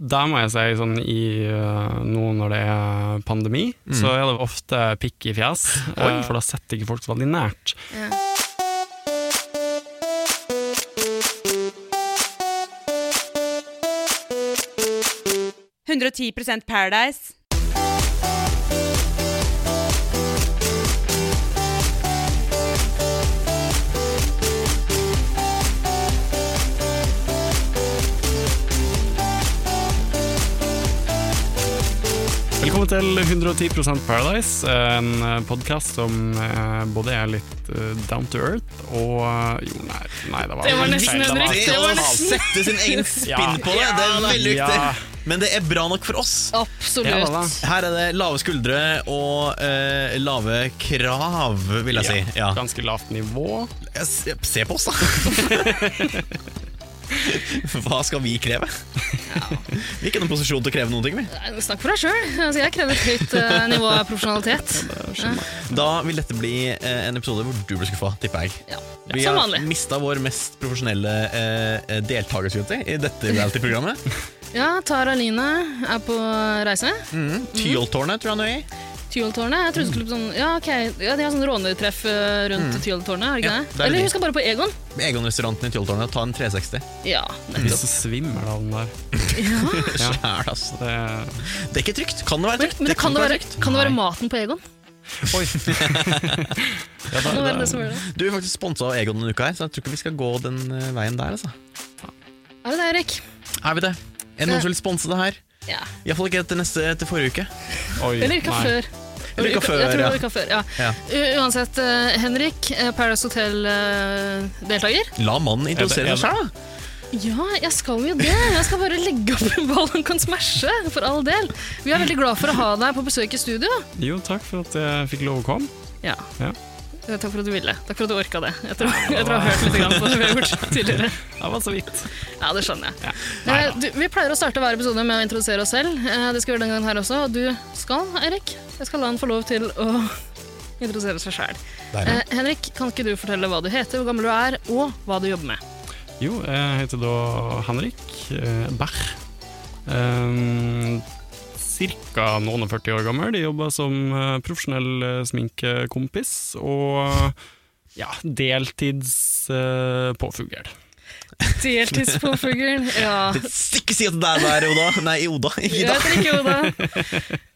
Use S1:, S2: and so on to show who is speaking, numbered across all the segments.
S1: Der må jeg si, sånn i eh, nå når det er pandemi,
S2: Mm.
S1: så er det ofte pikk i fjes. eh, For da setter ikke folk så veldig nært.
S3: Ja.
S4: Paradise.
S1: Velkommen til 110 Paradise, en podkast som eh, både er litt eh, down to earth og eh, Jo, nei, nei det var
S3: Det var
S1: feil,
S3: nesten
S1: det
S3: en
S1: var-
S3: riktig,
S2: Det
S3: det var
S2: å
S3: nesten-
S2: sette sin egen spinn på det, det er veldig
S1: Ja.
S2: viktig. Men det er bra nok for oss.
S1: Ja, da, da.
S3: Absolutt.
S2: Her er det lave skuldre og eh, lave krav, vil jeg si. Ja.
S1: Ganske lavt nivå.
S2: Jeg Se se på oss, da! Hva skal vi kreve? Vi er ikke i noen posisjon til å kreve noen ting. vi
S3: Nei, Snakk for deg sjøl. Altså, jeg krever et høyt eh, nivå av profesjonalitet.
S2: Da vil dette bli eh, en episode hvor du blir skuffa, tipper jeg.
S3: Ja.
S2: Vi
S3: Som
S2: har
S3: vanlig.
S2: mista vår mest profesjonelle eh, deltaker skulle jeg si, i dette reality-programmet.
S3: Ja, Tara Line er på reise.
S2: Mm. Tyholtårnet, tror jeg han er i.
S3: Tyholtårnet. Jeg trodde det skulle bli sånn Ja, ok, ja, de har sånn rånertreff eh, rundt Tyholtårnet, er
S2: Mm.
S3: det
S2: Ja,
S3: ikke
S2: det er
S3: det? Eller
S2: det.
S3: hun skal bare på Egon?
S2: Egon-restauranten i Tyholtårnet. Ta en 360.
S3: Ja.
S1: Hvis du svimmer av den der. Ja.
S2: Skjæl, altså.
S1: Det,
S2: Det er ikke trygt. Kan det være
S3: Ah. Men,
S2: trygt?
S3: men det kan, det være, kan det være
S1: Nei.
S3: maten på Egon?
S1: oi! ja,
S3: Kan det
S1: da,
S3: være det som gjør det?
S2: Du er faktisk sponsa av Egon denne uka, her, så jeg tror ikke vi skal gå den eh, veien der. altså
S3: Er det det, Erik?
S2: Er vi det? Er det noen som vil sponse det her?
S3: Ja.
S2: Iallfall ikke til neste til forrige uke.
S1: oi
S3: Eller uka
S1: nei.
S3: før.
S2: Eller uka før,
S3: jeg tror det
S2: ja.
S3: var uka før, ja.
S2: Ja.
S3: U- Uansett, eh, Henrik, eh, Paradise eh, Hotel-deltaker.
S2: La mannen introdusere
S1: Er
S2: seg
S1: det-
S2: sjøl, da.
S3: Ja, jeg skal jo det. Jeg skal bare legge opp en ball han kan smashe, for all del. Vi er veldig glad for å ha deg på besøk i studio.
S1: Jo, takk for at jeg fikk lov å komme.
S3: Ja.
S1: Ja.
S3: Eh, Takk for at du ville. Takk for at du orka det. Jeg tror, jeg tror jeg har hørt litt grann på det vi har gjort tidligere.
S1: Det var så vidt.
S3: Ja, det skjønner jeg.
S1: Ja.
S3: Eh, Du, vi pleier å starte hver episode med å introdusere oss selv. Eh, Det skal vi gjøre denne gangen her også. Og du skal, Eirik. Jeg skal la han få lov til å introdusere seg sjæl. Eh, Henrik, kan ikke du fortelle hva du heter, hvor gammel du er, og hva du jobber med?
S1: Jo, jeg heter da Henrik eh, Berr. Um, cirka noen og 40 år gammel. Jeg jobber som eh, profesjonell eh, sminkekompis og eh, ja, deltids eh, påfugl.
S3: Deltidspåfuglen. Ja.
S2: Eh, Ikke si at det er der, Oda. Nei, Oda. Ikke
S3: Jeg
S2: Ida.
S3: heter ikke Oda.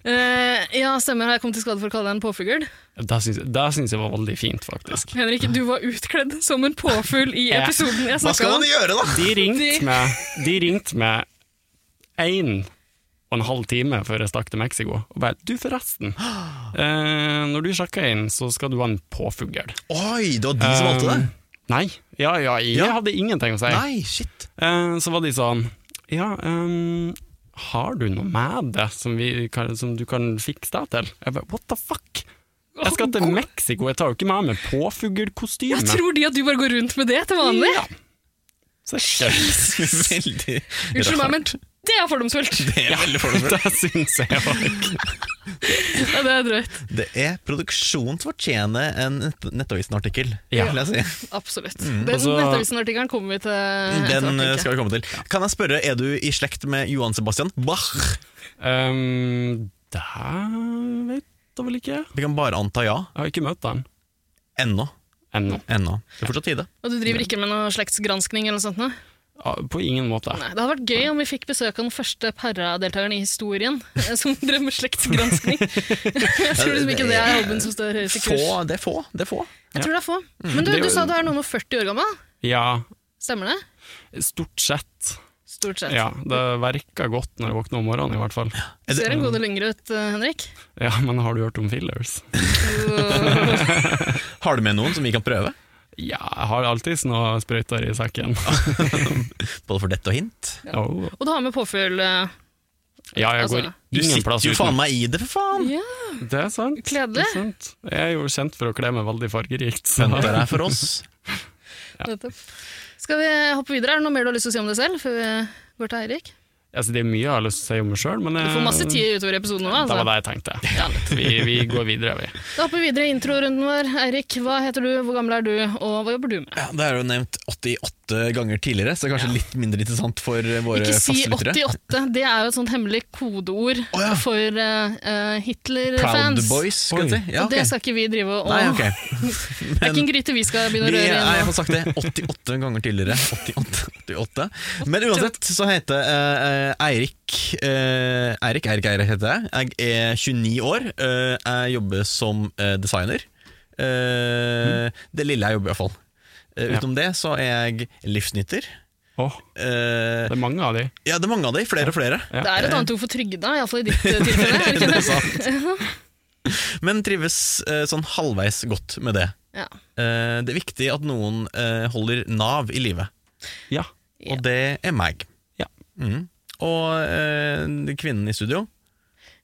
S3: Eh, ja, stemmer. Har jeg kommet til skade for å kalle deg en påfugl?
S1: Det syns jeg, det syns jeg var veldig fint, faktisk.
S3: Henrik, du var utkledd som en påfugl i
S1: Ja.
S3: episoden jeg
S2: Hva
S3: snakka
S2: skal
S3: om.
S2: man gjøre, da?
S1: De
S3: De-
S1: ringte meg De ringte meg én og en halv time før jeg stakk til Mexico, og bare 'du, forresten, eh, når du sjekker inn, så skal du ha en påfugl'.
S2: Oi, det var de som valgte det?
S1: Um, Nei. Ja, ja, jeg
S2: Ja.
S1: hadde ingenting å si.
S2: Nei, shit.
S1: Eh, så var de sånn Ja, ehm, har du noe med det som, vi kan, som du kan fikse deg til? Jeg bare, What the fuck? Jeg skal til Mexico, jeg tar jo ikke med meg
S3: Jeg
S1: påfuglkostyme.
S3: tror de at du bare går rundt med det til vanlig.
S1: Ja. Så jeg-
S2: Veldig
S3: Unnskyld meg, men det er fordomsfullt.
S2: Det er veldig fordomsfullt.
S1: Det syns jeg var
S3: Ja, det er drøyt.
S2: Det er produksjonen som fortjener en nett- Nettavisen-artikkel,
S1: Ja.
S2: vil jeg si.
S3: Absolutt. Den
S1: Og så-
S3: Nettavisen-artiklen kommer vi til etter
S2: Mm. Altså- Den eh,
S3: hvert, tenker jeg.
S2: skal vi komme til. Kan jeg spørre, er du i slekt med Johan Sebastian Bach?
S1: um, Det vet jeg vel ikke. Jeg
S2: Vi kan bare anta ja.
S1: har ikke møtt han
S2: Ennå.
S1: ennå.
S2: Ennå. Det er fortsatt tide.
S3: Og du driver ikke med noe slektsgranskning eller noe sånt? nå?
S1: Ja, Ah, På ingen måte.
S3: Nei, det hadde vært gøy om vi fikk besøk av den første paradeltakeren i historien eh, som drev med slektsgranskning. Jeg tror liksom ikke det er jobben som står høyest i
S2: Få,
S3: kurs.
S2: det er få. Det er få.
S3: Jeg tror det er få.
S2: Mhm.
S3: Men du,
S1: Det er
S3: du
S1: jo-
S3: sa du er noen og 40 år gammel.
S1: Ja,
S3: Stemmer det?
S1: stort sett.
S3: Stort sett.
S1: Ja, det verker godt når jeg våkner om morgenen, i hvert fall.
S2: Er
S3: Ser
S2: det,
S3: en god del yngre ut, eh, Henrik.
S1: Ja, Men har du hørt om fillers?
S2: har du med noen som vi kan prøve?
S1: Ja, jeg har alltid noe sprøyter i sekken.
S2: Både for dette og hint.
S1: Oh.
S3: Og du har med påfugl. eh,
S1: Ja, jeg
S3: Altså,
S1: går
S2: Du
S1: ingen
S2: sitter
S1: plass
S2: jo faen
S1: uten.
S2: meg i det, for faen!
S3: Ja.
S1: Det er sant.
S3: Kledelig.
S1: det er sant. Jeg er jo kjent for å kle meg veldig fargerikt. Så.
S2: Venter deg for oss.
S3: nettopp. Skal vi hoppe videre? Er det noe mer du har lyst til å si om deg selv før vi går til Eirik?
S1: Altså, det er mye jeg har lyst til å si om meg sjøl, men
S3: Du
S1: jeg-
S2: Eh,
S3: får masse tid utover episoden nå.
S1: det var
S3: Altså.
S1: det jeg tenkte. Vi, vi går videre, vi.
S3: Da hopper vi videre i introrunden vår. Eirik, hva heter du, hvor gammel er du, og hva jobber du med?
S2: Ja, det er jo nevnt 88 ganger tidligere, så det er kanskje litt mindre interessant for eh, våre
S3: Ikke si
S2: faste lyttere.
S3: 88, det er jo et sånt hemmelig kodeord
S2: Å, ja.
S3: for eh, eh,
S2: Proud
S3: Hitler-fans.
S2: Boys, skal
S1: Oi.
S2: jeg si. Ja, ok.
S3: Og Det skal ikke vi drive og
S2: Nei, ok.
S3: Det er
S2: Men-
S3: ikke en gryte vi skal begynne å
S2: Vi,
S3: røre
S2: nei, jeg
S3: i
S2: har
S3: nå.
S2: sagt det 88 ganger tidligere. 88, 88. Men uansett så heter eh, eh, Eirik eh, Eirik Eirik Eirik heter jeg. Jeg er 29 år. eh, jeg jobber som eh, designer. Eh, Det lille jeg jobber, iallfall. Uh,
S1: Ja.
S2: utenom det så er jeg livsnyter.
S1: Åh,
S2: Eh,
S1: det er mange av de.
S2: ja, det er mange av de. Flere og flere.
S3: Det er et annet ord for trygda, iallfall i ditt eh, tilfelle. Er det ikke det?
S2: Men trives eh, sånn halvveis godt med det.
S3: Ja.
S2: Eh, det er viktig at noen eh, holder Nav i live,
S1: Ja.
S3: Ja.
S2: og det er meg.
S1: Ja.
S2: Mm. Og eh, kvinnen i studio,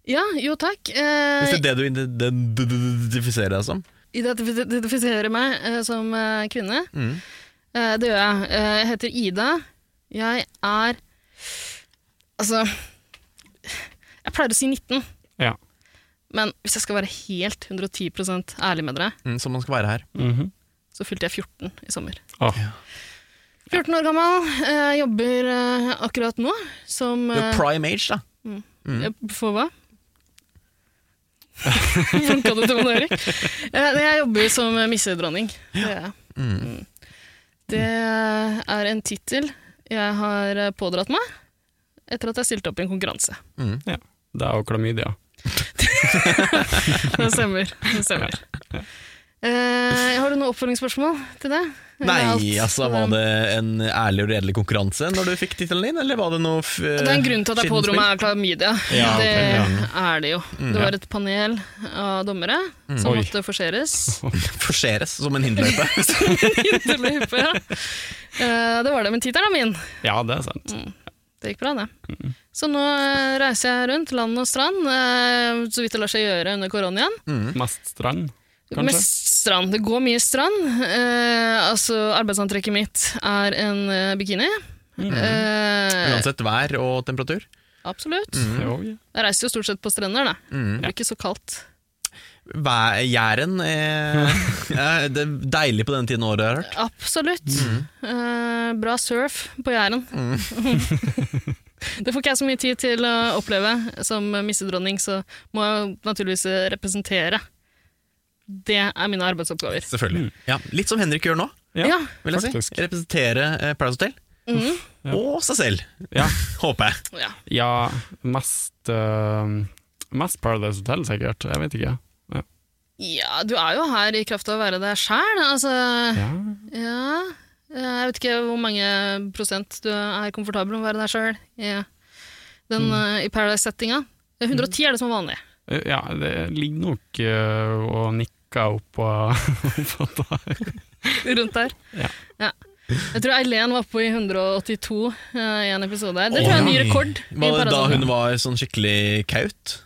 S3: ja, jo takk.
S2: hvis
S3: Eh,
S2: det er det du identifiserer deg som.
S3: identif- identifiserer meg eh, som eh, kvinne.
S2: Mm.
S3: Eh, det gjør jeg. Eh, jeg heter Ida. Jeg er Altså Jeg pleier å si 19,
S1: ja.
S3: men hvis jeg skal være helt 110 ærlig med dere,
S2: Mm, som man skal være her.
S1: Mhm.
S3: så fylte jeg 14 i sommer.
S1: Åh,
S3: 14 år gammel, eh, jobber eh, akkurat nå som
S2: Du er
S3: eh,
S2: prime age, da. Mm.
S3: Jeg- Eh, For hva? Funka det til meg, Erik? Eh, nei, Jeg jobber som missedronning. Det gjør jeg.
S2: Mm.
S3: Det er en tittel jeg har eh, pådratt meg etter at jeg stilte opp i en konkurranse.
S2: Mm.
S1: det er jo klamydia.
S3: Det stemmer. Det stemmer. Eh, har du noe oppfølgingsspørsmål til det? Eller
S2: Nei,
S3: er alt-
S2: altså, var det en ærlig og redelig konkurranse når du fikk tittelen din, eller var det noe f
S3: Det er en grunn til at jeg pådro meg klamydia.
S1: Ja, ok,
S3: det
S1: ja.
S3: er det jo.
S2: Mm,
S3: Det var et panel av dommere som
S1: Oi.
S3: måtte forseres.
S2: Forseres som en hinderløype.
S3: Underlig hyppe, ja. Eh, det var det, men tittelen er min.
S1: Ja, det er sant.
S3: Det gikk bra, det. Så nå eh, reiser jeg rundt land og strand, eh, så vidt det lar seg gjøre under koronaen.
S1: Mest strand, kanskje?
S3: Mest strand. Det går mye strand. Eh, altså, arbeidsantrekket mitt er en eh, bikini. Eh,
S2: Uansett vær og temperatur.
S3: absolutt.
S1: Jo, ja.
S3: Jeg reiser jo stort sett på strender, da.
S2: Mm.
S3: Det blir ikke så kaldt.
S2: Væ- Jæren er, er det er deilig på denne tiden av året, har jeg hørt.
S3: Absolutt. Eh, bra surf på Jæren.
S2: Mm,
S3: det får ikke jeg så mye tid til å oppleve. Som missedronning så må jeg naturligvis representere. Det er mine arbeidsoppgaver.
S2: Selvfølgelig. Ja, litt som Henrik gjør nå,
S1: Ja,
S3: Ja.
S2: vil jeg
S1: Faktisk.
S2: si. Representere eh, Paradise Hotel.
S3: Mm.
S1: ja.
S2: Og seg selv,
S1: Ja,
S2: håper jeg.
S3: ja.
S1: ja mest, eh, mest Paradise Hotel, sikkert. Jeg vet ikke. Ja.
S3: ja, du er jo her i kraft av å være deg sjæl. Altså,
S1: Ja.
S3: ja Jeg vet ikke hvor mange prosent du er komfortabel med å være deg sjøl i,
S2: Mm.
S3: den, eh, i Paradise-settinga. Eh, 110 er det som er vanlig.
S1: Eh, ja, det ligger nok eh, og nikker opp og opp og der.
S3: rundt der.
S1: Ja.
S3: Ja. Jeg tror Eileen var oppe i 182 eh, i en episode her. Det tror jeg er en ny
S2: Oi.
S3: rekord. i
S2: Var det da
S3: Paradise.
S2: hun var sånn skikkelig kaut?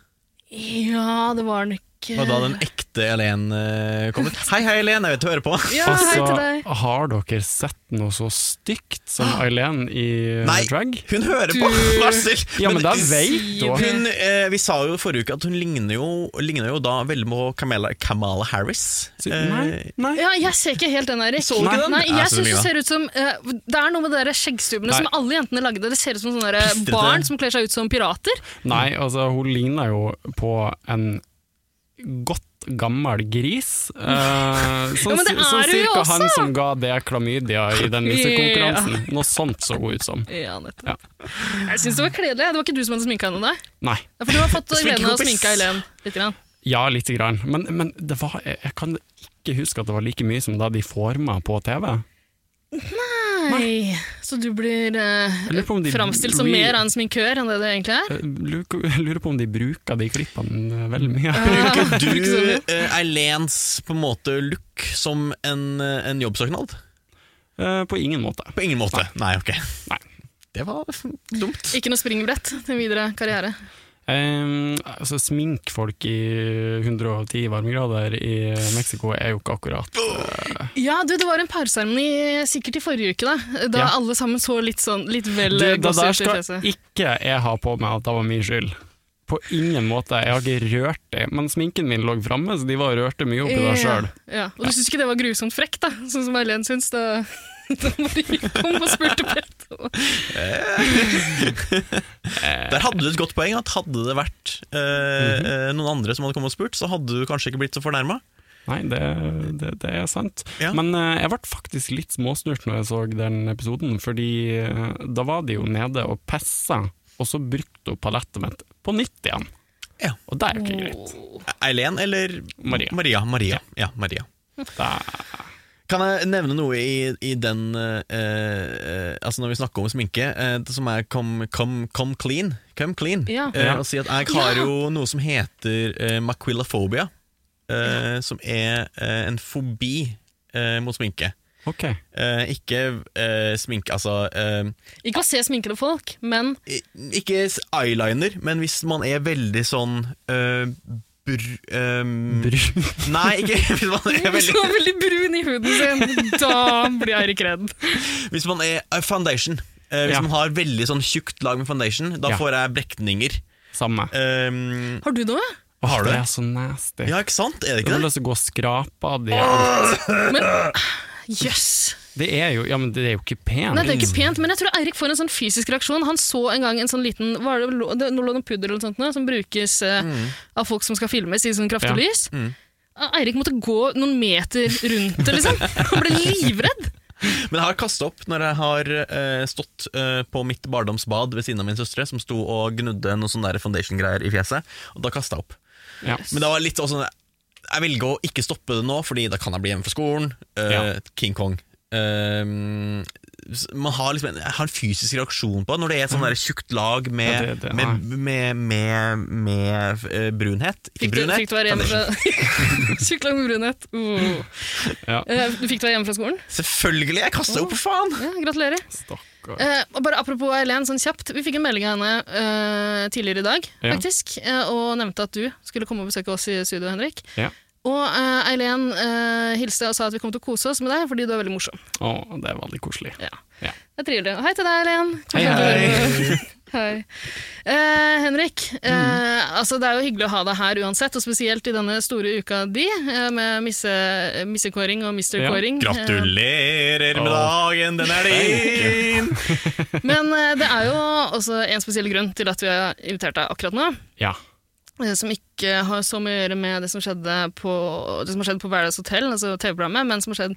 S3: Ja, det var nok eh,
S2: Var det da den ekte Elen eh, kom ut? Hei, hei, Elen, jeg vet du hører på.
S3: Ja, hei til deg. Ah.
S1: har dere sett noe så stygt som Eileen i
S2: Nei.
S1: drag?
S2: Hun hører
S3: Du-
S2: på! Vær så snill!
S1: Ja, men da
S2: hun-
S1: vet du
S3: Sier-
S2: hun, eh, vi sa jo forrige uke at hun ligner jo, ligner jo da veldig på Kamala, Kamala Harris. Eh,
S1: Nei, nei.
S3: Ja, jeg ser ikke helt den, Erik.
S2: Så du ikke den?
S3: Nei,
S2: Ja,
S3: jeg
S2: så
S3: synes
S2: mye,
S3: Det
S2: da.
S3: ser ut som eh, Det er noe med de der skjeggstubbene
S1: Nei.
S3: som alle jentene lagde. Det ser ut som sånne der
S2: Pistrete.
S3: barn som kler seg ut som pirater.
S1: Nei, altså hun ligner jo på en godt gammel gris. Eh, sånn,
S3: Ja, men det
S1: sånn
S3: er hun jo
S1: cirka
S3: også!
S1: han som ga det klamydia i den missekonkurransen. Noe sånt så hun ut som.
S3: Ja, nettopp. Jeg syns det var kledelig. Det var ikke du som hadde sminka henne, nei.
S1: Nei.
S3: Det er For du har fått gleden av å
S2: Sminkekompis.
S3: sminke Eileen litt. Grann.
S1: Ja, lite grann. Men, men det var, jeg jeg kan ikke huske at det var like mye som da de forma på TV.
S3: Nei. Så du blir eh,
S1: Jeg lurer på om de
S3: framstilt som
S1: re-
S3: mer av en sminkør enn det det egentlig er?
S1: Jeg Lurer lurer på om de bruker de klippene eh, veldig mye.
S2: Bruker
S3: Bruker du
S2: du
S3: det?
S2: eh, Eilens på en måte look som en, eh, en jobbsøknad?
S1: Eh, På ingen måte.
S2: På ingen måte. Nei, ok.
S1: Nei.
S2: Det var dumt.
S3: Ikke noe springbrett til videre karriere.
S1: Ehm, altså, sminkfolk i 110 varmegrader i Mexico er jo ikke akkurat
S3: Ja, du, det var en parseremoni sikkert i forrige uke, da. Da
S1: Ja.
S3: alle sammen så litt sånn litt vel
S1: Det, det der
S3: gåsete ut i
S1: skal
S3: fjeset.
S1: ikke jeg ha på meg at det var min skyld. På ingen måte. Jeg har ikke rørt det. Men sminken min lå framme, så de var og rørte mye oppi der sjøl.
S3: Ja, ja. Og du syns ikke det var grusomt frekt, da? Sånn som Eileen syns da, da Marie kom og spurte pent. om-
S2: Eh. Der hadde du et godt poeng. at Hadde det vært eh,
S1: Mhm.
S2: eh, noen andre som hadde kommet og spurt, så hadde du kanskje ikke blitt så fornærma.
S1: Nei, det, det, det er sant.
S2: Ja.
S1: Men eh, jeg ble faktisk litt småsnurt når jeg så den episoden, fordi eh, da var de jo nede og pessa, og så brukte hun palettet mitt på nytt igjen.
S2: Ja.
S1: Og det er jo ikke greit.
S2: Eileen eller
S1: Maria.
S2: Maria. Maria. Ja, Maria.
S1: Det er,
S2: Kan jeg nevne noe i, i den eh, eh, Altså Når vi snakker om sminke, eh, det som er come, come, come clean. Come clean
S3: Ja.
S2: Eh, og si at Jeg har jo noe som heter uh, maquillaphobia, eh, som er eh, en fobi eh, mot sminke.
S1: ok.
S2: Eh, ikke eh, sminke, altså eh,
S3: Ikke å se sminkede folk, men
S2: i- Ikke s- eyeliner, men hvis man er veldig sånn eh, br... eh,
S1: Brun.
S2: Nei, ikke hvis man er
S3: hvis
S2: veldig
S3: du var veldig brun i huden sin, da blir Eirik redd.
S2: Hvis man er eh, foundation eh, Hvis
S1: Ja.
S2: man har veldig sånn tjukt lag med foundation Da
S1: Ja.
S2: får jeg brekninger
S1: Samme.
S2: um,
S3: Har du noe?
S2: Har
S1: Det
S2: du det?
S1: er så nasty.
S2: Ja, ikke sant? Er det
S1: Jeg
S2: ikke
S1: har
S2: det?
S1: lyst til å gå og skrape av de alt.
S3: Jøss. Yes.
S1: Det er jo, ja, men det er jo ikke pent.
S3: Nei, det er ikke pent, men jeg tror Eirik får en sånn fysisk reaksjon. Han så en gang en sånn liten hva er det, lo- det, Nå lå det noe pudder eller noe sånt nå, som brukes eh, av folk som skal filmes i sånn kraftig
S1: Mm. Ja. Mm.
S3: lys. Eirik måtte gå noen meter rundt det, liksom. Han ble livredd.
S2: Men jeg har kastet opp når jeg har eh, stått eh, på mitt barndomsbad ved siden av min søstre Som sto og gnudde noen sånne der foundation-greier i fjeset Og da kastet jeg opp
S1: Ja.
S2: Men det var litt også sånn Jeg velger å ikke stoppe det nå Fordi da kan jeg bli hjemme fra skolen eh, King Kong Um, s- man har liksom en, jeg har en fysisk reaksjon på det når det er
S3: Mhm.
S2: et sånn der tjukt lag med,
S1: Ja, det- det- nei.
S2: med, med, med, med eh, brunhet. Ikke
S3: Fikk du,
S2: brunhet.
S3: fikk du være hjemme
S2: foundation.
S3: fra Sykla med brunhet. Oh.
S1: Ja.
S3: Eh, du fikk du være hjemme fra skolen?
S2: Selvfølgelig! Jeg kasta opp, for faen!
S3: Ja, gratulerer.
S1: Stakkar.
S3: Eh, og bare Apropos Eileen, sånn kjapt. Vi fikk en melding av henne eh, tidligere i dag
S1: Ja.
S3: faktisk, eh, og nevnte at du skulle komme og besøke oss i studio, Henrik.
S1: Ja.
S3: Og eh, Eileen eh, hilste og sa at vi kom til å kose oss med deg fordi du er veldig morsom.
S1: Å, det er veldig koselig.
S3: Ja.
S1: Ja.
S3: Det er trivelig. Hei til deg, Eileen.
S1: Hei, hei.
S3: Hei. Eh, Henrik, eh, altså det er jo hyggelig å ha deg her uansett, og spesielt i denne store uka di eh, med misse, missekåring og
S1: Ja.
S3: misterkåring. Eh,
S2: Gratulerer
S1: Åh.
S2: med dagen, den er din!
S3: men eh, det er jo også en spesiell grunn til at vi har invitert deg akkurat nå.
S1: Ja.
S3: eh, som ikke har så mye å gjøre med det som skjedde på, det som har skjedd på Paradise Hotel, altså TV-programmet, men som har skjedd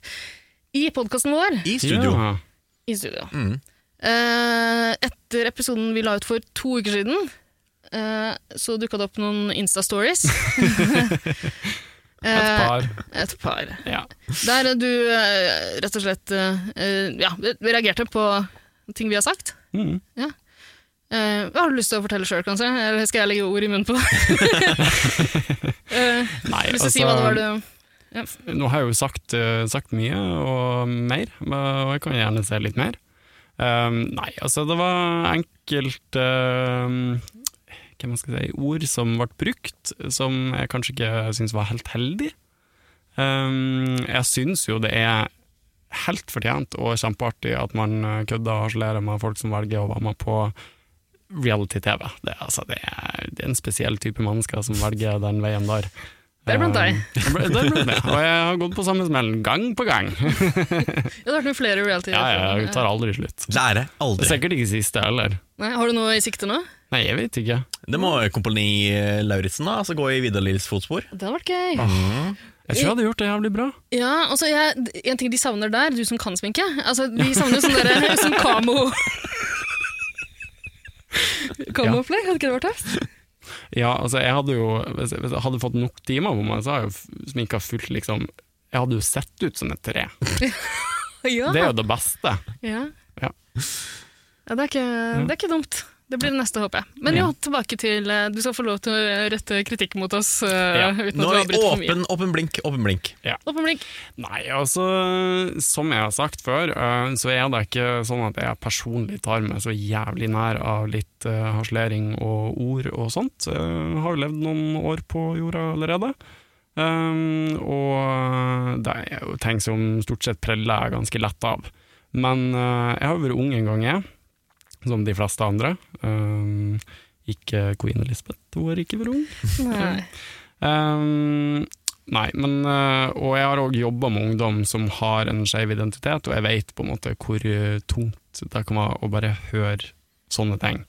S3: i podkasten vår
S2: I studio.
S1: Ja.
S3: i studio.
S2: Mm.
S3: Eh, etter episoden vi la ut for to uker siden, eh, så dukka det opp noen Insta-stories.
S1: Et
S3: Eh,
S1: par.
S3: et par.
S1: Ja.
S3: Der du eh, rett og slett eh, eh, ja, reagerte på ting vi har sagt.
S1: Mm.
S3: Eh, har du lyst til å fortelle sjøl, kanskje? Eller skal jeg legge ord i munnen på deg? Eh,
S1: Nei, altså,
S3: har du lyst til å si hva det var du
S1: Nå har jeg jo sagt, eh, sagt mye og mer, eh, og jeg kan gjerne se litt mer. Um, nei, altså det var enkelt um, hva man skal si, ord som ble brukt, som jeg kanskje ikke syns var helt heldig. Um, jeg syns jo det er helt fortjent og kjempeartig at man eh, kødder og harselerer med folk som velger å være med på reality-TV. Det, er- altså, det, er- det er en spesiell type mennesker som velger den veien der.
S3: Det er blant deg.
S1: Um, det ble- det ble det. Og jeg har gått på samme smellen gang på gang.
S3: Ja, det har vært noen flere reality
S1: Ja, jeg tar aldri slutt.
S2: Lære
S1: Det er
S2: aldri.
S1: sikkert ikke siste heller.
S3: Eh, Nei, Har du noe i sikte nå?
S1: Nei, jeg vet ikke.
S2: Det må Kompani Lauritzen, da. Altså gå i Vidar Lills fotspor.
S3: Det hadde vært gøy.
S1: Jeg tror jeg hadde gjort det jævlig bra.
S3: Ja, altså jeg, En ting de savner der, du som kan sminke altså De savner jo sånn derre sånn kamo Kamoopplegg, hadde ikke det vært tøft?
S1: Ja, altså, jeg hadde jo Hvis jeg, hvis jeg hadde fått nok timer på meg, så hadde jeg jo f- sminka fullt, liksom. Jeg hadde jo sett ut som et tre.
S3: Ja.
S1: Det er jo det beste.
S3: Ja.
S1: Ja.
S3: Ja, det, er ikke, det er ikke dumt. Det blir det neste, håper jeg. Men jo, tilbake til eh, Du skal få lov til å rette kritikk mot oss. eh,
S1: Ja.
S3: uten
S2: Nå
S3: at
S2: er vi
S3: du avbryter for mye.
S2: åpen, åpen blink, åpen blink.
S3: Åpen blikk.
S1: Nei, altså, som jeg har sagt før, eh, så er det ikke sånn at jeg personlig tar meg så jævlig nær av litt eh, harselering og ord og sånt. Jeg har jo levd noen år på jorda allerede. Um, og eh, det er jo ting som stort sett preller jeg ganske lett av. Men eh, jeg har jo vært ung en gang, jeg. Som de fleste andre. Um, ikke Queen Elizabeth, hun har ikke vært ung.
S3: Nei.
S1: Ehm, nei, men eh, Og jeg har òg jobba med ungdom som har en skeiv identitet, og jeg vet på en måte hvor eh, tungt det kan være å bare høre sånne ting.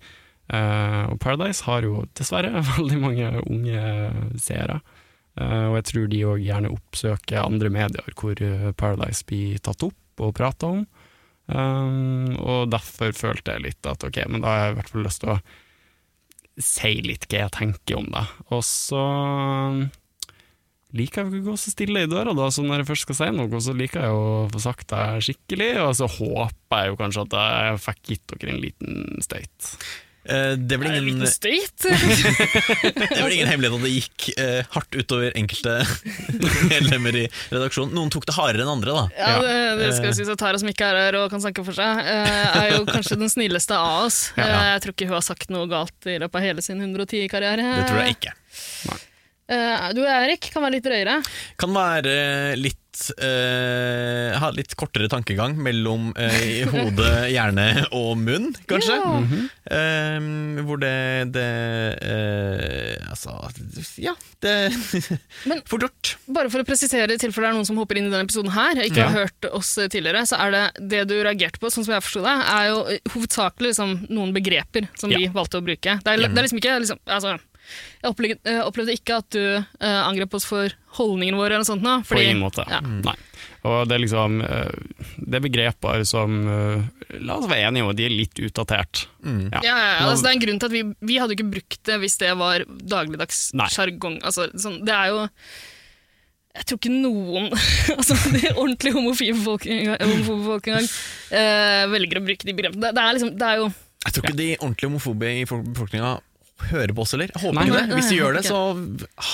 S1: Eh, og Paradise har jo dessverre veldig mange unge seere. Eh, og jeg tror de òg gjerne oppsøker andre medier hvor eh, Paradise blir tatt opp og prata om. Ehm, og derfor følte jeg litt at ok, men da har jeg i hvert fall lyst til å si litt hva jeg tenker om det. Og så liker jeg jo ikke å gå så stille i døra, da, så når jeg først skal si noe, så liker jeg å få sagt det skikkelig, og så håper jeg jo kanskje at jeg fikk gitt dere en liten støyt.
S2: Eh, det blir
S3: Er det en
S2: ingen,
S3: liten
S2: det
S3: støyt?
S2: blir ingen hemmelighet at det gikk eh, hardt utover enkelte medlemmer i redaksjonen. Noen tok det hardere enn andre, da.
S3: Ja,
S1: Ja. eh.
S3: det, det skal sies at Tara som ikke er her og kan snakke for seg, eh, er jo kanskje den snilleste av oss.
S1: Ja, ja.
S3: Eh, Jeg tror ikke hun har sagt noe galt i løpet av hele sin 110-karriere.
S2: Det tror jeg ikke.
S3: Eh, Du og Erik kan være litt drøyere.
S2: Kan være litt eh, Ha litt kortere tankegang mellom eh, hode, hjerne og munn, kanskje.
S3: Ja. Mhm.
S2: Eh, hvor det, det eh, Altså, ja. Det
S3: Men-
S2: Fort gjort.
S3: Bare for å presisere, i tilfelle det er noen som hopper inn i denne episoden her, og ikke
S1: Ja.
S3: har hørt oss tidligere, så er det det du reagerte på, sånn som jeg forsto det, er jo eh, hovedsakelig liksom, noen begreper som vi
S1: Ja. Mm.
S3: valgte å bruke. Det er, det er liksom ikke liksom, altså, Jeg opplevde, eh, opplevde ikke at du eh, angrep oss for holdningene våre eller noe sånt. Nå,
S1: På ingen måte.
S3: Ja.
S1: Nei. Og det er liksom eh, Det er begreper som eh, La oss være enige om at de er litt utdatert.
S2: Mm.
S1: Ja.
S3: Ja, ja, ja. Altså, det er en grunn til at vi, vi hadde jo ikke brukt det hvis det var dagligdags
S1: Nei.
S3: sjargong. Altså, sånn, det er jo Jeg tror ikke noen altså, de ordentlig homofile folk, homofobe folk engang eh, velger å bruke de begrepene. Det, det, er liksom, det er jo
S2: Jeg tror ikke de ordentlig homofobe i folk- befolkninga hører på oss heller. Jeg håper
S1: Nei.
S2: ikke
S3: Nei,
S2: det.
S3: nei,
S2: Hvis de
S3: jeg
S2: gjør det, så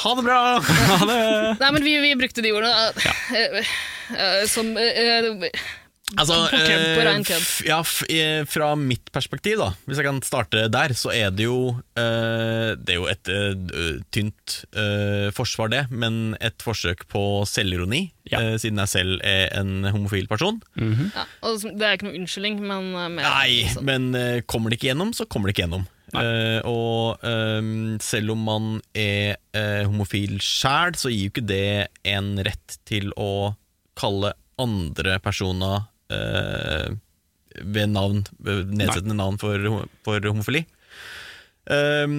S2: ha det bra!
S1: Ha det!
S3: Nei, men vi, vi brukte de ordene eh, eh, eh, som eh, eh,
S2: Altså,
S3: På kødd, på
S2: eh,
S3: rein kødd.
S2: f- ja, f- eh, fra mitt perspektiv, da, hvis jeg kan starte der, så er det jo eh, Det er jo et eh, d- tynt eh, forsvar, det, men et forsøk på selvironi,
S1: Ja.
S2: eh, siden jeg selv er en homofil person.
S3: ja, og som- Det er ikke noe unnskyldning, men eh, mer
S2: Nei,
S3: sånn.
S2: men eh, kommer det ikke gjennom, så kommer det ikke gjennom. Eh, og ehm, selv om man er eh, homofil sjæl, så gir jo ikke det en rett til å kalle andre personer eh, ved navn, ved nedsettende navn for, ho- for homofili. Ehm,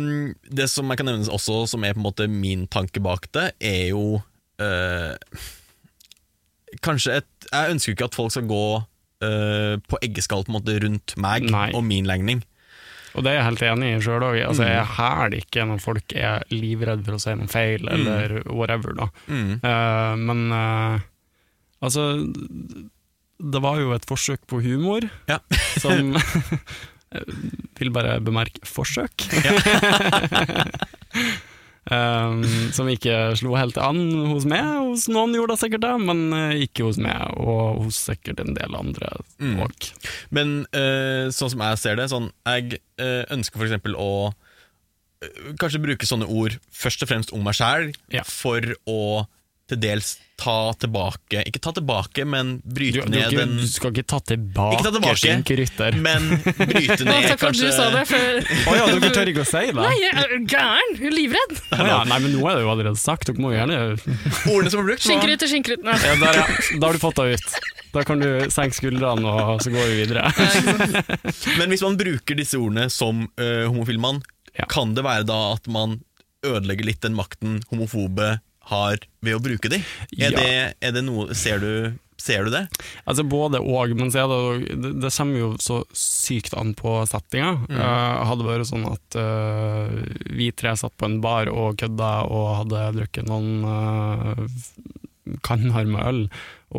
S2: det som jeg kan nevne også, som er på en måte min tanke bak det, er jo eh, Kanskje et Jeg ønsker jo ikke at folk skal gå eh, på eggeskall på en måte rundt meg
S1: Nei.
S2: og min legning.
S1: Og det er jeg helt enig i sjøl òg. Altså, jeg hæler ikke når folk er livredde for å si noe feil, eller whatever, da.
S2: Mm.
S1: Eh, men eh, altså d- Det var jo et forsøk på humor
S2: Ja.
S1: som Jeg Vil bare bemerke forsøk. um, som ikke slo helt an hos meg. Hos noen gjorde det sikkert det, men eh, ikke hos meg, og hos sikkert en del andre
S2: Mm.
S1: òg.
S2: Men eh, sånn som jeg ser det, sånn, jeg eh, ønsker for eksempel å eh, Kanskje bruke sånne ord først og fremst om meg sjæl,
S1: Ja.
S2: for å til dels ta tilbake Ikke ta tilbake, men
S1: Du,
S2: bryte
S1: du,
S2: ned
S1: ikke-
S2: den
S1: du skal ikke ta tilbake,
S2: Ikke ta tilbake.
S1: skinkerytter.
S2: Men bryte
S3: Å,
S2: ned
S3: Takk for at du sa det. For,
S1: Å ja, dere tør ikke å si det?
S3: nei, jeg er gæren! Livredd!
S1: Å ja, nei, men nå er det jo allerede sagt. Dere må jo gjerne
S2: Ordene som ble brukt, var
S3: Skinkerut til skinkerut. Nei.
S1: Ja, der, ja. Da har du fått deg ut. Da kan du senke skuldrene, og så går vi videre.
S2: Men hvis man bruker disse ordene som uh, homofil mann,
S1: Ja.
S2: kan det være da at man ødelegger litt den makten homofobe har ved å bruke dem?
S1: Ja.
S2: Er, det, er det noe Ser du, ser du det?
S1: Altså Både og, men så er det, jo- det, det kommer jo så sykt an på settinga. Eh, hadde det vært sånn at eh, vi tre satt på en bar og kødda og hadde drukket noen eh, kan harme øl,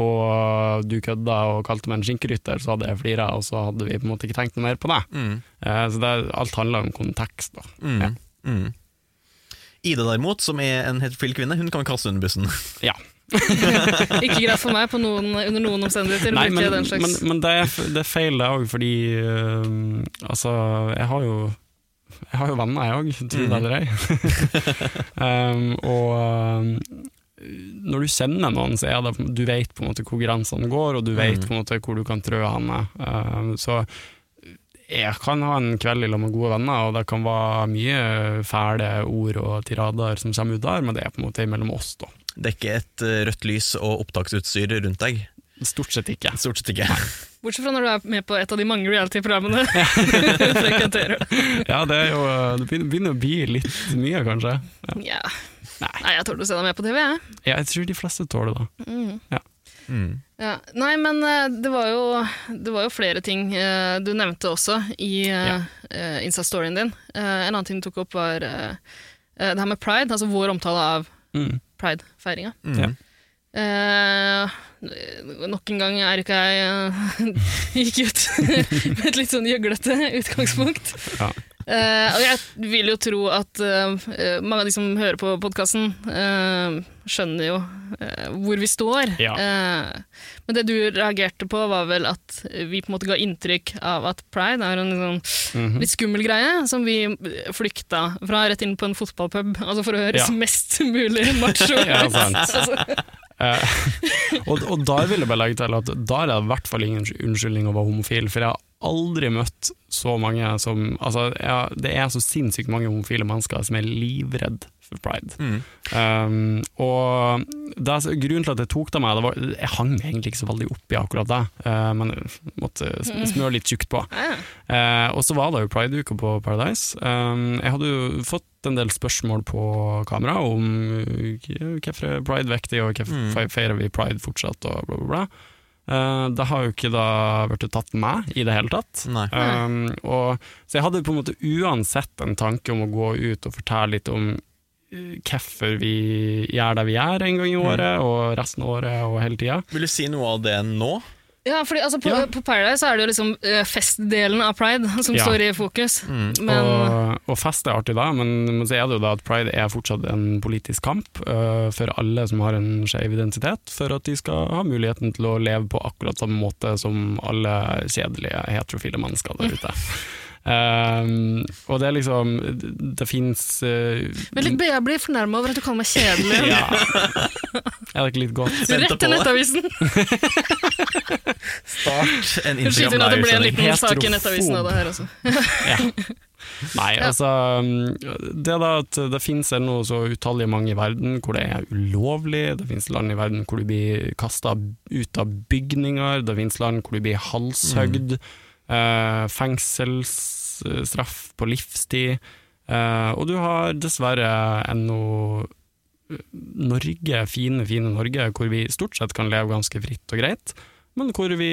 S1: og du kødda og kalte meg en skinkerytter, så hadde jeg flira, og så hadde vi på en måte ikke tenkt noe mer på det.
S2: Mm.
S1: Eh, Så det, er- alt handler om kontekst, da.
S2: Mm.
S1: Ja.
S2: Mm. Ida derimot, som er en heterofil kvinne, hun kan kaste under bussen.
S1: Ja.
S3: Ikke greit for meg på noen, under noen omstendigheter å
S1: Nei, men,
S3: bruke den
S1: men,
S3: slags
S1: men det, er, f- det er feil det òg, fordi øhm, Altså, jeg har jo jeg har jo venner, jeg òg, tro det eller ei. um, og øhm, når du kjenner noen, så er det på- Du vet på en måte hvor grensene går, og du vet
S2: Mm.
S1: på en måte hvor du kan trø henne. Um, så jeg kan ha en kveld i lag med gode venner, og det kan være mye fæle ord og tirader som kommer ut der, men det er på en måte mellom oss, da.
S2: Det er ikke et eh, rødt lys og opptaksutstyr rundt deg.
S1: Stort sett ikke.
S2: Stort sett ikke.
S3: Bortsett fra når du er med på et av de mange reality-programmene. du frekventerer.
S1: Ja, det er jo eh, Det begynner, begynner å bli litt mye, kanskje.
S3: ja.
S1: Nei.
S3: Nei, jeg tåler å se deg med på TV, jeg.
S1: Ja, jeg tror de fleste tåler det.
S2: Mm.
S3: Ja. Nei, men eh, det var, jo, det var jo flere ting eh, du nevnte også i
S1: Ja.
S3: eh, Insta-storyen din. Eh, en annen ting du tok opp, var eh, eh, det her med pride, altså vår omtale av
S1: Mm.
S3: pride-feiringa.
S2: Mm.
S1: Ja.
S3: Eh, nok en gang er ikke jeg eh, gikk ut med et litt sånn gjøglete utgangspunkt.
S1: Ja.
S3: Eh, og jeg vil jo tro at eh, mange av de som hører på podkasten, skjønner jo eh, hvor vi står.
S1: Ja.
S3: Eh, men det du reagerte på, var vel at vi på en måte ga inntrykk av at pride er en sånn
S1: Mhm.
S3: litt skummel greie, som vi flykta fra rett inn på en fotballpub altså for å høres
S1: Ja.
S3: mest mulig macho ut.
S1: Ja, sant.
S3: altså,
S1: Eh, og, og der vil jeg bare legge til at der er det i hvert fall ingen unnskyldning å være homofil, for jeg har aldri møtt så mange som Altså, jeg, det er så sinnssykt mange homofile mennesker som er livredd for pride.
S2: Mm.
S1: Um, og det, er så- grunnen til at jeg tok det med, det var, jeg hang meg egentlig ikke så veldig opp i akkurat det, eh, men jeg måtte sm- smøre litt tjukt på.
S3: ja, ja.
S1: Eh, og så var det jo Pride-uka på Paradise. Um, jeg hadde jo fått en del spørsmål på kamera om uh, hvorfor er pride viktig, og hvorfor
S2: Mm.
S1: fe- feirer vi pride fortsatt, og bla, bla, bla. Eh, det har jo ikke da blitt tatt med i det hele tatt.
S2: Nei.
S1: Um, og, så jeg hadde på en måte uansett en tanke om å gå ut og fortelle litt om uh, hvorfor vi gjør det vi gjør en gang
S2: Mm.
S1: i året, og resten av året og hele tida.
S2: Vil du si noe av det nå?
S3: Ja, fordi altså, på,
S1: Ja.
S3: på Paradise så er det jo liksom eh, festdelen av Pride som
S1: Ja.
S3: står i fokus.
S2: Mm.
S3: Men
S1: og, og fest er artig da, men, men så er det jo da at pride er fortsatt en politisk kamp øh, for alle som har en skeiv identitet, for at de skal ha muligheten til å leve på akkurat samme måte som alle kjedelige heterofile mennesker der ute. Ehm, og det er liksom Det, det fins
S3: men litt, jeg blir fornærma over at du kaller meg kjedelig.
S1: Ja. Er det ikke litt godt?
S2: Venter
S3: Rett
S2: på
S3: til
S2: det.
S3: Nettavisen!
S2: Start en
S3: Unnskyld at det ble en
S1: sånn
S2: Instagram-live-sending.
S3: liten sak i Nettavisen av
S1: Heterofob.
S3: det her også.
S1: ja. Nei,
S3: Ja.
S1: altså um, Det da at det finnes ennå så utallige mange i verden hvor det er ulovlig, det finnes land i verden hvor du blir kasta ut av bygninger, det finnes land hvor du blir halshøgd, eh, fengselsstraff på livstid, eh, og du har dessverre ennå Norge, fine, fine Norge, hvor vi stort sett kan leve ganske fritt og greit, men hvor vi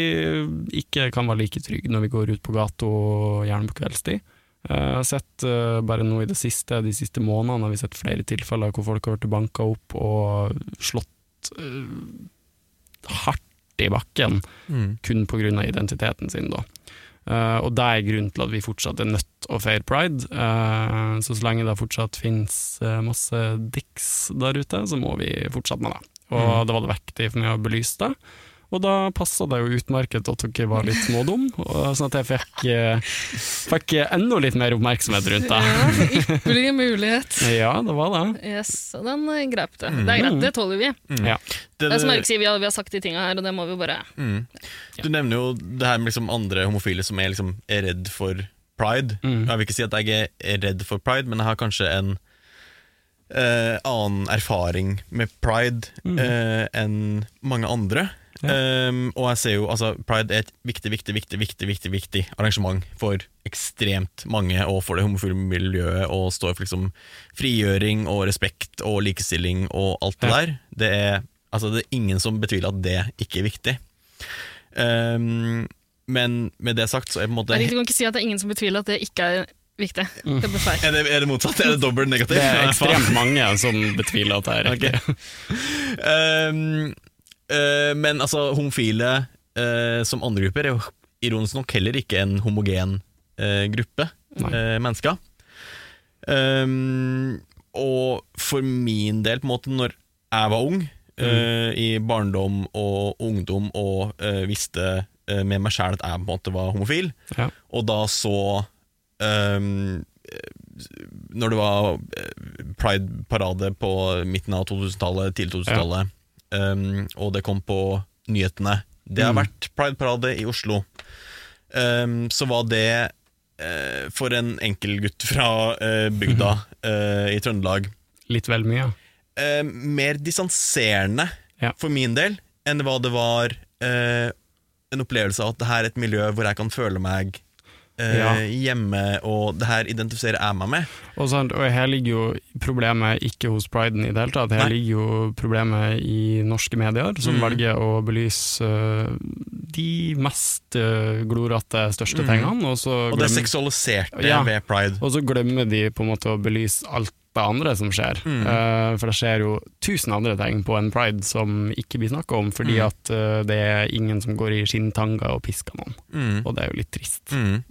S1: ikke kan være like trygge når vi går ut på gata, og gjerne på kveldstid. Eh, Jeg har sett eh, bare nå i det siste, de siste månedene har vi sett flere tilfeller hvor folk har vært banka opp og slått eh, hardt i bakken
S2: Mm.
S1: kun pga. identiteten sin. Da. Eh, og det er grunnen til at vi fortsatt er nødt til å feire pride. Eh, så så lenge det fortsatt finnes eh, masse dicks der ute, så må vi fortsette med det. Og
S2: Mm.
S1: det var det viktig for meg å belyse det. Og da passa det jo utmerket at dere var litt smådum, og sånn at jeg fikk, eh, fikk eh, enda litt mer oppmerksomhet rundt det.
S3: Ja, ypperlig mulighet.
S1: Ja, det var det.
S3: Yes, og den eh, greip det. Det er greit, det tåler vi.
S2: Mm.
S1: Ja.
S2: Det,
S3: Det er som Erik sier, vi har, vi har sagt de tinga her, og det må vi jo bare
S2: Mm. Du nevner jo det her med liksom andre homofile som er, liksom, er redd for pride.
S1: Mm.
S2: Jeg vil ikke si at jeg er redd for pride, men jeg har kanskje en eh, annen erfaring med pride
S1: Mm.
S2: eh, enn mange andre.
S1: Ja.
S2: Um, og jeg ser jo, altså Pride er et viktig, viktig, viktig viktig, viktig, viktig arrangement for ekstremt mange, og for det homofile miljøet, og står for liksom frigjøring og respekt og likestilling og alt det
S1: Ja.
S2: der. Det er, altså, det er ingen som betviler at det ikke er viktig. Um, men med det sagt, så er det på en måte
S3: Erik, Du kan ikke si at det er ingen som betviler at det ikke er viktig.
S1: Mm.
S3: Det ble feil.
S2: Er det, er det motsatt? Er det dobbelt negativt?
S1: Det er ekstremt mange som betviler at det er riktig.
S2: Ehm, eh, men altså, homofile eh, som andre grupper er jo ironisk nok heller ikke en homogen eh, gruppe
S1: Nei.
S2: eh, mennesker. Ehm, og for min del, på en måte, når jeg var ung,
S1: Mm.
S2: eh, i barndom og ungdom, og eh, visste eh, med meg sjæl at jeg på en måte var homofil,
S1: Ja.
S2: og da så ehm, Når det var eh, Pride-parade på midten av 2000-tallet, tidlig 2000-tallet, ehm, og det kom på nyhetene Det har
S1: Mm.
S2: vært Pride-parade i Oslo. Ehm, så var det eh, for en enkel gutt fra eh, bygda eh, i Trøndelag
S1: Litt vel mye.
S2: eh, mer distanserende
S1: Ja.
S2: for min del enn hva det var eh, en opplevelse av at det her er et miljø hvor jeg kan føle meg eh,
S1: Ja.
S2: hjemme, og det her identifiserer jeg meg med.
S1: Og, sant, og her ligger jo problemet ikke hos priden i det hele tatt, her
S2: Nei.
S1: ligger jo problemet i norske medier, som
S2: Mm.
S1: velger å belyse øh, de mest øh, glorete, største
S2: Mm.
S1: tingene, og så,
S2: Og det
S1: glem,
S2: seksualiserte
S1: Ja.
S2: ved pride.
S1: og så glemmer de på en måte å belyse alt det andre som skjer.
S2: Mm.
S1: Eh, for det skjer jo tusen andre ting på en pride som ikke blir snakka om, fordi
S2: Mm.
S1: at eh, det er ingen som går i skinntanger og pisker noen,
S2: Mm.
S1: og det er jo litt trist.
S2: Mm.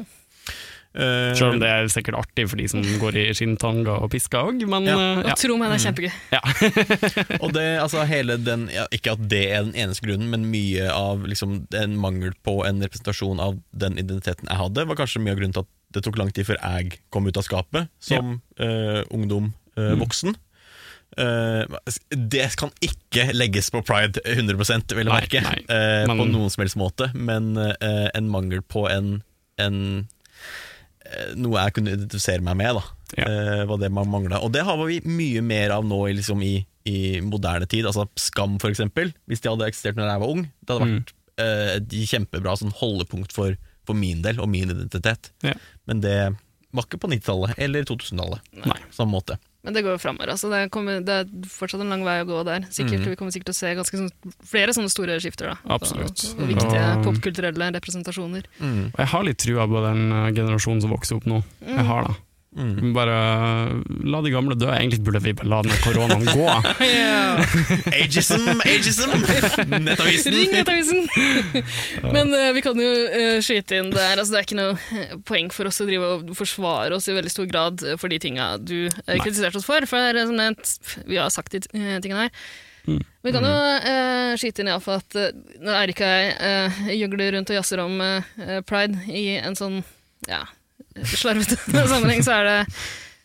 S2: Eh,
S1: Selv om det er sikkert artig for de som går i skinntanger og pisker òg, men
S2: Ja.
S1: eh, ja.
S3: Og tro meg, det er kjempegøy.
S2: og det, altså hele den, ja, ikke at det er den eneste grunnen, men mye av liksom, en mangel på en representasjon av den identiteten jeg hadde, var kanskje mye av grunnen til at det tok lang tid før jeg kom ut av skapet som eh, ungdom, eh,
S1: Mm.
S2: voksen. Eh, det kan ikke legges på pride 100 vil jeg
S1: Nei,
S2: merke,
S1: nei,
S2: eh, på
S1: men-
S2: noen som helst måte, men eh, en mangel på en, en eh, noe jeg kunne identifisere meg med, da.
S1: Ja.
S2: Eh, var det man mangla. Og det har vi mye mer av nå i, liksom, i, i moderne tid. Altså Skam, for eksempel. Hvis de hadde eksistert når jeg var ung, det hadde vært
S3: Mm.
S2: eh, et kjempebra sånn, holdepunkt for, for min del og min identitet.
S1: Ja.
S2: Men det var ikke på 90-tallet eller 2000-tallet.
S1: Nei.
S2: Samme måte.
S3: Men det går jo framover. Altså. Det, kommer- det er fortsatt en lang vei å gå der.
S1: Mm.
S3: Sikkert, Vi kommer sikkert til å se ganske sånn, flere sånne store skifter. Da,
S1: Absolutt.
S3: Og, og viktige
S1: Mm.
S3: popkulturelle representasjoner.
S1: Og Jeg har litt trua på den eh, generasjonen som vokser opp nå. Jeg har det.
S3: Mm.
S2: Mm.
S1: Bare eh, la de gamle dø. Egentlig burde vi bare la den koronaen gå.
S2: Ageism, ageism! Nettavisen!
S3: Ring Nettavisen! Men eh, vi kan jo eh, skyte inn der. Altså, det er ikke noe eh, poeng for oss å drive og forsvare oss i veldig stor grad eh, for de tinga du eh, kritiserte oss for. For eh, som nevnt, vi har sagt de eh, tingene her.
S2: Mm.
S3: Vi kan jo eh, skyte inn iallfall at eh, når Eirik og jeg eh, gjøgler rundt og jazzer om eh, eh, pride i en sånn ja, slarvete sammenheng, så er det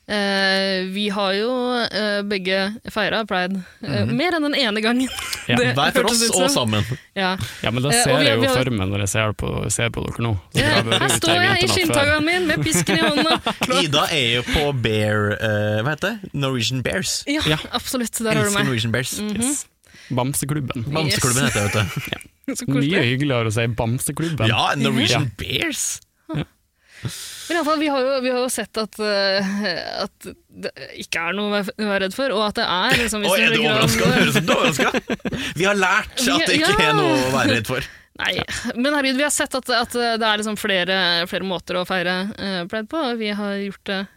S3: eh, vi har jo eh, begge feira pride eh, mer enn den ene gangen.
S1: Ja,
S3: Det
S2: Mhm. Hver for
S3: hørtes
S2: oss
S3: ut
S2: og
S3: som.
S2: sammen.
S3: Ja.
S1: Ja, men det
S3: Eh, og
S1: ser
S3: vi har-
S1: jeg
S3: vi
S1: jo
S3: har-
S1: for meg når jeg ser på, ser på dere nå. Så
S3: Ja,
S1: det har vært
S3: her
S1: ute
S3: står jeg i
S1: vinternatt før.
S3: skinntaggeren min med pisken i hånda.
S2: Ida er jo på Bear eh, Hva heter det? Norwegian Bears.
S3: Ja,
S1: Ja.
S3: absolutt. Der har du
S2: Elsker
S3: meg. Mm.
S2: Norwegian Bears.
S3: Mhm.
S1: Yes. Bamseklubben.
S2: Bamseklubben heter det, vet du.
S3: Så
S1: Mye
S3: koselig.
S1: hyggeligere å si Bamseklubben.
S2: Ja, Norwegian
S1: Ja.
S2: Bears!
S3: Men i alle fall, vi har jo, vi har jo sett at, eh, at det ikke er noe å være- å være redd for, og at det er liksom, i
S2: Oi,
S3: større
S2: er du
S3: grad-
S2: overraska? Høres ut som du er overraska. Vi har lært at det ikke
S3: Ja.
S2: er noe å være redd for.
S3: Nei, men herregud, vi har sett at, at det er liksom flere, flere måter å feire uh, pride på, og vi har gjort det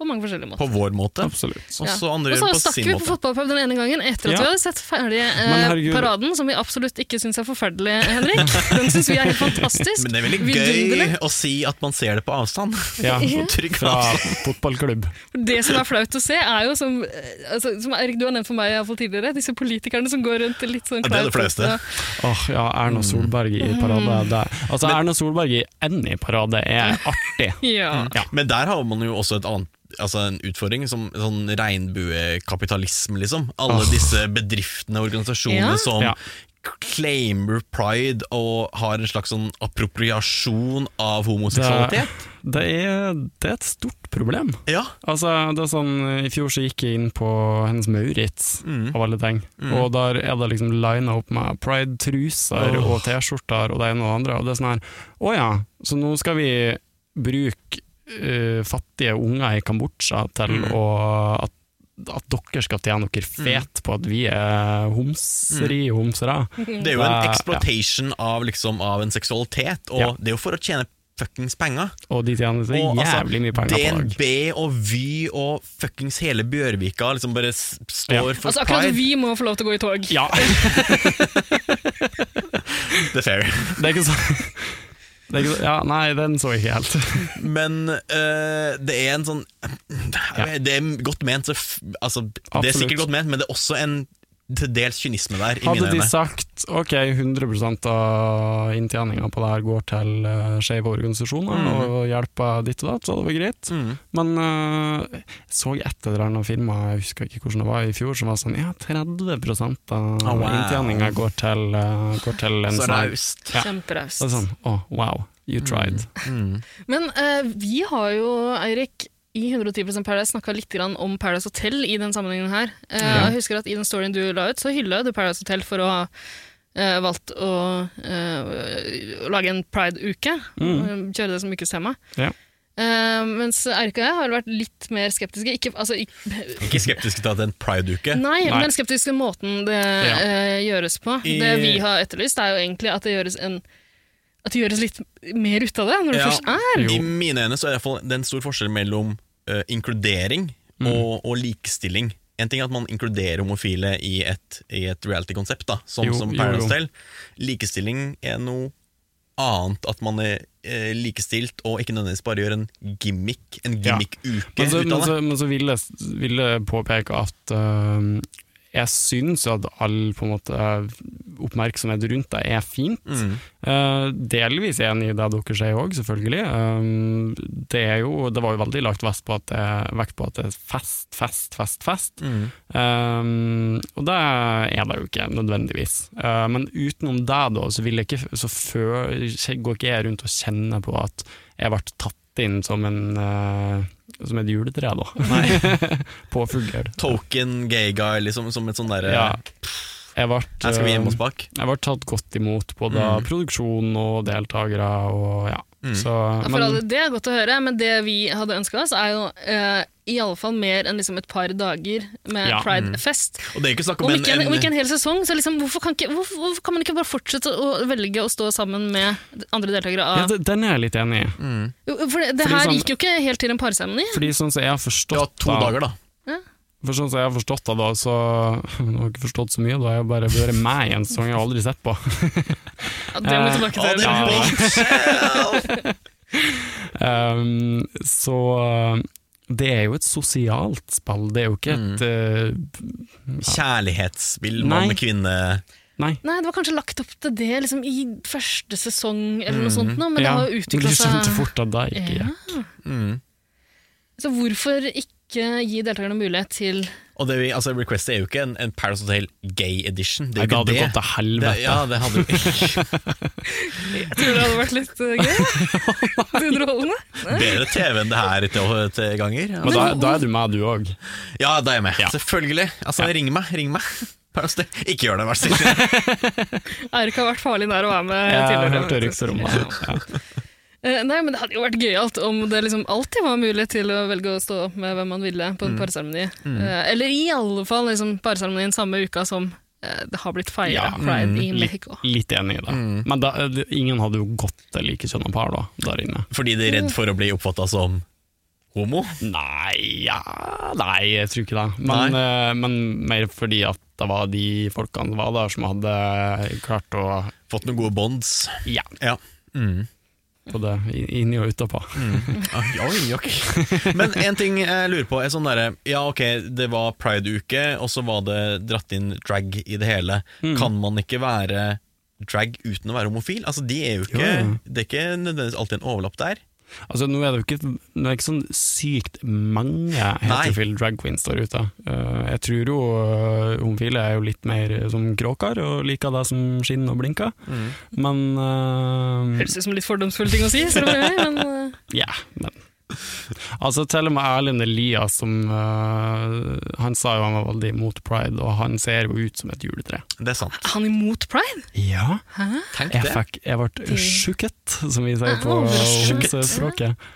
S3: på mange forskjellige måter.
S2: På vår måte.
S1: Absolutt.
S2: Og så
S3: Ja.
S2: andre
S3: og så
S2: på
S3: stakk
S2: sin
S3: vi på
S2: måte.
S3: fotballpub den ene gangen etter at
S1: Ja.
S3: vi hadde sett ferdig eh,
S1: Men herregud-
S3: paraden, som vi absolutt ikke syns er forferdelig, Henrik. Den syns vi er helt fantastisk.
S2: Men det er veldig
S3: Vidunderlig.
S2: gøy å si at man ser det på avstand.
S1: Ja,
S2: På trygg
S1: fra
S2: avstand.
S1: fotballklubb.
S3: Det som er flaut å se, er jo som, eh, altså, som Erik, du har nevnt for meg i hvert fall tidligere, disse politikerne som går rundt litt sånn
S2: Ja, det er det
S3: kleint,
S2: flaueste.
S3: og-
S1: Åh, ja,
S3: Mm.
S1: Erna Solberg i parade. Det. Altså, Erna Solberg i any parade er artig.
S3: Ja.
S2: Men der har man jo også et annet Altså en utfordring som sånn regnbuekapitalisme, liksom. Alle
S1: Åh.
S2: disse bedriftene og organisasjonene
S3: Ja.
S2: som
S1: Ja.
S2: claimer pride og har en slags sånn appropriasjon av
S1: Det,
S2: homoseksualitet.
S1: det, er, det er et stort problem.
S2: Ja,
S1: Altså, det er sånn, I fjor så gikk jeg inn på hennes Maurits,
S2: Mm.
S1: av alle ting. Og der er det liksom lina opp med pride-truser
S2: Åh.
S1: og T-skjorter og det ene og det andre. Og det er sånn her Å ja, så nå skal vi bruke eh, fattige unger i Kambodsja til
S2: Mm.
S1: å at, at dere skal tjene dere fet på at vi er homseri
S2: Mm.
S1: homsere.
S2: Det er jo en
S1: Det-
S2: exploitation av, liksom, av en seksualitet, og
S1: Ja.
S2: det er jo for å tjene fuckings penger.
S1: Og de tjener så
S2: Og, altså,
S1: jævlig mye penger på dag.
S2: DNB og Vy og fuckings hele Bjørvika liksom bare s- står
S1: Ja.
S2: for
S3: Altså, akkurat
S2: pride.
S3: vi må få lov til å gå i tog.
S1: Ja,
S2: Det er fair.
S1: det er ikke så det er ikke så, ja, Nei, den så jeg ikke helt.
S2: Men eh, det er en sånn Det er godt ment, så f altså, det er
S1: Absolutt.
S2: sikkert godt ment, men det er også en til dels kynisme der, i
S1: Hadde
S2: mine
S1: de
S2: øyne.
S1: sagt ok, 100 av inntjeninga på det her går til uh, skeive organisasjoner
S2: Mm.
S1: og hjelper ditt og datt, så hadde det vært greit.
S2: Mm.
S1: Men eh, jeg så etter det der noen filmer, jeg husker ikke hvordan det var i fjor, som var sånn ja, 30 av
S2: Oh, wow.
S1: inntjeninga går til, eh, går til en
S2: Så
S1: sånn her-
S2: raust.
S1: Ja.
S3: Kjemperaust.
S1: Så det er sånn, å, wow, you tried.
S2: Mm.
S3: Men eh, vi har jo, Eirik, i 110 Paradise snakka litt grann om Paradise Hotel i den sammenhengen her. Eh,
S1: Ja.
S3: Jeg husker at I den storyen du la ut, så hylla du Paradise Hotel for å ha eh, valgt å eh, lage en pride-uke.
S1: Mm.
S3: og Kjøre det som ukestema.
S1: Ja.
S3: Eh, mens Eirik og jeg har vært litt mer skeptiske. Ikke, altså, ikke,
S2: Ikke skeptisk til at det er en pride-uke.
S3: Nei,
S1: Nei.
S3: men skeptisk til måten det
S1: Ja.
S3: eh, gjøres på.
S2: I-
S3: Det vi har etterlyst, er jo egentlig at det gjøres en at det gjøres litt mer ut av det, når det
S2: Ja.
S3: først er.
S1: Jo.
S2: I mine øyne så er det, i hvert fall- det er en stor forskjell mellom eh, inkludering
S1: Mm.
S2: og, og likestilling. En ting er at man inkluderer homofile i et, i et reality-konsept, da, som,
S1: Jo,
S2: som
S1: jo,
S2: Paradise
S1: jo.
S2: Hotel. Likestilling er noe annet. At man er eh, likestilt og ikke nødvendigvis bare gjør en gimmick, en
S1: Ja.
S2: gimmick-uke
S1: Men så,
S2: ut
S1: men
S2: av det.
S1: så, men så vil, jeg, vil jeg påpeke at øhm, jeg syns jo at all på en måte, oppmerksomhet rundt det er fint.
S2: Mm.
S1: Eh, delvis enig i det dere sier òg, selvfølgelig. Ehm, det, er jo, det var jo veldig lagt vest på at det, vekt på at det er fest, fest, fest, fest.
S2: Mm.
S1: Ehm, og det er det jo ikke nødvendigvis. Eh, men utenom det, da, så, vil jeg ikke, så før, går ikke jeg rundt og kjenner på at jeg ble tatt inn som, en, eh, som et juletre, da. på Fugløyr.
S2: Token gay guy, liksom, som et sånn derre
S1: Ja. Jeg ble, eh,
S2: Her skal vi hjemme oss bak.
S1: jeg ble tatt godt imot, både av
S2: Mm.
S1: produksjon og deltakere og ja.
S2: Mm.
S1: Så,
S3: Ja, for
S1: men-
S3: alle, det er godt å høre, men det vi hadde ønska oss, er jo eh, i alle fall mer enn liksom et par dager med
S1: Ja. Mm.
S3: pridefest.
S2: Og det er ikke snakk om
S3: Om,
S2: en,
S3: ikke en- om
S2: en,
S3: ikke en hel sesong, så liksom, hvorfor, kan ikke, hvorfor, hvorfor kan man ikke bare fortsette å velge å stå sammen med andre deltakere?
S1: Ja,
S3: Av?
S1: d- den er jeg litt enig i.
S2: mm.
S3: Jo, for det, det
S1: fordi
S3: her
S1: sånn-
S3: gikk jo ikke helt til en parseremoni.
S1: Fordi sånn som jeg har
S2: Ja,
S1: forstått
S2: to
S1: det-
S2: dager, da.
S1: For sånn som jeg har forstått det, da, så Jeg har ikke forstått så mye, da. Jeg har bare vært med i en sesong jeg har aldri sett på.
S3: Ja, det må vi
S1: Eh,
S3: tilbake
S2: Å,
S3: til.
S2: det
S1: Ja.
S2: er bombshell!
S1: Um, så uh, det er jo et sosialt spill, det er jo ikke
S2: Mm.
S1: et uh,
S2: Kjærlighetsspill,
S1: Nei.
S2: mann og kvinne
S1: Nei.
S3: Nei, det var kanskje lagt opp til det liksom, i første sesong, eller noe sånt, nå, men det
S1: Ja,
S3: har jo utvikla
S1: Du skjønte
S3: seg.
S1: fort at det ikke
S3: Ja.
S1: gikk.
S2: mm.
S3: Så hvorfor ikke gi deltakerne mulighet til
S2: Og det vi, altså Request er jo ikke en, en Paradise Hotel gay edition. Det
S1: Nei,
S2: er
S1: Det
S2: jo
S1: hadde
S2: ikke
S1: gått til
S2: det. det
S1: helvete.
S2: ja, det hadde
S3: Jeg tror det hadde vært litt eh, gøy. Underholdende.
S2: Bedre TV enn det her til, til ganger. Ja.
S1: Men da, da er du med, du òg.
S2: ja, da er jeg med.
S1: Ja.
S2: Selvfølgelig. Altså, Ring meg. ring meg Paradise Hotel. Ikke gjør det, vær så snill.
S3: Eirik har vært farlig nær å være med
S1: Jeg har
S3: tidligere,
S1: hørt
S3: faktisk.
S1: rykter om det. Ja.
S3: Eh, Nei, men det hadde jo vært gøyalt om det liksom alltid var mulighet til å velge å stå opp med hvem man ville på en
S1: Mm.
S3: parseremoni. Eh, Eller i alle fall liksom, parseremonien samme uka som eh, det har blitt feira
S1: Ja, mm,
S3: pride i
S1: litt-
S3: Mexico.
S1: Litt enig i det.
S2: Mm.
S1: Men da, eh, ingen hadde jo gått til likekjønna par da, der inne.
S2: Fordi de er redd for å bli oppfatta som homo.
S1: Nei, ja, nei, jeg tror ikke det. Men, eh, men mer fordi at det var de folkene som var der, som hadde klart å
S2: Fått noen gode bonds.
S1: Ja,
S2: Ja. Mm.
S1: både i- inni og utapå.
S2: Ah, ja, jokk. Men en ting jeg lurer på er sånn derre Ja, ok, det var pride-uke, og så var det dratt inn drag i det hele.
S1: Mm.
S2: Kan man ikke være drag uten å være homofil? Altså, de er jo ikke
S1: Jo, jo.
S2: Det er ikke nødvendigvis alltid en overlapp der.
S1: Altså, nå er det jo ikke, nå er det ikke sånn sykt mange heterofile drag queens der ute. Eh, jeg tror jo eh, homofile er jo litt mer som kråker, og liker det som skinner og blinker. Men eh,
S3: Høres ut som en litt fordomsfull ting å si, ser du hva jeg mener, men eh,
S1: Ja, men Altså Til og med Erlend Elias som, øh, Han sa jo han var veldig imot pride, og han ser jo ut som et juletre.
S2: Det er sant.
S3: er han imot pride?
S1: Ja,
S2: Tenk
S1: jeg,
S2: det.
S1: fikk, jeg ble sjuket, som vi sier på
S3: Sjuket.
S1: ungdomsspråket.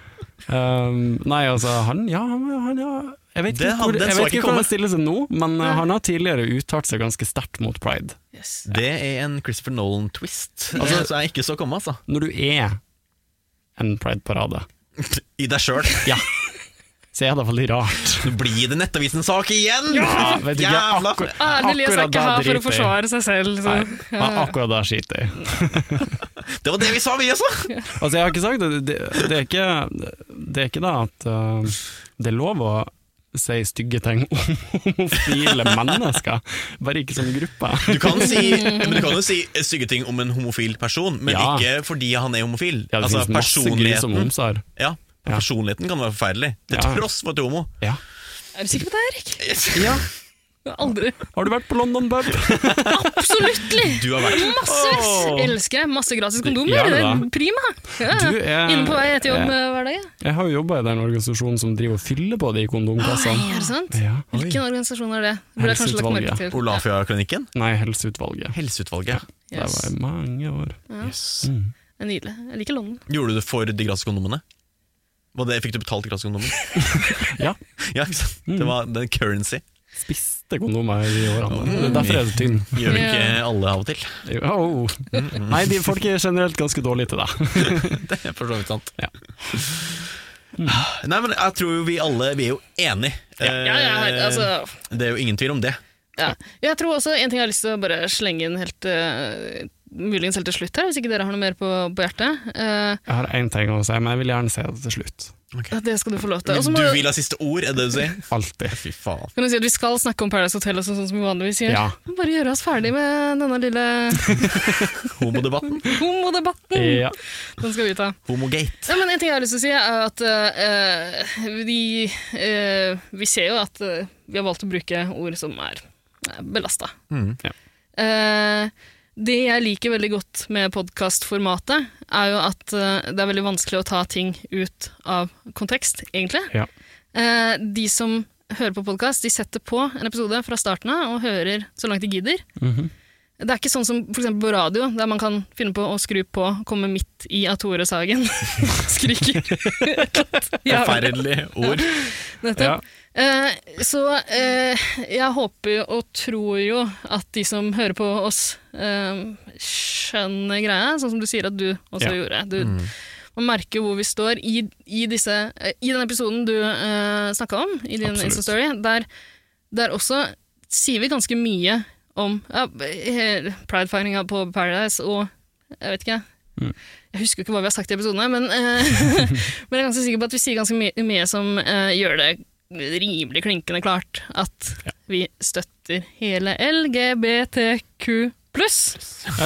S1: Um, nei, altså, han ja, han, han ja. Jeg vet
S2: Det
S1: ikke,
S2: hadde-
S1: hvor,
S2: den
S1: jeg
S2: så
S1: vet
S2: ikke
S1: ikke hvordan
S2: komme.
S1: han stiller seg nå, men øh, han har tidligere uttalt seg ganske sterkt mot pride.
S3: Yes.
S2: Det er en Christopher Nolan-twist. Altså,
S1: Altså-
S2: så jeg ikke så komme, altså.
S1: Når du er en prideparade.
S2: I deg sjøl.
S1: Ja. Så jeg hadde vært litt rart.
S2: Nå blir det Nettavisen-sak igjen!
S1: Ja, vet du ikke,
S2: Ah, Jævla!
S1: akkur-
S3: Ah, Elias er
S1: akkurat
S3: ikke
S1: da
S3: her for å
S1: driter jeg.
S3: forsvare seg selv. Så.
S1: Nei, ja, akkurat da skiter jeg.
S2: Det var det vi sa, vi også!
S1: Altså, jeg har ikke sagt det. Det, det, er, ikke, det er ikke da at uh, det er lov å si stygge ting om homofile mennesker, bare ikke som gruppe.
S2: Du kan, si, men du kan jo si eh, stygge ting om en homofil person, men
S1: Ja.
S2: ikke fordi han er homofil.
S1: Ja, det
S2: altså,
S1: finnes masse grusomme
S2: personligheten,
S1: homser.
S2: ja,
S1: Ja.
S2: personligheten kan være forferdelig, til
S1: Ja.
S2: tross for at du er homo.
S1: Ja.
S3: Er du sikker på det, Erik?
S1: ja.
S3: Jeg har Aldri.
S1: Har du vært på London pub?
S3: Absoluttlig!
S2: Du har vært
S3: Massevis!
S1: Åh.
S3: Elsker jeg. Masse gratis kondomer.
S1: Ja, det
S3: det
S1: da.
S3: er Prima! Ja.
S1: Du er-
S3: Inne på vei etter jobb
S1: Ja.
S3: eh, hver dag. ja.
S1: Jeg har jo jobba i den organisasjonen som driver og fyller på de
S3: Nei,
S1: kondomkassene.
S3: er det sant?
S1: Ja.
S3: Hvilken organisasjon er det? Burde jeg kanskje lagt merke til.
S2: Olafia-klinikken.
S1: Nei, Helseutvalget.
S2: Helseutvalget.
S1: Det
S3: Yes.
S1: var i mange år.
S2: Yes.
S3: Det er nydelig. Jeg liker London.
S2: Gjorde du det for de gratis kondomene? Var det, fikk du betalt gratis kondomer?
S1: Ja. Mm.
S2: ja, ikke sant? Det var det er currency.
S1: Spiste kondomer i årene. Det er derfor jeg er så tynn.
S2: Gjør vi
S3: Ja.
S2: ikke alle av og til.
S1: Au. Nei, de folk er generelt ganske dårlige til det.
S2: Det er for så vidt sant.
S1: Ja.
S2: Nei, men jeg tror jo vi alle vi er jo enige.
S3: Ja, ja, her- altså
S2: Det er jo ingen tvil om det.
S3: Ja. Jeg tror også en ting jeg har lyst til å bare slenge inn helt eh, Muligens helt til slutt her, hvis ikke dere har noe mer på, på hjertet. Eh,
S1: Jeg har én ting å si, men jeg vil gjerne si det til slutt.
S3: det skal du få lov til. Og så
S2: Men
S3: må-
S2: du vil ha siste ord, er det du sier?
S1: Alltid.
S2: Fy faen.
S3: kan du si at vi skal snakke om Paradise Hotel og sånn, sånn som vi vanligvis gjør.
S1: Ja.
S3: Men Bare gjøre oss ferdig med denne lille
S2: Homodebatten.
S3: homodebatten!
S1: Ja.
S3: Den skal vi ta.
S2: Homogate.
S3: Ja, men en ting jeg har lyst til å si, er at eh, eh, vi, eh, vi ser jo at eh, vi har valgt å bruke ord som er belasta.
S2: Mm.
S1: Ja.
S3: Eh, det jeg liker veldig godt med podkastformatet, er jo at eh, det er veldig vanskelig å ta ting ut av kontekst, egentlig.
S1: Ja.
S3: Eh, de som hører på podkast, de setter på en episode fra starten av og hører så langt de gidder.
S1: Mhm.
S3: Det er ikke sånn som for eksempel på radio, der man kan finne på å skru på, komme midt i at Tore Sagen skriker. Ja,
S2: Forferdelig ord.
S3: nettopp.
S1: Ja.
S3: Eh, så eh, jeg håper jo og tror jo at de som hører på oss, eh, skjønner greia, sånn som du sier at du også
S1: Ja.
S3: gjorde. Du,
S2: Mm.
S3: Man merker jo hvor vi står i, i, disse, eh, i den episoden du eh, snakka om, i din
S1: Absolutt.
S3: Insta-story. Der, der også sier vi ganske mye om ja, eh, pridefeiringa på Paradise og jeg vet ikke.
S1: Mm.
S3: Jeg husker jo ikke hva vi har sagt i episodene, men, eh, men jeg er ganske sikker på at vi sier ganske mye, mye som eh, gjør det rimelig klinkende klart at vi støtter hele LGBTQ pluss.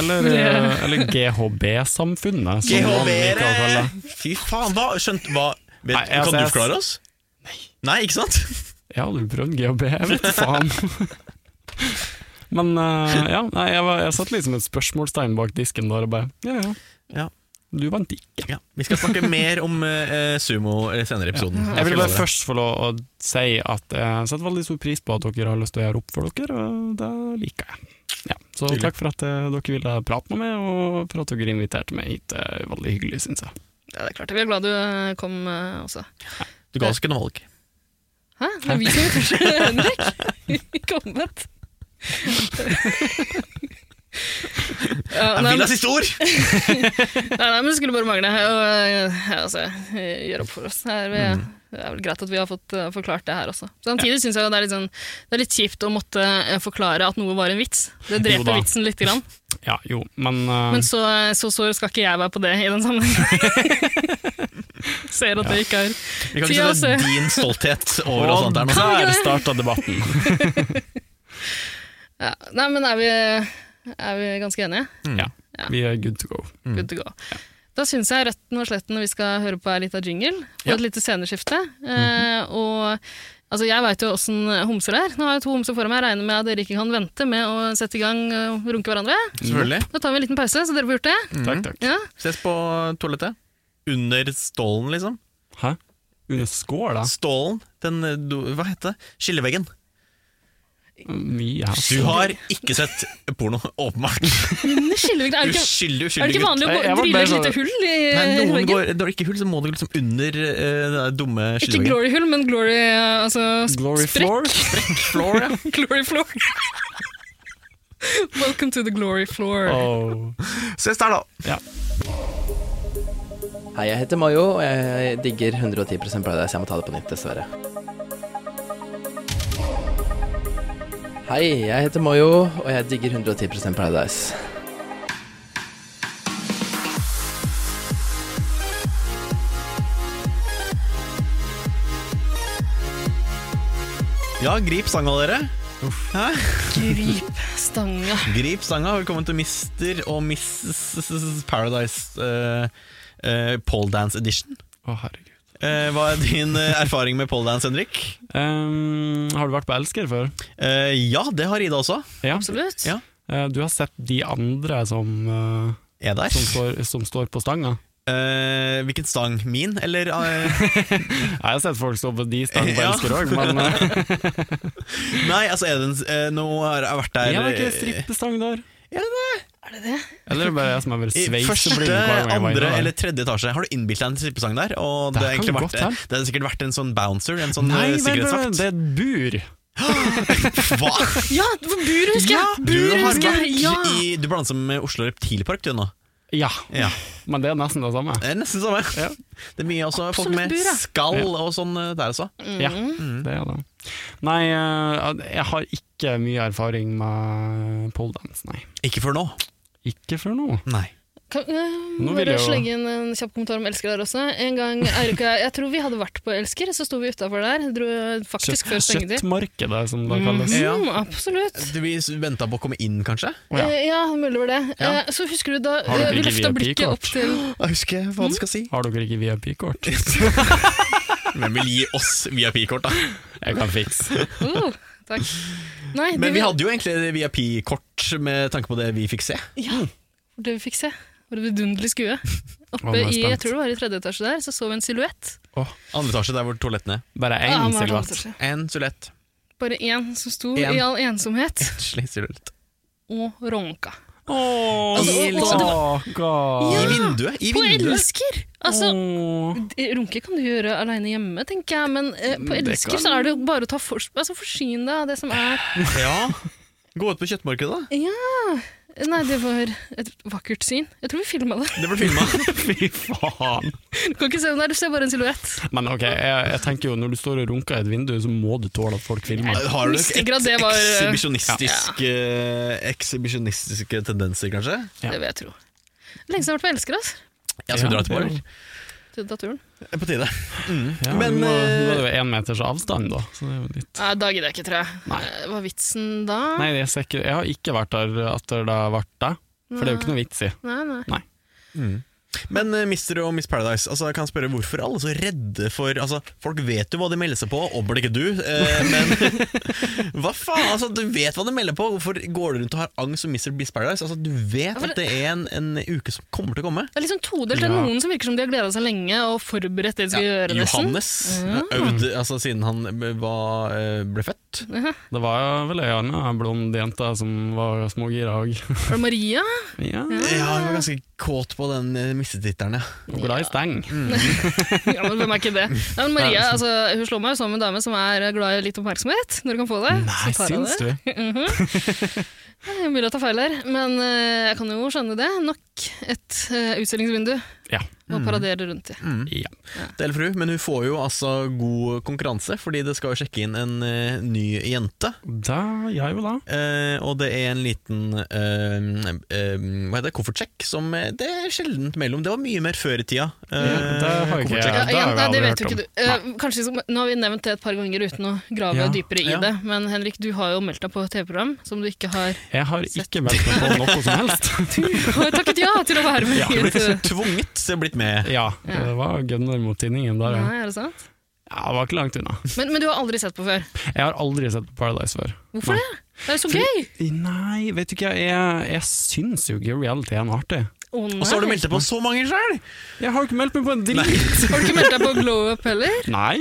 S1: Eller, eh, eller GHB-samfunnet, som man liker å kalle
S2: GHB-ere!
S1: det.
S2: Fy faen, hva skjønt hva vet,
S1: Nei, jeg-
S2: Kan du
S1: jeg-
S2: forklare oss? altså, Nei, ikke sant?
S1: Jeg har aldri prøvd GHB, jeg vet faen. Men eh, ja, nei, jeg, var, jeg satt liksom et spørsmålstegn bak disken der og bare ja, ja.
S2: Ja.
S1: Du vant ikke.
S2: Ja, Vi skal snakke mer om eh, sumo eh, senere i episoden.
S3: Mm.
S1: Jeg vil bare først få lov å si at eh, jeg setter veldig stor pris på at dere har lyst til å gjøre opp for dere, og det liker jeg. Ja, så
S2: Hyggelig.
S1: takk for at eh, dere ville prate med meg, og for at dere inviterte meg hit. Det er veldig hyggelig, syns jeg.
S3: Ja, det er klart. Vi er glad du eh, kom eh, også.
S2: Du ga oss ikke noe valg.
S3: Hæ? Det er vi som inviterte Henrik? Kommet? ja,
S2: Jeg
S3: nei,
S2: vil
S3: men-
S2: ha siste ord!
S3: Nei, nei, men det skulle bare mangle. Og, eh, ja, altså, eh, gjør opp for oss. Her, vi,
S1: Mm.
S3: Det er vel greit at vi har fått eh, forklart det her også. Samtidig synes syns jeg jo det er, litt sånn, det er litt kjipt å måtte eh, forklare at noe var en vits. Det
S1: Jo da.
S3: dreper vitsen lite grann.
S1: Ja, jo, men, eh,
S3: Men så, så sår skal ikke jeg være på det i den sammenhengen. Ser at det ikke er
S2: Vi kan ikke
S3: Tida
S2: sette
S3: ser-
S2: din stolthet over oss
S1: Og
S2: andre. nå.
S1: der starta debatten.
S3: ja. Nei, men er vi, er vi ganske enige?
S1: Vi er good to go.
S2: Mm.
S3: Good to go. Da syns jeg røtten og sletten vi skal høre på er litt av jingle, og
S2: Ja. Mhm.
S3: et lite sceneskifte. eh, og altså, jeg veit jo åssen homser er. Nå har jeg to homser foran meg. Jeg regner med at dere ikke kan vente med å sette i gang og runke hverandre.
S2: Selvfølgelig.
S3: Da tar vi en liten pause, så dere får gjort det.
S1: Takk, takk.
S3: Ja.
S2: Mm. Ses på toalettet. Under stålen, liksom.
S1: Hæ? Under skål, da?
S2: Stålen, den eh, do, Hva heter det? Skilleveggen.
S1: Vi er
S2: Du har ikke sett porno, åpenbart.
S3: Men det skiller jo ikke- Er det ikke,
S2: Uskyldig,
S3: er det
S2: uskyldig
S3: ikke
S2: gutt.
S3: vanlig å
S1: Jeg- jeg var
S3: gå- drille
S1: bare
S3: et
S1: sånn-
S3: lite hull i
S2: Nei, noen
S3: veggen?
S2: går, når det ikke er hull, så må du liksom under uh, den der dumme
S3: Ikke
S2: skilleveggen.
S3: glory hull, men glory eh, altså, sp-
S1: Glory
S3: sprekk.
S1: floor?
S2: Floor, ja.
S3: Glory floor. Welcome to the glory floor.
S1: Oh.
S2: Ses der, da.
S1: Ja.
S4: Hei, jeg heter Mayo, og jeg digger 110 Paradise. Jeg må ta det på nytt, dessverre. Hei, jeg heter Mayo, og jeg digger 110 Paradise.
S2: Ja, grip stanga, dere. Hæ?
S3: Grip stanga.
S2: Grip stanga. Velkommen til Mister og Mrs. Paradise eh, eh, Pole Dance Edition.
S1: Å, herregud.
S2: Eh, hva er din eh, erfaring med pole dance, Henrik?
S1: Ehm, har du vært på Elsker før?
S2: Eh, ja, det har Ida også.
S1: Ja.
S3: Absolutt.
S2: Ja.
S1: Eh, du har sett de andre som, eh,
S2: Er der.
S1: som, står, som står på stanga?
S2: Eh, hvilken stang? Min, eller? eh,
S1: Jeg har sett folk stå på de stangene på
S2: Ja.
S1: Elsker òg, men eh,
S2: nei, altså, er det en, eh, nå har jeg vært der
S1: jeg har ikke
S2: eh,
S1: strippestang der.
S2: Er det det?
S3: Er det det?
S1: Eller er det bare jeg som har vært
S2: I
S1: sveiseblind
S2: første,
S1: hver gang jeg var
S2: andre
S1: inne
S2: eller
S1: der?
S2: tredje etasje. Har du innbilt deg en strippesang der? Og det,
S1: Der
S2: har
S1: kan
S2: egentlig
S1: vi
S2: vært,
S1: godt her.
S2: det har sikkert vært en sånn bouncer, en sånn
S1: Nei,
S2: eh,
S1: vent, vent, vent,
S2: sikkerhetsvakt.
S1: det er et bur!
S2: Hva?
S3: Ja, det var bur, husker jeg!
S2: Ja, du
S3: bur,
S2: har
S3: husker
S2: vært
S3: jeg! Ja.
S2: i Du blander sammen med Oslo Reptilpark, du nå.
S1: Ja,
S2: Ja.
S1: men det er nesten det samme.
S2: Det er nesten samme.
S1: Ja.
S2: Det er mye også folk
S3: Absolutt
S2: med
S3: bur, ja.
S2: skall og sånn eh, der også.
S3: Mm.
S1: Ja,
S2: Mm.
S1: det er det. Nei, eh, jeg har ikke mye erfaring med poledance, nei.
S2: Ikke før nå.
S1: Ikke før nå.
S2: Nei.
S3: Kan, eh,
S1: Nå vil
S3: bare
S1: jeg jo-
S3: slenge inn en kjapp kommentar om Elsker der også. En gang, Eirik og jeg, jeg tror vi hadde vært på Elsker, så sto vi utafor der. Dro eh, faktisk før stengetid.
S1: Kjøttmarkedet, som det kalles.
S2: Mhm.
S3: Mm, absolutt.
S2: Du, vi venta på å komme inn, kanskje?
S1: Å, ja.
S3: Eh, ja, mulig var det.
S2: Ja.
S3: Eh, så husker du da
S1: Har dere
S3: eh, vi
S1: ikke
S3: løfta blikket
S1: VIP-kort?
S3: opp til
S2: Jeg husker hva du skal si.
S1: Har dere ikke VIP-kort?
S2: Mm. Men vil gi oss VIP-kort, da.
S1: Jeg kan fikse.
S3: oh, Takk. Nei, det
S2: Men vi hadde jo egentlig VIP-kort med tanke på det vi fikk se.
S3: Ja, det vi fikk se. Var det vidunderlig skue.
S1: Å, nå
S3: Oppe
S1: er jeg
S3: i, jeg
S1: spent.
S3: tror det var i tredje etasje der, så så vi en silhuett.
S2: Andre etasje, der hvor toalettene er.
S1: Bare
S3: Ja,
S1: én
S3: han var i andre
S1: silhuett.
S3: etasje.
S2: En sullett.
S3: Bare én som sto
S2: En.
S3: i all ensomhet
S2: Slik sullett.
S3: og ronka.
S1: Åh,
S3: Altså,
S1: i
S3: og-
S1: liksom-
S2: I
S1: Stakkar.
S2: vinduet! I
S3: På
S2: vinduet.
S3: elsker! Altså,
S1: Åh.
S3: Eh, Runke kan du gjøre aleine hjemme, tenker jeg, men eh, på
S1: Mm, Det
S3: elsker
S1: kan-
S3: så er det jo bare å ta for, altså forsyne deg av det som er
S2: Ja. Gå ut på kjøttmarkedet, da.
S3: Nei, det var et vakkert syn. Jeg tror vi filma det.
S2: Det ble filma.
S1: Fy faen.
S3: Du kan ikke se den der, du ser bare en silhuett.
S1: Men ok, jeg, jeg tenker jo når du står og runker i et vindu, så må du tåle at folk filmer.
S2: Har du
S3: Mistenker at det var-
S2: eh, ekshibisjonistiske Ekshibisjonistiske tendenser, kanskje?
S1: Ja.
S3: Det vil jeg tro. Lenge siden jeg har vært på Elsker, altså.
S2: Jeg skal
S1: Ja,
S2: dra til Borg.
S1: det
S3: Til datoren.
S2: På tide.
S1: Ja, men
S2: Men,
S1: nå, nå
S2: eh,
S1: er det jo én meters avstand, da. Så det er jo litt
S3: Nei, da gidder jeg ikke, tror jeg. Eh, Hva er vitsen da?
S1: Nei, jeg, ser ikke, jeg har ikke vært der at det har vært det, for det er jo ikke noe vits i.
S3: Nei, nei.
S2: Men eh, Mr. og Miss Paradise, altså, jeg kan spørre hvorfor er alle så redde for altså, Folk vet jo hva de melder seg på, og burde ikke du, eh, men Hva faen? Altså, du vet hva de melder på, hvorfor går du rundt og har angst for Mr. Miss Paradise? Altså, du vet
S3: for
S2: at det er en, en uke som kommer til å komme.
S3: Det er liksom todelt. Det er
S1: Ja.
S3: noen som virker som de har gleda seg lenge og forberedt det de skal gjøre. nesten.
S2: Johannes
S1: Mm.
S2: har øvd altså, siden han var, eh, ble født.
S1: Det var vel ei anna blond jente som var smågira òg.
S3: Var det Maria?
S1: Ja,
S2: Ja, han var ganske kåt på den eh, mistetitteren, ja.
S1: og glad i steng.
S3: Ja, men Hvem er ikke det? Nei, men Maria
S1: liksom.
S3: altså, hun slår meg jo som en dame som er glad i litt oppmerksomhet når hun kan få det.
S1: Nei,
S3: så tar hun
S1: syns
S3: det.
S1: du?
S3: Det er mulig å ta feil her, men eh, jeg kan jo skjønne det. Nok et eh, utstillingsvindu
S1: Ja.
S3: å paradere rundt i.
S2: Mm.
S1: ja.
S2: Del fru, men hun får jo altså god konkurranse, fordi det skal jo sjekke inn en eh, ny jente.
S1: Da gjør jeg jo da.
S2: Eh, og det er en liten eh, eh, Hva heter det, koffertsjekk som eh, det er sjeldent mellom. Det var mye mer før i tida. Eh,
S1: Ja, det har jo ikke jeg.
S2: koffertsjekk.
S1: Ja,
S3: Ja,
S1: det
S3: igjen,
S1: har vi
S3: nei, det
S1: aldri
S3: vet jo
S1: hørt
S3: ikke du. Eh, kanskje, som- nå har vi nevnt det et par ganger uten å grave
S1: Ja,
S3: dypere i
S2: ja.
S3: det, men Henrik, du har jo meldt deg på et TV-program som du ikke har
S1: Jeg har ikke meldt meg på noe som helst.
S3: Du har takket ja til å være med
S2: Du
S3: i
S2: ble
S3: et eh,
S2: liksom tvunget til å blitt med.
S1: Ja, det var gunner mot tinningen der, ja.
S3: Nei, er det sant?
S1: ja. Det var ikke langt unna.
S3: Men, men du har aldri sett på før.
S1: Jeg har aldri sett på Paradise før.
S3: Hvorfor
S1: Nei.
S3: det? Det er jo så gøy!
S1: Nei, vet du ikke, jeg, jeg syns jo ikke reality er noe artig.
S3: Å, nei.
S2: Og så har du meldt deg på så mange sjøl!
S1: Jeg har ikke meldt meg på en dritt!
S3: Har du ikke meldt deg på Glow Up heller?
S1: Nei.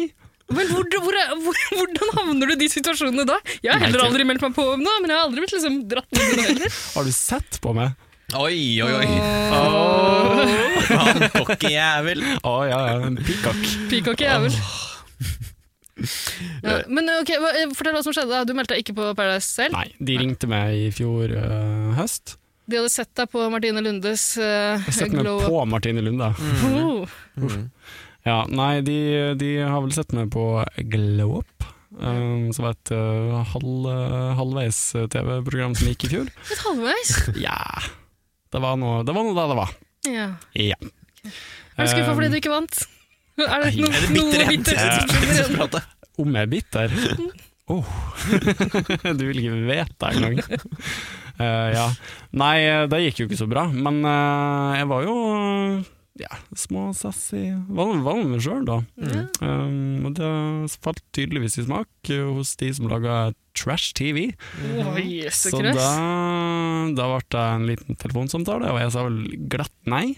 S3: Men hvor, hvor, hvor, hvordan havner du i de situasjonene da? Jeg har
S1: Nei,
S3: heller
S1: ikke.
S3: aldri meldt meg på noe, men jeg har aldri blitt liksom dratt inn i det heller.
S1: Har du sett på meg?
S2: Oi, oi, oi. Han cocky jævel.
S1: Å ja, ja, en pikak.
S3: Peacock er jævel. Ja, men ok, hva, eh, Fortell hva som skjedde. da. Du meldte deg ikke på Paradise selv.
S1: Nei, de ringte meg i fjor øh, høst
S3: De hadde sett deg på Martine Lundes eh,
S1: Jeg setter meg
S3: glow up.
S1: på Martine Lund, da.
S3: Oh,
S2: Mm.
S1: Ja, nei, de, de har vel sett meg på Glow Up. Um, som var et uh, halv, halvveis-TV-program som gikk i fjor.
S3: litt halvveis.
S1: Ja Det var noe, det var noe da det var.
S3: Ja.
S1: Ja.
S3: Er du skuffa
S1: Um,
S3: fordi du ikke vant? Er det noe,
S2: Er det
S3: noe
S2: bitter
S3: bittert?
S2: hevn? Ja.
S1: Om jeg er bitter? Oh. du vil ikke vite engang. Uh, ja. Nei, eh, det gikk jo ikke så bra, men eh, jeg var jo eh, ja, små sassy Var var med meg sjøl, da.
S3: Ja.
S1: Um, og det falt tydeligvis i smak eh, hos de som laga Trash TV.
S3: Å, jøss,
S1: Så
S3: så
S1: Sånn da,
S3: krøss.
S1: da ble det en liten telefonsamtale, og jeg sa vel glatt nei.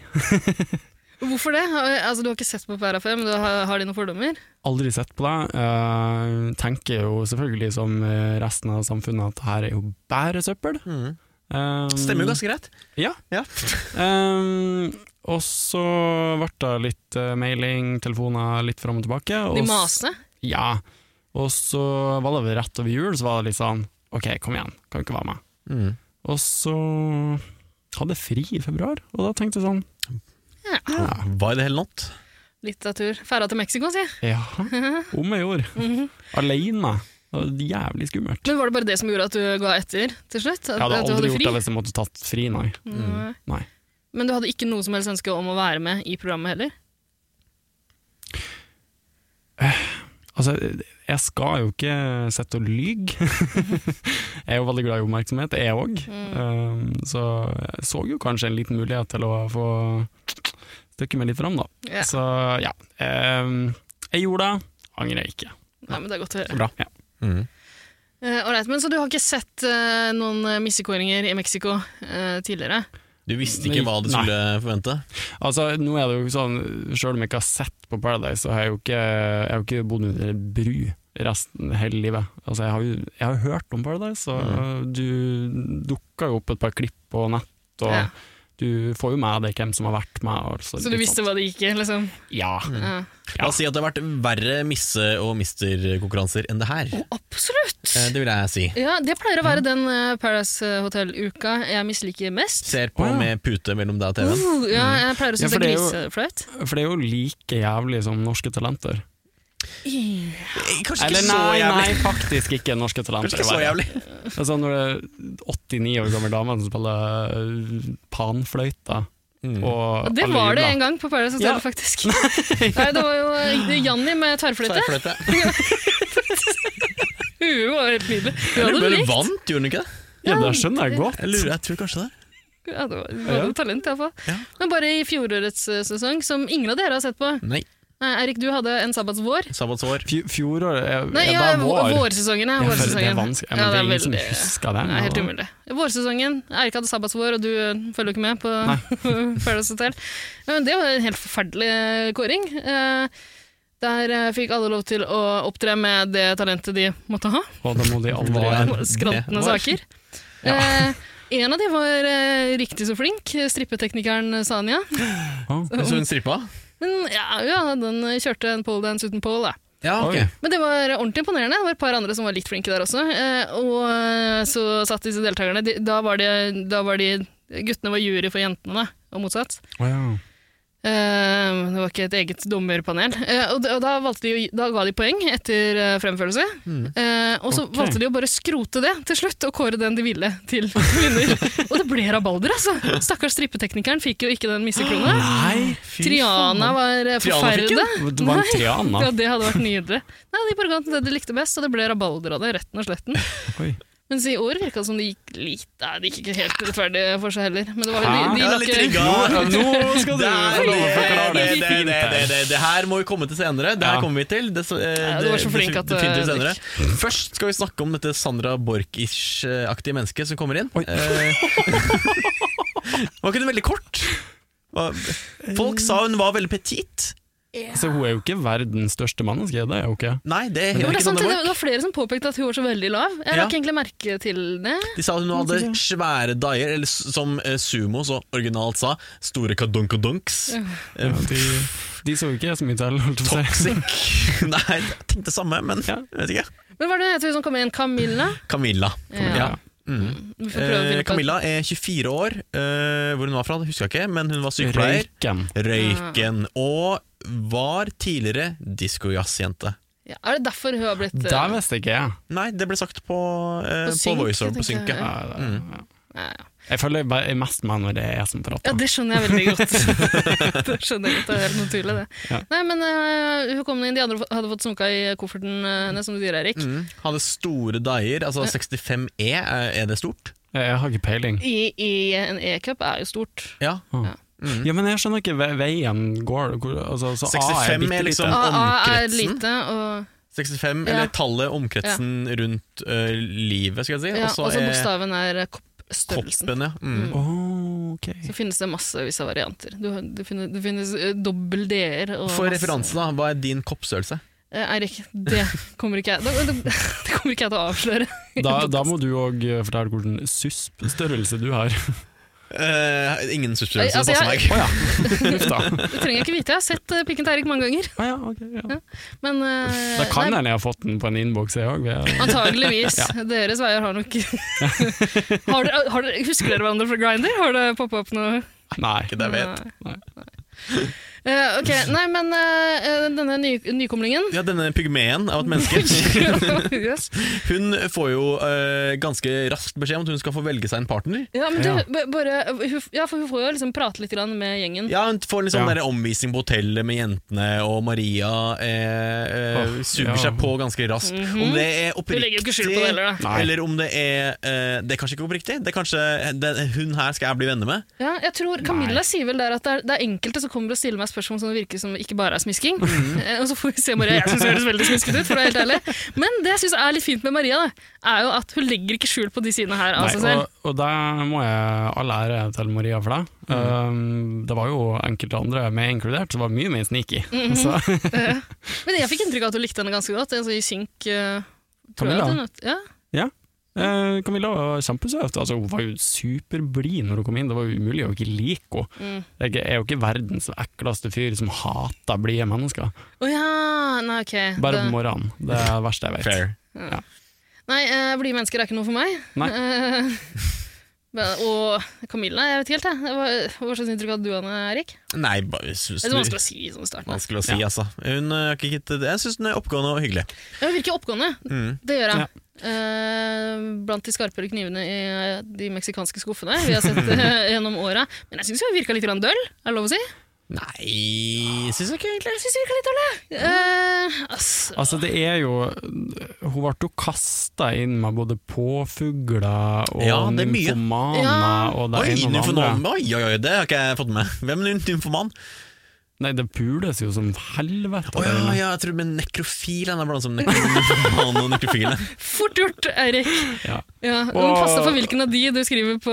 S3: Hvorfor det? Altså, du har ikke sett på Pæra før, men du har, har de noen fordommer?
S1: Aldri sett på det. Eh, tenker jo selvfølgelig som eh, resten av samfunnet at det her er jo bare søppel.
S2: Mm.
S1: Um,
S2: Stemmer jo ganske greit.
S1: Ja.
S2: Ja.
S1: Um, og så ble det litt eh, mailing, telefoner litt fram og tilbake. Og
S3: De
S1: s-
S3: masene?
S1: Ja. Og så var det vel rett over jul, så var det litt sånn OK, kom igjen, kan du ikke være med?
S2: Mm.
S1: Og så hadde jeg fri i februar, og da tenkte jeg sånn
S2: Why the hell not?
S3: Litt av tur. Ferda til Mexico, si.
S1: Ja, om jeg gjorde.
S3: Mhm.
S1: Alene. Det var jævlig skummelt.
S3: Men var det bare det som gjorde at du ga etter til slutt? At,
S1: Jeg hadde
S3: at du
S1: aldri gjort
S3: fri?
S1: det Mm. hvis jeg måtte tatt fri, nei.
S3: Nei.
S1: nei.
S3: Men du hadde ikke noe som helst ønske om å være med i programmet heller?
S1: Altså, jeg skal jo ikke sette og lyge. jeg er jo veldig glad i oppmerksomhet, jeg òg. Um, så jeg så jo kanskje en liten mulighet til å få støkke meg litt fram, da.
S3: Ja.
S1: Så ja. Um, jeg gjorde det, angrer ikke.
S3: Nei, men det er godt å høre.
S1: Bra. Ja.
S2: Mm.
S3: Eh, all right, men Så du har ikke sett eh, noen eh, missekåringer i Mexico eh, tidligere?
S2: Du visste ikke
S1: Nei.
S2: hva du skulle forvente?
S1: Altså, nå er det jo sånn, Selv om jeg ikke har sett på Paradise, så har jeg jo ikke, jeg har jo ikke bodd under en bru resten hele livet. Altså, jeg har jo jeg har hørt om Paradise, og
S2: Mm.
S1: du dukka jo opp et par klipp på nett. Og
S3: Ja.
S1: Du får jo med deg hvem som har vært med. Altså,
S3: Så du visste hva det gikk i? liksom?
S1: Ja.
S3: Ja.
S2: La oss si at det har vært verre misse- og misterkonkurranser enn det her.
S3: Absolutt!
S2: Eh, Det vil jeg si.
S3: Ja, Det pleier å være den eh, Paradise Hotel-uka jeg misliker mest.
S2: Ser på
S1: Å, ja.
S2: med pute mellom deg og TV-en.
S3: Uh, ja, jeg pleier
S1: Ja,
S3: å synes
S1: for
S3: det
S1: det er
S3: er
S1: jo-
S3: griseflaut.
S1: For det er jo like jævlig som norske talenter.
S2: Kanskje
S1: Eller
S2: ikke så
S1: nei, nei,
S2: jævlig.
S1: faktisk ikke norske talenter.
S2: Kanskje ikke
S1: det var
S2: så
S1: det.
S2: jævlig.
S1: Altså, når det er 89 år gammel dame som spiller øh, panfløyta,
S2: Mm.
S1: og
S3: Det
S1: alle
S3: var det
S1: jubler.
S3: en gang på Paradise
S1: Ja.
S3: Hotel, faktisk. Nei, det var jo eh, Janni med tverrfløyte.
S2: Tverrfløyte.
S3: Hun var helt nydelig. Hun
S2: Jeg
S3: hadde
S2: lurer på,
S3: det
S2: Hun
S3: likt.
S2: vant, gjorde hun ikke det?
S1: Ja, det skjønner jeg godt.
S2: Jeg, lurer, jeg tror kanskje det.
S3: Ja, det var, hun
S1: Ja.
S3: hadde talent, i hvert
S2: Ja.
S3: fall. Men bare i fjorårets eh, sesong, som ingen av dere har sett på.
S2: Nei.
S3: Nei, Eirik, du hadde en sabbatsvår.
S2: Sabbatsår.
S1: Fj fjoråret er,
S3: Nei,
S1: er
S3: ja,
S1: bare
S3: vår.
S1: vår.
S3: vårsesongen. Ja,
S1: Ja, for det
S3: vårsesongen.
S1: er vanskelig. Ja, men
S3: Ja,
S1: det
S3: det
S1: er ingen som
S3: veldig-
S1: husker den.
S3: Nei, helt
S1: da.
S3: umulig. Vårsesongen. Eirik hadde sabbatsvår, og du eh, følger jo ikke med på Paradise Hotel. Ja, men det var en helt forferdelig eh, kåring. Eh, Der eh, fikk alle lov til å opptre med det talentet de måtte ha.
S1: Og da må de aldri
S2: Hva er-
S3: Skrantende
S2: det var-
S3: saker. Eh, En av de var eh, riktig så flink, strippeteknikeren Sanja.
S1: Å,
S2: Så hun strippa?
S3: Men ja, ja, den kjørte en pole dance uten pole, da.
S2: Ja,
S1: ok.
S3: Men det var ordentlig imponerende. Det var et par andre som var litt flinke der også. Eh, og eh, så satt disse deltakerne de, da, var de, da var de Guttene var jury for jentene, da, og motsatt.
S1: å ja.
S3: Eh, det var ikke et eget dommerpanel. Eh, og, da- og da, valgte de, å gi- da ga de poeng etter eh, fremførelse. Eh, og så
S1: Mm. Ok.
S3: valgte de å bare skrote det til slutt, og kåre den de ville til vinner. og det ble rabalder, altså! Stakkars strippeteknikeren fikk jo ikke den missekrona.
S1: Nei,
S3: Triana var eh,
S2: Triana fikk den?
S3: forferda.
S1: Det var en Triana.
S3: Ja, det hadde vært nydelig. Nei, de bare ga den det de likte best, og det ble rabalder av det, retten og sletten.
S1: Oi.
S3: Mens i år virka det som det gikk litt Nei, det gikk ikke helt rettferdig for seg heller. Men det var,
S1: Hæ?
S3: de, de
S2: Ja,
S3: la
S2: litt
S3: ikke-
S2: trigga.
S1: Ja, nå skal du
S2: Der,
S1: få lov å forklare
S2: det,
S1: det.
S2: det,
S1: Fint,
S2: det, det,
S1: det.
S2: det, det her må vi komme til senere. Det her
S1: Ja.
S2: kommer vi til. Det, så- eh,
S3: Ja, du var
S2: det-
S3: så flink at,
S2: definitivt
S3: eh,
S2: senere. Først skal vi snakke om dette Sandra Borch-ish-aktige mennesket som kommer inn.
S1: Oi.
S2: Eh, var ikke hun veldig kort? Hva- Folk sa hun var veldig petit.
S1: Så hun er jo ikke verdens største menneske, det er hun ikke.
S2: Nei, sånn det
S3: Jo,
S2: gjør
S3: det, er
S2: ikke
S3: sant,
S2: Sandra
S3: det
S2: Borch.
S3: det var flere som påpekte at hun var så veldig lav. Jeg la
S2: Ja.
S3: ikke egentlig merke til det.
S2: De sa at hun hadde svære daier, eller s- som eh, Sumo så originalt sa, store Eh, kadonkadonks.
S1: Ja, de, de så jo ikke så mye til, holdt jeg på å si.
S2: Toxic. Nei, jeg tenkte det samme, men
S1: Ja.
S2: jeg vet ikke.
S3: Men hva er det hun som kom inn? liksom Camilla?
S2: Camilla.
S3: Ja.
S2: Ja. Mm.
S3: Vi får prøve
S2: Eh,
S3: å finne på et-
S2: Camilla er 24 år. Eh, hvor hun var fra, det husker jeg ikke, men hun var sykepleier.
S1: Røyken.
S2: Røyken. Og var tidligere disko-jazz-jente.
S3: Ja, er det derfor hun har blitt eh,
S1: Der visste ikke jeg.
S2: Nei, det ble sagt på, eh,
S3: På
S2: på,
S3: synk,
S2: voiceover på
S3: tenker jeg.
S2: synket.
S1: Ja, det,
S2: Mm.
S1: ja.
S3: Nei, ja.
S1: Jeg føler bare jeg er mest med når det er jeg som
S3: ja,
S1: prater.
S3: det skjønner jeg veldig godt. det skjønner jeg godt, det er helt naturlig, det.
S1: Ja.
S3: Nei, men eh, hun kom inn, de andre hadde fått sunka i kofferten eh, hennes, som du sier, Erik.
S2: Mm. Hadde store daier, altså 65 E, er er det stort?
S1: Jeg har ikke peiling.
S3: I, i en e-cup er jo stort.
S2: Ja.
S3: Mm.
S2: Mm.
S1: Ja, men jeg skjønner ikke ve- veien går hvor, altså, så A er
S2: 65 er
S1: bitte lite.
S2: liksom-
S3: AA er
S2: omkretsen.
S3: lite, og,
S2: 65,
S3: Ja.
S2: eller tallet omkretsen rundt eh, livet, skal jeg si.
S3: ja,
S2: Og så
S3: og så
S2: altså er
S3: bokstaven er eh, koppstørrelsen.
S2: koppen, ja. Mm.
S1: Åh, ok.
S3: Så finnes det massevis av varianter. Du, har- det finnes, det finnes eh, dobbel D-er. og
S2: For
S3: masse-
S2: referanse, da, hva er din koppstørrelse?
S3: Eh, Eirik, det kommer ikke jeg det, det, det kommer ikke jeg til å avsløre.
S1: Da, da må du òg fortelle hvilken susp-størrelse du har.
S2: Eh, ingen substans
S3: Nei, altså,
S2: som passer
S3: jeg-
S2: meg.
S1: Uff da.
S3: Det trenger jeg ikke vite. Jeg har sett eh, pikken til Eirik mange ganger.
S1: Ah, ja, ok, ja.
S3: Men
S1: Da
S3: eh,
S1: kan
S3: nei,
S1: hende jeg har fått den på en innboks, jeg òg.
S3: antageligvis. Deres veier har nok har dere, har dere, Husker dere hverandre fra Grinder? Har det poppa opp noe?
S1: Nei.
S2: Ikke det jeg vet.
S3: Nei. Eh, ok, Nei, men eh, denne ny, nykomlingen
S2: Ja, denne pygmeen av et menneske.
S3: yes.
S2: Hun får jo eh, ganske raskt beskjed om at hun skal få velge seg en partner.
S3: Ja, men du,
S1: Ja.
S3: b- bare, hun, ja, for hun får jo liksom prate litt grann med gjengen.
S2: Ja, Hun får en sånn
S1: Ja.
S2: der omvisning på hotellet med jentene, og Maria eh, eh,
S1: Åh,
S2: suger
S1: ja.
S2: seg på ganske raskt. Om det er
S3: Hun Mhm. legger jo ikke skjul på det
S2: oppriktig,
S3: heller, da.
S1: Nei.
S2: eller om det er eh, Det er kanskje ikke oppriktig. Det er kanskje den, Hun her skal jeg bli venner med.
S3: Ja, jeg tror
S1: Nei.
S3: Camilla sier vel der at det er, det er enkelte som kommer og stiller meg spørsmål som det virker som ikke bare er smisking.
S1: Mm.
S3: Eh, Og så får vi se Maria. Jeg syns det høres veldig smisket ut, for å være helt ærlig. Men det jeg syns er litt fint med Maria, da, er jo at hun legger ikke skjul på de sidene her av
S1: Nei,
S3: seg selv.
S1: og, og det må jeg all ære til Maria for deg. Um, det var jo enkelte andre med inkludert som var mye mer sneaky.
S3: Mm-hmm.
S1: Så
S3: Eh, Men jeg fikk inntrykk av at hun likte henne ganske godt. Altså, I synk eh, tror jeg
S1: Camilla?
S3: at hun, ja.
S1: eh, Camilla var kjempesøt. Altså, hun var jo superblid når hun kom inn, det var jo umulig å ikke like henne.
S3: Mm.
S1: Jeg er jo ikke verdens ekleste fyr som hater blide mennesker.
S3: Å ja, nei, ok.
S1: Bare
S3: Det-
S1: på morgenen. Det er det verste jeg vet.
S2: Fair.
S3: Nei, eh, blide mennesker er ikke noe for meg.
S1: Nei.
S3: Eh, men- og Camilla, jeg vet ikke helt, jeg. Hva, hva slags inntrykk hadde du av henne, Erik?
S2: Nei, bare synes-
S3: Det er så vanskelig å si sånn i starten. da.
S2: Vanskelig å si, altså. Hun, eh, har ikke gitt det. jeg syns hun er oppegående og hyggelig.
S3: Hun virker oppgående.
S2: Mm.
S3: Det gjør jeg. Eh, blant de skarpere knivene i eh, de meksikanske skuffene vi har sett eh, gjennom åra. Men jeg syns hun virka litt grann døll, er det lov å si?
S2: Nei Syns jeg ikke, egentlig.
S3: Jeg synes hun virka litt døll, jeg. Eh, altså,
S1: Altså, det er jo Hun ble jo kasta inn med både påfugler og
S2: Ja, det er mye.
S1: nymfomaner
S3: Ja.
S1: og det
S2: Oi,
S1: ene og det andre.
S2: nymfoman. Oi, oi, oi, det har ikke jeg fått med. Hvem er nymfoman?
S1: Nei, det pules jo som helvete.
S2: Å ja, ja, jeg tror det blir nekrofil. Han er blant annet nymfoman og nekrofile.
S3: fort gjort, Eirik.
S1: Ja.
S3: Ja, du må
S1: Og-
S3: passe deg for hvilken av de du skriver på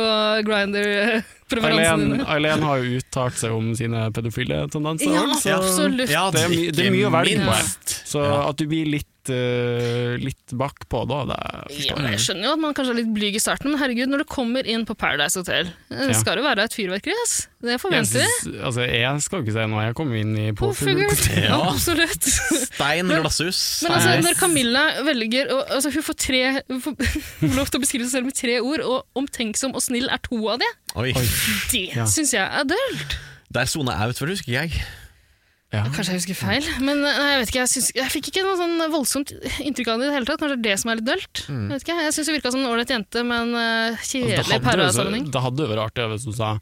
S3: Grinder-preferansene
S1: Eileen,
S3: dine.
S1: Eileen har jo uttalt seg om sine pedofile tendenser.
S3: Ja,
S1: også, så
S3: absolutt.
S2: Ja,
S1: det er my- det er mye å velge
S3: på her.
S2: minst.
S1: så
S2: Ja.
S1: at du blir litt, uh, litt bakpå da, det
S3: Ja,
S1: forstår jeg.
S3: jeg skjønner jo at man kanskje er litt blyg i starten, men herregud, når du kommer inn på Paradise Hotel, eh,
S1: Ja.
S3: skal det være et fyrverkeri, ass. Det
S1: Jeg,
S3: forventer vi.
S1: synes, altså, jeg skal ikke si noe, jeg kom inn i påfugl.
S3: Påfugl. Ja,
S2: Ja.
S3: absolutt.
S2: Stein
S3: Men-
S2: glasshus.
S3: Men altså,
S1: Nei.
S3: når Camilla velger å, altså, Hun får tre Hun får hun får lov til å beskrive seg selv med tre ord, og omtenksom og snill er to av de.
S2: Oi,
S3: Det
S1: Ja.
S3: syns jeg er dølt.
S2: der sona jeg ut for, husker jeg.
S1: Ja.
S3: Kanskje jeg husker feil, men eh, nei, jeg vet ikke, jeg, syns- jeg fikk ikke noe sånn voldsomt inntrykk av det i det hele tatt. Kanskje det er det som er litt dølt. Jeg vet ikke, jeg syns hun virka som en ålreit jente, men eh,
S1: Mm. Altså,
S3: kjedelig i
S1: det hadde jo
S3: parasammenheng.
S1: så- det hadde jo vært artig hvis hun sa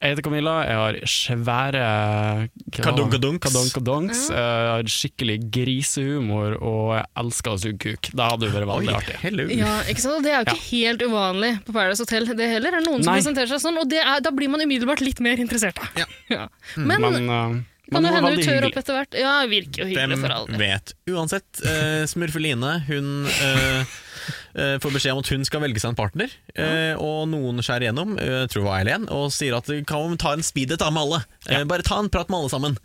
S1: jeg heter Camilla, jeg har svære
S2: Kadonkadonks.
S1: kadonkadonks, jeg har skikkelig grisehumor, og jeg elsker å suge kuk. Det hadde jo vært
S2: Oi,
S1: veldig artig.
S2: hello.
S3: Ja, ikke sant? Og Det er jo ikke helt uvanlig på Paradise Hotel, det heller. Er det noen som
S1: Nei.
S3: presenterer seg sånn, og det er, Da blir man umiddelbart litt mer interessert. da.
S2: Ja.
S3: Men,
S1: Men, eh,
S3: kan
S1: men
S3: jo
S1: hun var
S3: hende
S1: veldig
S3: hun tør
S1: hyggelig.
S3: opp etter hvert. Ja, virker jo hyggelig
S2: Hvem
S3: for all del.
S2: vet? Uansett, eh, Smurfeline hun eh, eh, får beskjed om at hun skal velge seg en partner, eh, og noen skjærer gjennom, eh, tror jeg var Eileen, og sier at kan hun ta en speed date da med alle? Eh, Bare ta en prat med alle sammen,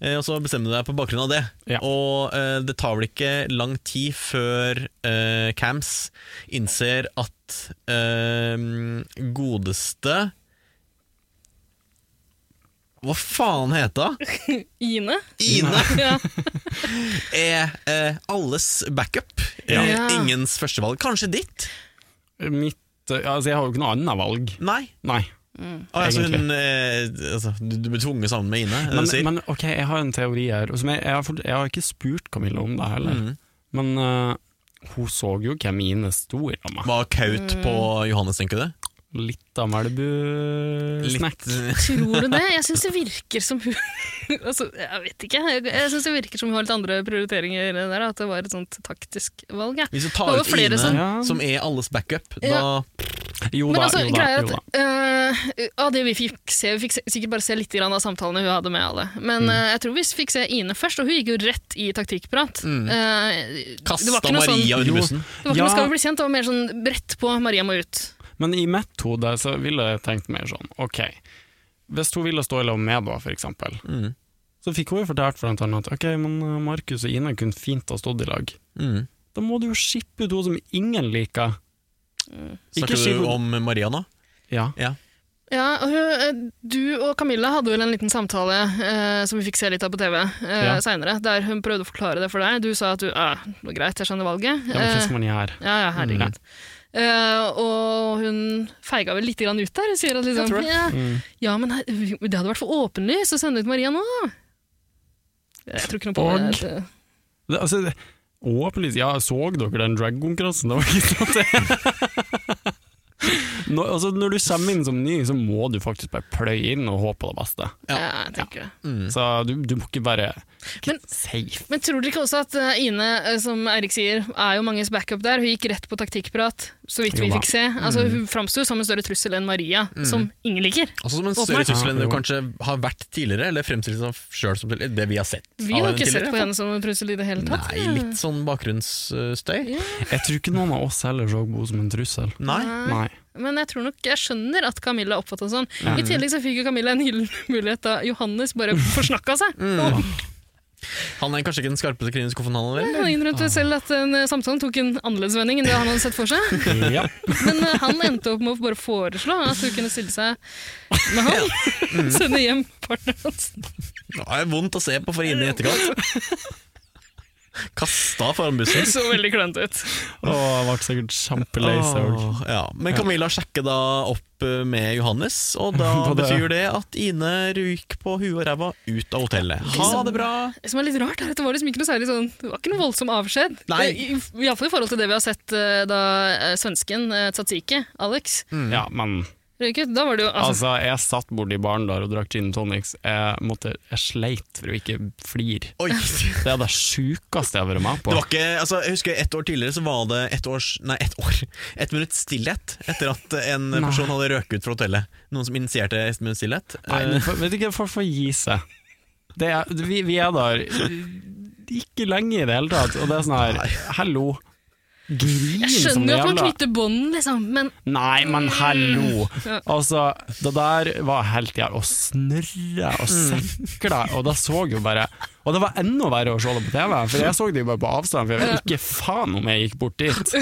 S2: eh, og så bestemmer du deg på bakgrunn av det.
S1: Ja.
S2: Og eh, det tar vel ikke lang tid før eh, Cams innser at eh, godeste Hva faen heter hun?
S3: Ine?
S2: Ine!
S3: Ja.
S2: er eh, alles backup.
S1: Ja.
S2: Eh,
S3: Ja.
S2: Ingens førstevalg. Kanskje ditt?
S1: Mitt eh, altså, Jeg har jo ikke noe annet valg.
S2: Nei.
S1: Nei.
S2: Ah, altså,
S1: Egentlig.
S2: hun, eh, altså, du, du blir tvunget sammen med Ine.
S1: Men,
S2: Men, sier.
S1: men ok, jeg har en teori her. Som jeg, jeg, har, fått- jeg har ikke spurt Camilla om det heller.
S2: Mm.
S1: Men eh, hun så jo hvem Ine sto i lag med.
S2: Var kaut på
S3: Mm.
S2: Johannes, tenker du det?
S1: Litt av Melbu-snack.
S3: Tror du det? Jeg syns det virker som hun altså, Jeg vet ikke. Jeg, jeg synes det virker som hun har litt andre prioriteringer. enn det Der, at det var et sånt taktisk valg. Ja.
S2: Hvis du
S3: Det
S2: tar
S3: var
S2: ut
S3: flere
S2: Ine,
S3: som-
S1: Ja.
S2: som er alles backup,
S3: Ja.
S2: da
S1: Jo
S3: Men
S1: da,
S3: altså,
S1: jo da.
S3: greia er
S1: Jo da.
S3: at eh, av det vi fikk se, vi fikk se, sikkert bare se litt grann av samtalene hun hadde med alle.
S1: Mm.
S3: Men eh, jeg tror vi fikk se Ine først, og hun gikk jo rett i taktikkprat. Eh, det
S2: kasta
S3: var ikke noe sånn,
S2: Maria under
S1: Jo.
S2: bussen.
S3: det var ikke
S1: Mm. Ja.
S3: noe skal vi bli kjent, det var mer sånn rett på Maria må ut.
S1: Men i mitt hode så ville jeg tenkt mer sånn, ok, hvis hun ville stå i lag med da, for eksempel,
S2: Mm.
S1: så fikk hun jo fortalt for annet at, ok, men eh, Markus og Ine kunne fint ha stått i lag.
S2: Mm.
S1: Da må du jo skippe ut hun som ingen liker. Ikke
S2: Snakker
S1: skippe
S2: du om Maria nå?
S1: Ja.
S3: Ja, og hun, eh, Du og Camilla hadde vel en liten samtale eh, som vi fikk se litt av på TV eh,
S1: Ja.
S3: seinere, der hun prøvde å forklare det for deg. Du sa at du «Ah, det var greit, jeg skjønner valget.
S1: Ja, men hva
S3: Eh,
S1: skal man Mm. gjøre?
S3: ja, ja, herregud. Eh, og hun feiga vel litt grann ut der. Sier at liksom,
S2: Jeg tror det.
S3: ja,
S1: Mm.
S3: Ja, men her- det hadde vært for åpenlyst å sende ut Maria nå. Jeg tror ikke noe på
S1: Og-
S3: det. det.
S1: Det, altså, det, åpenlyst, ja, så dere den drag-konkurransen? Det var ikke sånn at det... Når, altså, når du kommer inn som ny, så må du faktisk bare pløye inn og håpe på det beste.
S2: Ja.
S3: Ja. jeg tenker det.
S1: Så du, du må ikke bare
S3: Mm. Men-
S1: safe.
S3: Men tror dere ikke også at eh, Ine, eh, som Eirik sier, er jo manges backup der? Hun gikk rett på taktikkprat, så vidt
S1: Jo
S3: vi
S1: da. Mm.
S3: fikk se. Altså, hun framsto som en større trussel enn Maria,
S2: Mm.
S3: som ingen liker.
S2: Altså Som en
S1: Åpenbart.
S2: større trussel enn du
S1: Ja, jo.
S2: kanskje har vært tidligere, eller fremstilt som sjøl som det vi har sett.
S3: Vi
S2: av
S3: har
S2: henne
S3: ikke sett
S2: tidligere.
S3: på henne som en trussel i det hele tatt.
S2: Nei, litt sånn bakgrunnsstøy.
S1: Jeg tror ikke noen av oss heller så på henne som en trussel.
S2: Nei.
S1: Nei.
S3: Men jeg tror nok jeg skjønner at Camilla oppfatta sånn.
S1: Mm.
S3: I tillegg så fikk jo Camilla en hyllen mulighet da Johannes bare forsnakka seg.
S2: Mm. Han er kanskje ikke den skarpeste kvinnen i skuffen, han heller?
S3: Han innrømte selv at den eh, samtalen tok en annerledes vending enn det han hadde sett for seg.
S1: Ja.
S3: Men eh, han endte opp med å bare foreslå at hun kunne stille seg med han. Sende hjem partneren hans.
S2: Det er vondt å se på for Ine i etterkant. Kasta foran
S3: Det
S2: bussen.
S3: så veldig klønt ut.
S1: Og jeg ble sikkert kjempelei seg. også.
S2: Åh, ja. Men Camilla sjekker da opp eh, med Johannes, og da
S1: Hva det er?
S2: betyr det at Ine ryker på huet og ræva ut av hotellet. Liksom. Ha det bra!
S3: Det som er litt rart, er at det var liksom ikke noe særlig sånn Det var ikke noe voldsom avskjed.
S2: Nei.
S3: Iallfall i forhold til det vi har sett eh, da eh, svensken eh, Tsatsiki, Alex,
S2: Mm.
S1: Ja, men
S3: røyk ut. Da var det jo altså,
S1: Mm. altså, jeg satt borti baren der og drakk gin and tonics. Jeg, måtte, jeg sleit for å ikke flire.
S2: Oi.
S1: Det er det sjukeste jeg har vært med på.
S2: Det var ikke, altså, jeg husker Ett år tidligere så var det ett års Nei, ett år. Ett minutts stillhet etter at en
S1: Nei.
S2: person hadde røket ut fra hotellet. Noen som initierte ett minutts stillhet.
S1: Nei, men for, vet du ikke, folk får gi seg. Det er, vi, vi er der ikke lenge i det hele tatt, og det er sånn
S2: Nei.
S1: her Hallo. Grin
S3: Jeg
S1: som
S3: skjønner
S1: det
S3: jo at man
S1: jævla
S3: knytter bånd, liksom, men
S1: Nei, men hallo! Altså, det der var helt jævlig. Å snørre og
S3: Mm.
S1: sekle, og da så jeg jo bare Og det var enda verre å se det på TV, for jeg så det jo bare på avstand, for jeg vet ikke faen om jeg gikk bort dit.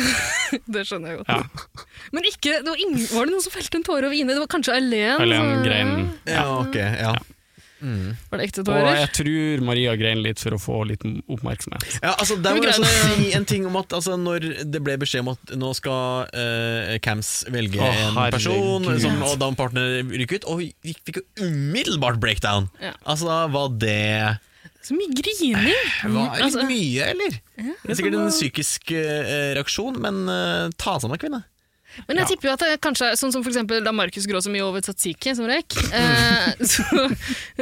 S3: det skjønner jeg godt. Men ikke, det var, ingen, var det noen som felte en tåre over Ine? Det var kanskje Eileen?
S1: Eller
S3: som-
S1: grein.
S2: ja, ok, ja.
S3: Var det ekte
S1: Og
S3: tårer?
S1: jeg tror Maria grein litt for å få litt oppmerksomhet.
S2: Ja, altså, der må
S3: Men
S2: jeg også
S3: greiene-
S2: si en ting om at altså, når det ble beskjed om at nå skal eh, Cams velge
S1: Å,
S2: en
S1: herregud.
S2: person, som, og da en partner ryker ut, og vi fikk jo umiddelbart breakdown.
S3: Ja.
S2: Altså, da var det
S3: Så mye grining!
S1: Eh,
S2: var litt
S3: Altså-
S2: mye, eller? det er sikkert en psykisk eh, reaksjon, men eh, ta sammen, kvinne.
S3: Men jeg
S1: Ja.
S3: tipper jo at det kanskje er sånn som for eksempel da Markus grå så mye over Tsatsiki som røyk. Eh, så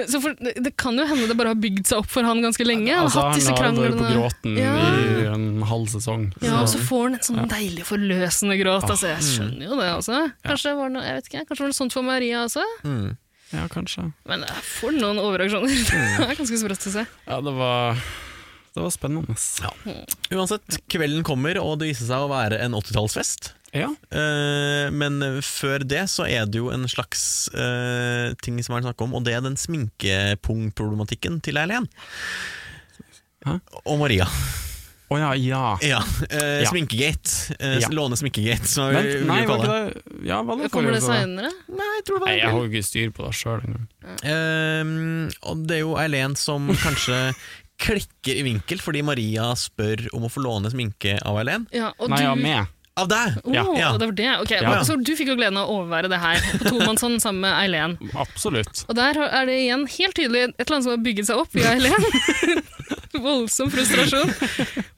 S3: så for, det det kan jo hende det bare har bygd seg opp for han ganske lenge. Han
S1: Altså,
S3: har hatt disse
S1: han har vært på
S3: kranglene.
S1: gråten i
S3: Ja.
S1: en halv sesong.
S3: Ja, og
S1: så-
S3: så får han en sånn deilig forløsende gråt. Altså,
S1: Ah,
S3: jeg
S1: mm.
S3: skjønner jo det også. Kanskje var det noe, jeg vet ikke, kanskje var det sånt for Maria også?
S2: Mm.
S1: ja, kanskje.
S3: Men jeg får noen overreaksjoner.
S1: Mm.
S3: Det er ganske sprøtt å se.
S1: Ja, det var, det var spennende.
S2: Uansett, kvelden kommer, og det viser seg å være en 80-tallsfest.
S1: Ja.
S2: Eh, men før det så er det jo en slags eh, ting som er snakk om, og det er den sminkepung-problematikken til Eileen.
S1: Hæ?
S2: Og Maria.
S1: Å ja, ja.
S2: Ja. eh,
S1: Ja.
S2: Sminkegate. Eh,
S1: Ja.
S2: Låne sminkegate, som vi
S1: Vent, nei,
S2: vil
S1: var
S2: kalle
S1: ikke
S2: det.
S1: det Ja, hva det
S3: Kommer det
S1: forrige året?
S3: seinere?
S2: Nei, jeg tror det var
S1: Nei,
S2: det.
S1: jeg har jo ikke styr på det sjøl engang.
S2: Ehm, og det er jo Eileen som kanskje klikker i vinkel fordi Maria spør om å få låne sminke av Eileen.
S3: Ja, og
S1: Nei,
S3: du,
S1: jeg er med.
S2: Av deg!
S3: Oh,
S1: Ja.
S2: Ja.
S3: Det var det. Ok,
S1: Ja.
S3: Så du fikk jo gleden av å overvære det her på tomannshånd sammen med Eileen.
S1: Absolutt.
S3: Og der er det igjen helt tydelig et eller annet som har bygget seg opp i Eileen. Voldsom frustrasjon.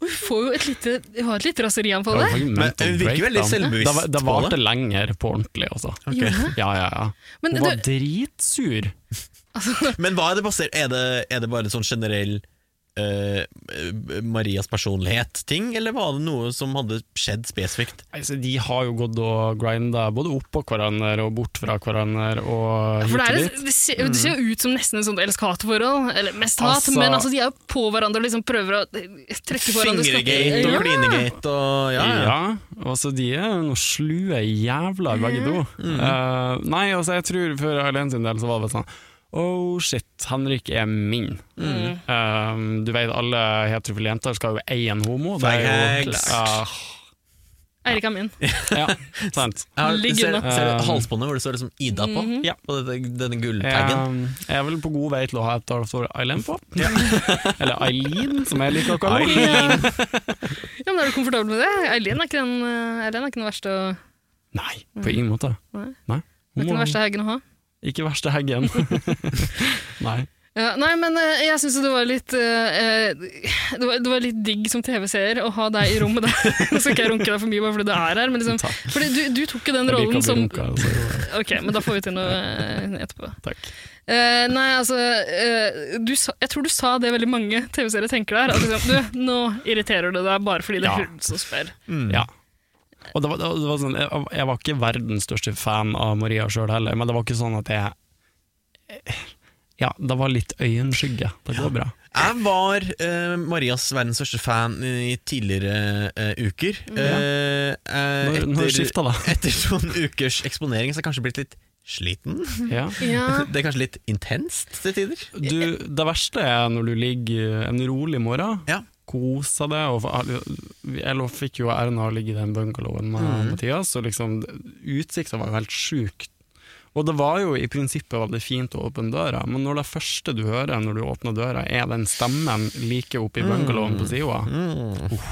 S3: Og hun får jo et lite, hun har et lite raserianfall der.
S2: Men hun virker veldig selvbevisst
S1: Det, var- det
S2: på det.
S1: varte lenger på ordentlig, altså.
S2: Ok.
S3: Gjorde hun?
S1: Ja, ja, ja.
S3: Men
S1: Hun var
S3: du-
S1: dritsur.
S2: Men hva er det basert Er det, er det bare sånn generell eh, Marias personlighet-ting, eller var det noe som hadde skjedd spesifikt?
S1: Altså, de har jo gått og grinda både oppå hverandre og bort fra hverandre og hit
S3: For det,
S1: og
S3: er,
S1: dit.
S3: et- det, ser, det ser jo ut som nesten et sånt elsk-hat-forhold, eller mest hat,
S1: Altså-
S3: men altså, de er jo på hverandre og liksom prøver å eh, trekke på hverandre.
S2: Fingregate og klinegate og ja, ja.
S1: Ja, og så de er noen slue jævler begge to.
S3: Mm.
S1: Eh, nei, altså jeg tror for Eileen sin del så var det sånn Oh shit, Henrik er min.
S3: Mm.
S1: Eh, du vet alle heterofile jenter skal jo eie en homo. Det er jo
S2: Faghags.
S1: Ah,
S3: Eirik er min.
S1: Ja, sant.
S2: Jeg har-
S3: Ligg
S2: ser,
S3: unna.
S2: ser du halsbåndet hvor det står liksom Ida på?
S3: Mhm.
S1: Ja.
S2: På dette, denne gulltaggen.
S1: Jeg, Eh, jeg er vel på god vei til å ha et tall for Eileen på. Eller Eileen, som jeg liker å kalle henne.
S3: Ja. ja, men Er du komfortabel med det? Eileen er ikke den, eh, Eileen er ikke den verste, å-
S1: Nei, på ingen måte.
S3: Nei.
S1: Nei.
S3: er ikke
S1: Hun
S3: den
S1: må-
S3: verste haugen å ha.
S1: Ikke verste heggen. Nei.
S3: Ja, nei, men eh, jeg syns det var litt eh, eh, det, var, det var litt digg som TV-seer å ha deg i rommet der. Nå skal ikke jeg runke deg for mye bare fordi du er her, men liksom
S1: Takk.
S3: fordi du, du tok jo den
S1: Jeg liker å
S3: rollen
S1: bli
S3: som
S1: runka, altså.
S3: Ok, men da får vi til noe eh, etterpå.
S1: Takk.
S3: Eh, nei, altså eh, du sa, Jeg tror du sa det veldig mange TV-seere tenker der. At liksom, du, nå irriterer du deg bare fordi det
S1: Ja.
S3: er hun som spør.
S2: Mm.
S1: Ja. Og det var, det var sånn, jeg, jeg var ikke verdens største fan av Maria sjøl heller, men det var ikke sånn at jeg eh, Ja, det var litt øyenskygge. Det går bra.
S2: Jeg var eh, Marias verdens største fan i tidligere eh, uker.
S3: Mm.
S2: Eh, eh,
S1: Når, når
S2: etter,
S1: skifta det?
S2: etter noen ukers eksponering så har jeg kanskje blitt litt sliten.
S1: Ja.
S3: Ja,
S2: Det er kanskje litt intenst til tider.
S1: Du, det verste er når du ligger en rolig morgen,
S2: Ja.
S1: koser deg og Jeg lå- fikk jo æren av å ligge i den bungalowen med
S2: Mm.
S1: Mathias, og liksom utsikta var jo helt sjuk. Og det var jo i prinsippet veldig fint å åpne døra, men når det første du hører når du åpner døra, er den stemmen like oppe i bungalowen på sida,
S2: Mm.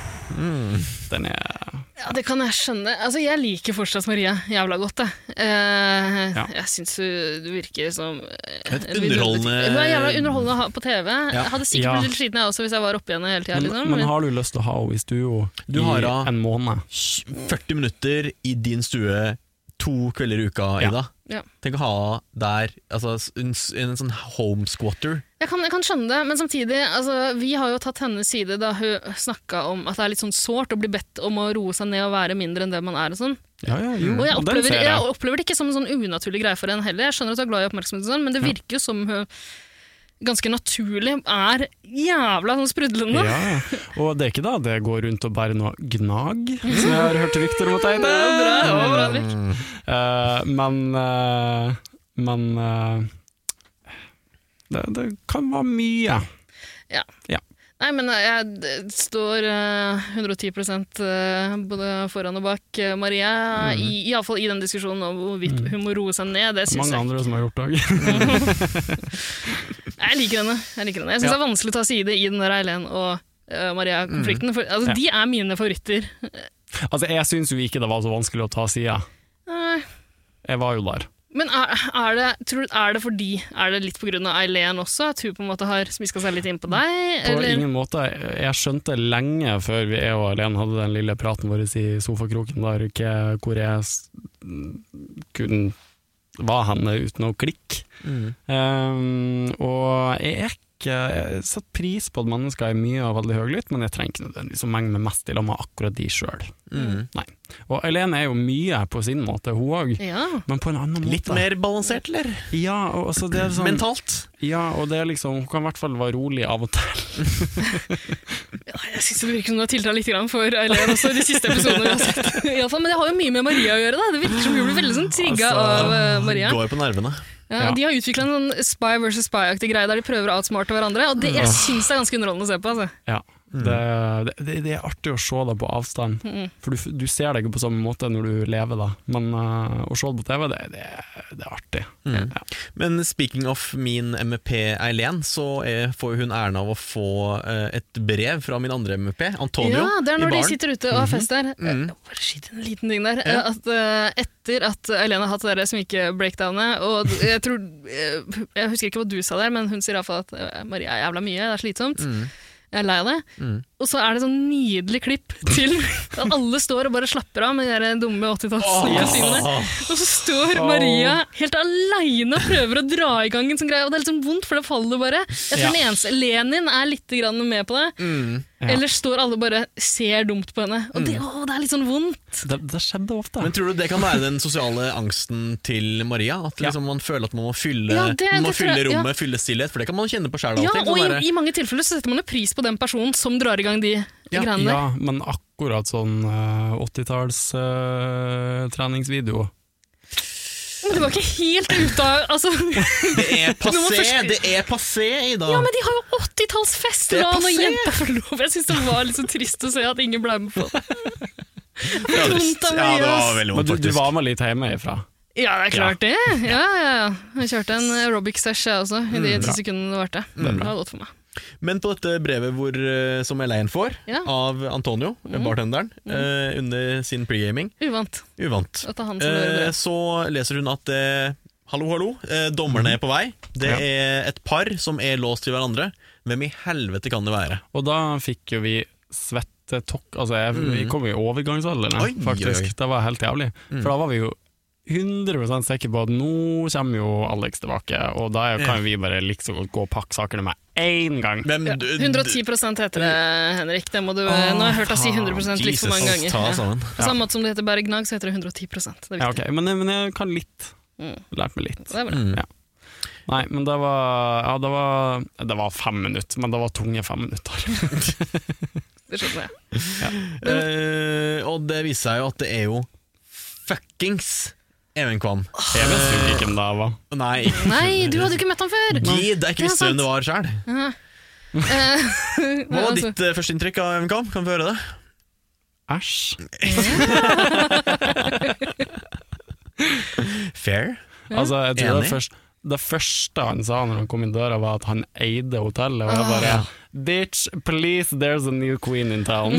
S1: den er
S3: Ja, det kan jeg skjønne. Altså, jeg liker fortsatt Maria jævla godt, jeg. Eh,
S1: Ja.
S3: Jeg syns hun virker som eh,
S2: Et underholdende-
S3: Hun er jævla underholdende å ha på TV.
S2: Ja.
S3: Jeg hadde sikkert
S1: Ja.
S3: blitt litt sliten jeg også hvis jeg var oppe igjen hele tida.
S1: men,
S3: Liksom.
S1: men har du lyst til å ha henne i stua
S2: Du har
S1: i
S2: henne-
S1: en måned?
S2: 40 minutter i din stue to kvelder i uka,
S1: Ja.
S2: Ida.
S3: Ja.
S2: Tenk å ha der altså, en, en sånn home squatter.
S3: Jeg kan, jeg kan skjønne det, men samtidig altså, Vi har jo tatt hennes side da hun snakka om at det er litt sånn sårt å bli bedt om å roe seg ned og være mindre enn det man er. og sånn.
S1: Ja, ja, jo.
S3: Og jeg
S1: og Mm. den
S3: opplever,
S1: ser
S3: jeg
S1: jeg.
S3: opplever det ikke som en sånn unaturlig greie for henne heller. Jeg skjønner at hun er glad i oppmerksomhet, og sånn, men det virker jo som hun ganske naturlig er jævla sånn sprudlende.
S1: Ja, og det er ikke da det går rundt og bærer noe gnag, som jeg har hørt Victor måtte
S3: Det er bra, det
S1: hete.
S3: var bra,
S1: Eh,
S3: Vik.
S1: men eh, men eh, det, det kan være mye.
S3: Nei, men jeg d- står eh, 110 eh, både foran og bak eh, Maria,
S1: Mhm.
S3: i, iallfall i den diskusjonen om hvorvidt hun må roe seg ned. Det
S1: Mm. Mange
S3: syns jeg.
S1: andre som har gjort det òg.
S3: Jeg liker henne. Jeg liker henne. Jeg syns
S1: Ja.
S3: det er vanskelig å ta side i den der Eileen og eh, Maria-konflikten. For, altså,
S1: Mhm. Ja.
S3: De er mine favoritter.
S1: altså, jeg syns jo ikke det var så vanskelig å ta sida.
S3: Eh,
S1: Jeg var jo der.
S3: Men er, er, det, tror, du- er det fordi Er det litt pga. Eileen også? At hun på en måte har smiska seg litt inn på deg?
S1: På ingen måte. Jeg skjønte lenge før vi jeg og Alene hadde den lille praten vår i sofakroken der, ikke hvor jeg s- kunne var henne uten å klikke. Um, og jeg er ikke Jeg setter pris på at mennesker er mye og veldig høylytt, men jeg trenger ikke nødvendigvis å menge meg mest i lag med akkurat de sjøl.
S2: Mm.
S1: Nei. Og Alene er jo mye på sin måte, hun òg,
S3: Ja.
S1: men på en annen måte.
S2: Litt mer balansert, eller?
S1: Ja, og, så det er sånn,
S2: Mentalt.
S1: ja, og det er liksom Hun kan i hvert fall være rolig av og til.
S3: Jeg syns det virker som du har tilta litt grann for Eileen også, de siste episodene vi har sett. I alle fall, men det har jo mye med Maria å gjøre. da. Det virker som hun blir veldig sånn trigga
S1: Altså,
S3: av eh, Maria.
S2: Går på nervene.
S3: Ja, og de har utvikla en sånn spy versus spy-aktig greie der de prøver å outsmarte hverandre. Og det jeg syns det er ganske underholdende å se på. altså.
S1: Ja.
S2: Mm.
S1: Det, det, det er artig å se det på avstand,
S3: Mm.
S1: for du, f- du ser det ikke på samme måte når du lever da. Men eh, å se det på TV, det, det, det er artig.
S2: Mm.
S1: Ja.
S2: Men speaking of min MEP Eileen, så er, får hun æren av å få eh, et brev fra min andre MEP, Antonio,
S3: Ja, det er når
S2: i
S3: de
S2: baren.
S3: sitter ute og har fest der. Mm
S2: Mhm.
S3: Bare skyt inn en liten ting der.
S2: Ja.
S3: Eh, At eh, etter at Eileen har hatt det der sminkebreakdownet, og d- jeg tror eh, Jeg husker ikke hva du sa der, men hun sier iallfall at eh, Maria er jævla mye, det er slitsomt.
S2: Mhm.
S3: Jeg er lei av det.
S2: Mhm.
S3: Og så er det sånn nydelig klipp til at alle står og bare slapper av med de der dumme 80-tallstimene. Og så står Maria helt aleine og prøver å dra i gang en sånn greie, og det er litt sånn vondt, for det faller bare. Jeg tror
S1: Ja.
S3: den eneste Lenin er litt grann med på det.
S2: Mm.
S1: Ja.
S3: Ellers står alle bare ser dumt på henne. Og det, å, det er litt sånn vondt.
S1: Det, det skjedde ofte.
S2: Men tror du det kan være den sosiale angsten til Maria? At
S1: Ja.
S2: liksom man føler at man må fylle,
S3: Ja, det-
S2: man må
S3: det tror
S2: fylle
S3: jeg- ja.
S2: rommet, fylle stillhet, for det kan man kjenne på sjæl.
S3: Ja,
S2: alltid,
S3: og
S2: sånn
S3: i,
S2: derre-
S3: i mange tilfeller så setter man jo pris på den personen som drar i gang de
S2: Ja,
S3: greiene der.
S1: ja, men akkurat sånn 80-talls treningsvideo
S3: Men det var ikke helt ute av altså,
S2: Det er
S3: Du må
S2: passé!
S3: først-
S2: Det er passé i dag!
S3: Ja, men de har jo 80-tallsfest!
S2: Det er
S3: da, Når
S2: passé.
S3: jenta får lov. Jeg syns det var litt så trist å se at ingen ble med på det.
S2: det var
S3: vondt av
S2: Ja,
S3: Maria,
S2: det
S3: ass.
S2: var veldig
S1: Men
S2: vondt,
S1: du, du
S2: faktisk.
S1: var med litt hjemmefra.
S3: Ja, det er klart det. Ja, ja, ja. Jeg kjørte en aerobic-sesj jeg også, i de
S2: Mm,
S3: ti sekundene det varte. Det var godt for meg.
S2: Men på dette brevet hvor, eh, som Elaine får
S3: Ja.
S2: av Antonio,
S3: Mm.
S2: bartenderen, eh, under sin pregaming,
S3: Uvant
S2: uvant,
S3: at det er han som gjør
S2: eh,
S3: det.
S2: så leser hun at eh, Hallo, hallo, eh, dommerne er på vei. Det
S1: Ja.
S2: er et par som er låst til hverandre. Hvem i helvete kan det være?
S1: Og da fikk jo vi svettetokk Altså, jeg, vi kom i overgangsalderen,
S2: Mm. Oi, Mm.
S1: jeg, faktisk.
S2: oi, oi.
S1: Det var helt jævlig. For da var vi jo 100 sikre på at nå kommer jo Alex tilbake, og da kan jo vi bare liksom godt gå og pakke sakene med én gang.
S2: Hvem,
S3: Ja,
S2: du-
S3: 110 heter det, Henrik. Det må du, eh,
S1: Åh,
S3: nå har jeg hørt deg si 100 litt
S2: Jesus, altså.
S3: for mange ganger.
S2: ta
S3: Ja.
S2: deg sammen.
S3: På samme måte som det heter Bergnag, så heter det 110 Det er viktig.
S1: Ja, ok, men, men jeg kan litt.
S3: Mm.
S1: Lært meg litt.
S3: Det er bra.
S2: Mm.
S1: Ja. Nei, men det var, ja, det var Det var fem minutter, men det var tunge fem minutter.
S3: Det skjønner jeg.
S2: Eh, og det viser seg jo at det er jo fuckings Even Kvam.
S1: Jeg vet jo ikke hvem det var.
S2: Nei,
S3: Nei, du hadde jo ikke møtt ham før!
S2: gid jeg
S3: Det er
S2: ikke visste
S3: sant.
S2: hvem det var sjøl.
S3: Eh,
S2: Hva var
S3: altså,
S2: ditt eh, førsteinntrykk av Even Kvam? Kan vi få høre det?
S1: Æsj.
S2: Fair.
S1: Altså, jeg tror
S2: Enig.
S1: det, først, det første han sa når han kom inn døra, var at han eide hotellet. Og
S2: Ah.
S1: jeg bare Bitch, please, there's a new queen in town.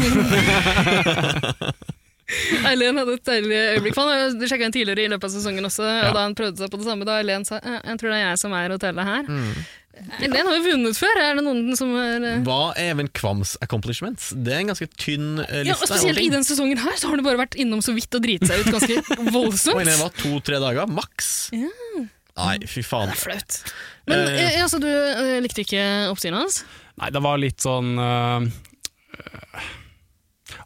S3: Eileen hadde et deilig øyeblikk. for Han sjekka inn tidligere i løpet av sesongen også,
S1: Ja.
S3: og da han prøvde seg på det samme, da Eileen sa «Eh, jeg tror det er jeg som eier hotellet her.
S2: Mm.
S3: Eileen har jo vunnet før, er det noen som er eh,
S2: Hva er Even Kvams accomplishments? Det er en ganske tynn eh,
S3: ja, og
S2: liste.
S3: Spesielt
S2: over
S3: i
S2: ting.
S3: den sesongen her, så har han jo bare vært innom så vidt og driti seg ut ganske
S2: Og inne
S3: voldsomt.
S2: var to-tre dager, maks.
S3: Ja.
S2: Nei, fy faen.
S3: Det er flaut. Men
S2: Eh.
S3: eh, altså, du eh, likte ikke oppsynet hans?
S1: Nei, det var litt sånn øh, øh,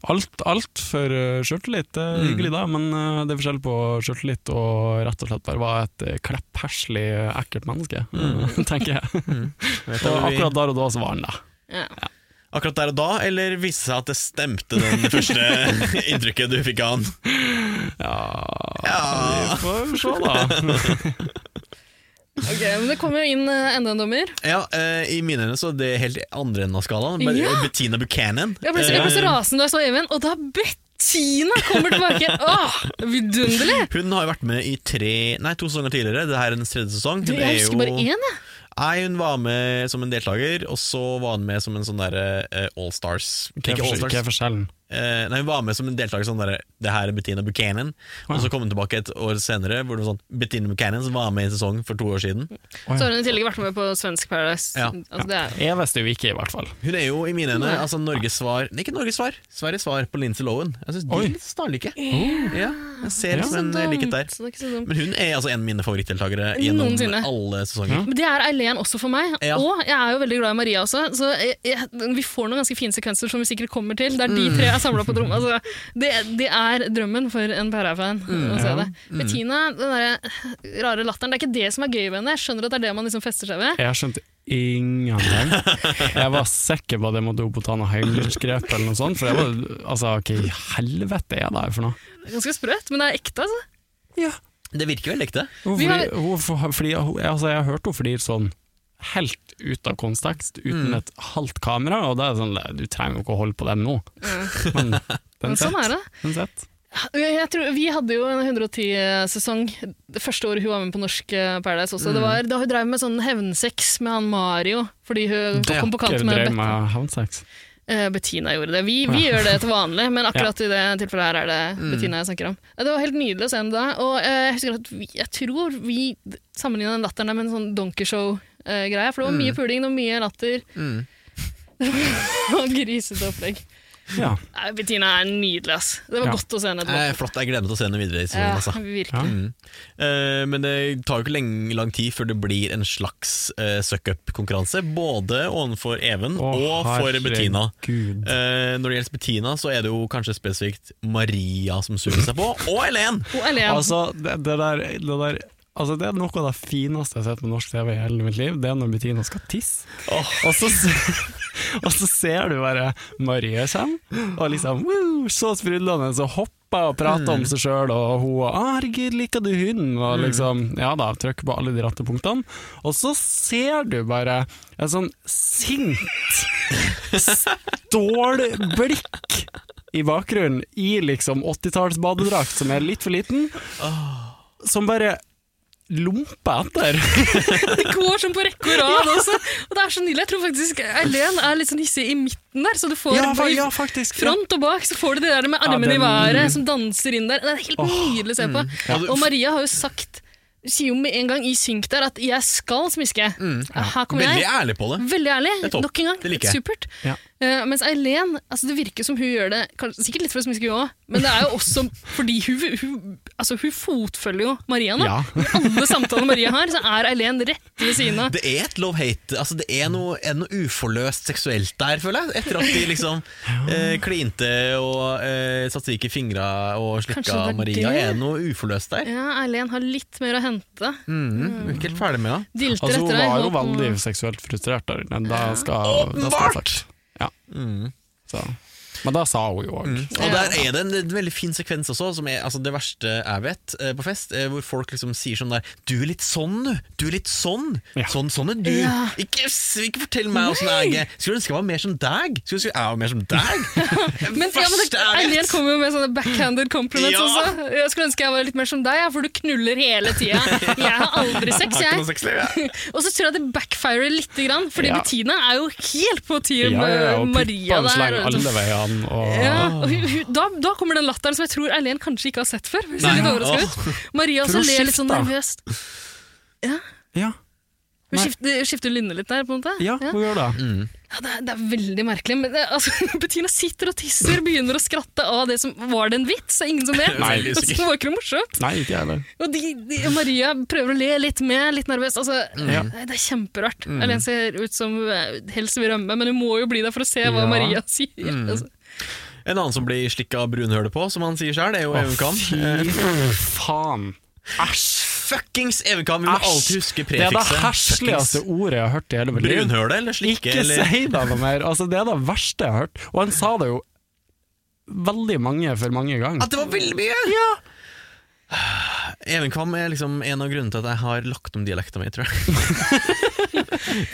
S1: Alt, alt for øh, sjøltillit. Det
S2: Mm.
S1: er hyggelig, da, men øh, det er forskjell på sjøltillit og rett og slett bare være et øh, kleppherslig, øh, ekkelt menneske,
S2: Mm.
S1: tenker jeg.
S2: Vet du
S1: Og
S2: hvor vi-
S1: akkurat der og da så var han det.
S3: Ja.
S2: akkurat der og da, eller viste det seg at det stemte, den første inntrykket du fikk av han? Ja.
S1: Vi får se, da.
S3: Ok, men det kommer jo inn eh, enda en dommer.
S2: ja eh, I mine øyne så er det helt andre enden av skalaen. Be-
S3: Ja.
S2: Bettina Buchanan.
S3: Jeg ble så, jeg ble så
S2: Eh,
S3: rasende da jeg så Even, og da Bettina kommer tilbake! Åh, vidunderlig!
S2: Hun har jo vært med i tre, nei, to sesonger tidligere. Det her er hennes tredje sesong. Hun
S3: Jeg
S2: er
S3: husker
S2: jo-
S3: bare én, jeg.
S2: Nei, hun var med som en deltaker, og så var hun med som en sånn derre eh, All Stars.
S1: Hva er
S2: Ikke All
S1: forskjell-
S2: Stars.
S1: hva er forskjellen?
S2: Eh, nei, Hun var med som en deltaker sånn der, Det her er Bettina Buchanan. Og så kom hun tilbake et år senere. Hvor det var sånn Bettina Buchanan som var med i en sesong for to år siden.
S1: Å,
S3: Så
S1: ja.
S3: har hun i tillegg vært med på Svensk Paradise.
S2: Ja.
S3: Altså, det er,
S1: Jeg visste jo ikke, i hvert fall.
S2: Hun er jo i mine øyne altså, Norges svar Nei, ikke Norges svar, Sveriges svar på Lindsay Lohan. Jeg synes de
S1: Oi.
S2: er litt snarlike. Ja, jeg ser
S1: Ja.
S2: liksom en
S3: så
S2: likhet
S3: dumt,
S2: der.
S3: så det er ikke så dumt.
S2: Men hun er altså en av mine favorittdeltakere gjennom
S3: Noensinne.
S2: alle sesonger.
S3: Men det er Eileen også for meg,
S2: Ja.
S3: og jeg er jo veldig glad i Maria også. Så jeg, jeg, vi får noen ganske fine sekvenser som vi sikkert kommer til, der de tre er samla på et rom. Altså, det, det er drømmen for en Perra-fan å se
S1: Ja.
S3: det. Bettina, den derre rare latteren, det er ikke det som er gøy ved henne. Jeg skjønner at det er det man liksom fester seg ved.
S1: Jeg skjønte ingenting. Jeg var sikker på at jeg måtte opp og ta noe høyreskrep eller noe sånt, for jeg var altså, hva i helvete er det her for noe?
S3: Det er Ganske sprøtt, men det er ekte, altså.
S2: Det virker veldig ekte.
S1: Hun
S3: Vi har-
S1: flir- hun f- fordi, hun, altså, jeg har hørt henne flir sånn helt ut av kontekst, uten et halvt kamera, og da er det sånn Du trenger jo ikke å holde på dem nå. Mm. Men den
S3: Men sånn
S1: sett.
S3: er det.
S1: Den sett.
S3: Jeg jeg tror, vi hadde jo en 110-sesong det første året hun var med på Norsk eh, Paradise også.
S2: Mm.
S3: Det var da hun drev med sånn hevnsex med han Mario, fordi hun
S2: Det
S3: kom på kant
S1: Dere
S3: med
S1: drev
S3: Bet
S1: med havnsex.
S3: eh, Bettina gjorde det. Vi, vi gjør det til vanlig, men akkurat i det tilfellet her er det
S2: Mm.
S3: Bettina jeg snakker om. Eh, Det var helt nydelig å se henne da, og eh, jeg husker at vi, jeg tror vi sammenligna den latteren der med en sånn Donkey Show-greie, for det var mye puling og mye latter.
S2: Mm.
S3: og grisete opplegg.
S1: Ja.
S3: Nei, Bettina er nydelig, ass. Det var
S1: Ja.
S3: godt å se henne etterpå.
S2: Eh, flott, jeg gleder meg til å se henne videre i sesongen.
S3: Ja,
S2: Altså.
S3: virkelig.
S1: ja.
S2: Mm. Eh, men det tar jo ikke lenge, lang tid før det blir en slags eh, suck up-konkurranse, både overfor Even
S1: Å,
S2: og for
S1: herregud.
S2: Bettina.
S1: Gud.
S2: Eh, når det gjelder Bettina, så er det jo kanskje spesifikt Maria som suger seg på, og Helen!
S3: Og Elen.
S1: Altså, det, det der, det der Altså, det er noe av det fineste jeg har sett på norsk TV i hele mitt liv. Det er når Bettina skal tisse, og, så, se- og så ser du bare Marie kommer, og liksom woo, så sprudlende, så hopper og prater om seg sjøl, og hun «Å, 'herregud, liker du hunden?' og liksom Ja da, trykker på alle de rette punktene. Og så ser du bare en sånn sint stålblikk i bakgrunnen i liksom 80-talls badedrakt som er litt for liten, som bare lomper etter.
S3: Det går sånn på rekke og rad også. Og det er så nydelig. Jeg tror faktisk Elen er litt sånn hissig i midten der, så du får
S1: fa-
S3: i
S1: faktisk. ja.
S3: front og bak, så får du det der med
S1: Ja,
S3: armene
S1: den-
S3: i været som danser inn der. Det er helt nydelig å se på.
S2: mm.
S3: Og Maria har jo sagt, sier jo med en gang i synk der, at 'jeg skal smiske'. Her kommer
S2: Mm. Veldig
S3: jeg.
S2: ærlig på det.
S3: Veldig ærlig.
S2: Det er topp.
S3: Nok en gang.
S2: Det liker jeg.
S3: Supert.
S1: Ja.
S3: Eh, mens Eileen altså Det virker som hun gjør det kanskje, sikkert litt for å smiske, hun òg, men det er jo også fordi hun, hun, altså, hun fotfølger jo Maria nå.
S1: Ja.
S3: I alle samtaler Maria har, så er Eileen rett ved siden av.
S2: Det er et love-hate. Altså, det er noe, er noe uforløst seksuelt der, føler jeg. Etter at de liksom eh, klinte og eh, satte ikke fingra og
S3: Kanskje
S2: slikka
S3: det er
S2: Maria.
S3: det?
S2: Er det noe uforløst der?
S3: Ja, Eileen har litt mer å hente.
S2: Mm, ikke helt ferdig med det.
S3: Dilter
S1: Altså, hun
S3: etter deg.
S1: var jo
S3: holdt på-
S1: veldig seksuelt frustrert der inne. Da skal, da skal jeg sagt. Ja. Så. Men da sa hun jo òg.
S2: Og der er det en, en veldig fin sekvens også, som er altså, det verste jeg vet eh, på fest, eh, hvor folk liksom sier sånn der Du er litt sånn, du. Du er litt sånn.
S1: Ja.
S2: Sånn, sånn er du.
S3: Ja.
S2: Ikke, ikke fortell meg åssen jeg er. Skulle ønske jeg var mer som deg. Skulle ønske jeg var mer som deg.
S3: Men, ja, men det,
S2: Verste jeg vet.
S3: Eileen kommer jo med sånne backhanded compliments
S2: Ja.
S3: også. Jeg skulle ønske jeg var litt mer som deg, ja, for du knuller hele tida. Jeg har aldri
S2: Har
S3: sex,
S2: ikke
S3: jeg.
S2: noe sexliv, jeg.
S3: Og så tror jeg det backfirer litt, grann, fordi
S1: Ja.
S3: Bettina er jo helt på
S1: Ja,
S3: team
S1: ja, ja,
S3: eh,
S1: og
S3: Maria
S1: puppene slang
S3: der.
S1: alle Ah. veiene. Og,
S3: Ja, og hun, hun, da, da kommer den latteren som jeg tror Eileen kanskje ikke har sett før. Hun ser
S2: Nei.
S3: litt overrasket
S1: Ah.
S3: ut. Maria
S1: For
S3: også
S1: hun
S3: ler litt sånn
S1: skifter.
S3: nervøst.
S1: ja.
S3: Hun
S1: Nei.
S3: skifter, skifter lynne litt der, på en måte.
S1: ja,
S3: Ja.
S1: hun gjør det.
S3: Ja, det, er, det er veldig merkelig. Men det, altså, Bettina sitter og tisser, begynner å skratte av det som var det en vits. Det er ingen som ler.
S2: Nei, det er
S3: altså,
S2: sikkert.
S3: det var ikke noe morsomt.
S1: Nei, ikke jeg heller.
S3: Og de, de, Maria prøver å le litt med, litt nervøst. Altså,
S2: Mm.
S1: Ja.
S3: nei, Det er kjemperart. Eileen ser ut som eh, helst vil rømme, men hun må jo bli der for å se hva
S1: Ja.
S3: Maria sier.
S2: Mm.
S3: Altså.
S2: En annen som blir slikka av brunhølet på, som han sier sjøl, er jo Even Kam.
S1: Fy faen.
S2: Fuckings Even Kam! Vi må
S1: Æsj.
S2: alltid huske
S1: Det er det
S2: prefikset.
S1: herskeligste
S2: Fuckings
S1: ordet jeg har hørt i hele mitt liv.
S2: Brunhøle eller slikke
S1: Ikke
S2: eller
S1: si det noe mer! Altså, det er det verste jeg har hørt. Og han sa det jo veldig mange for mange ganger.
S2: At det var veldig mye! Ja Even Kam er liksom en av grunnene til at jeg har lagt om dialekta mi, tror jeg.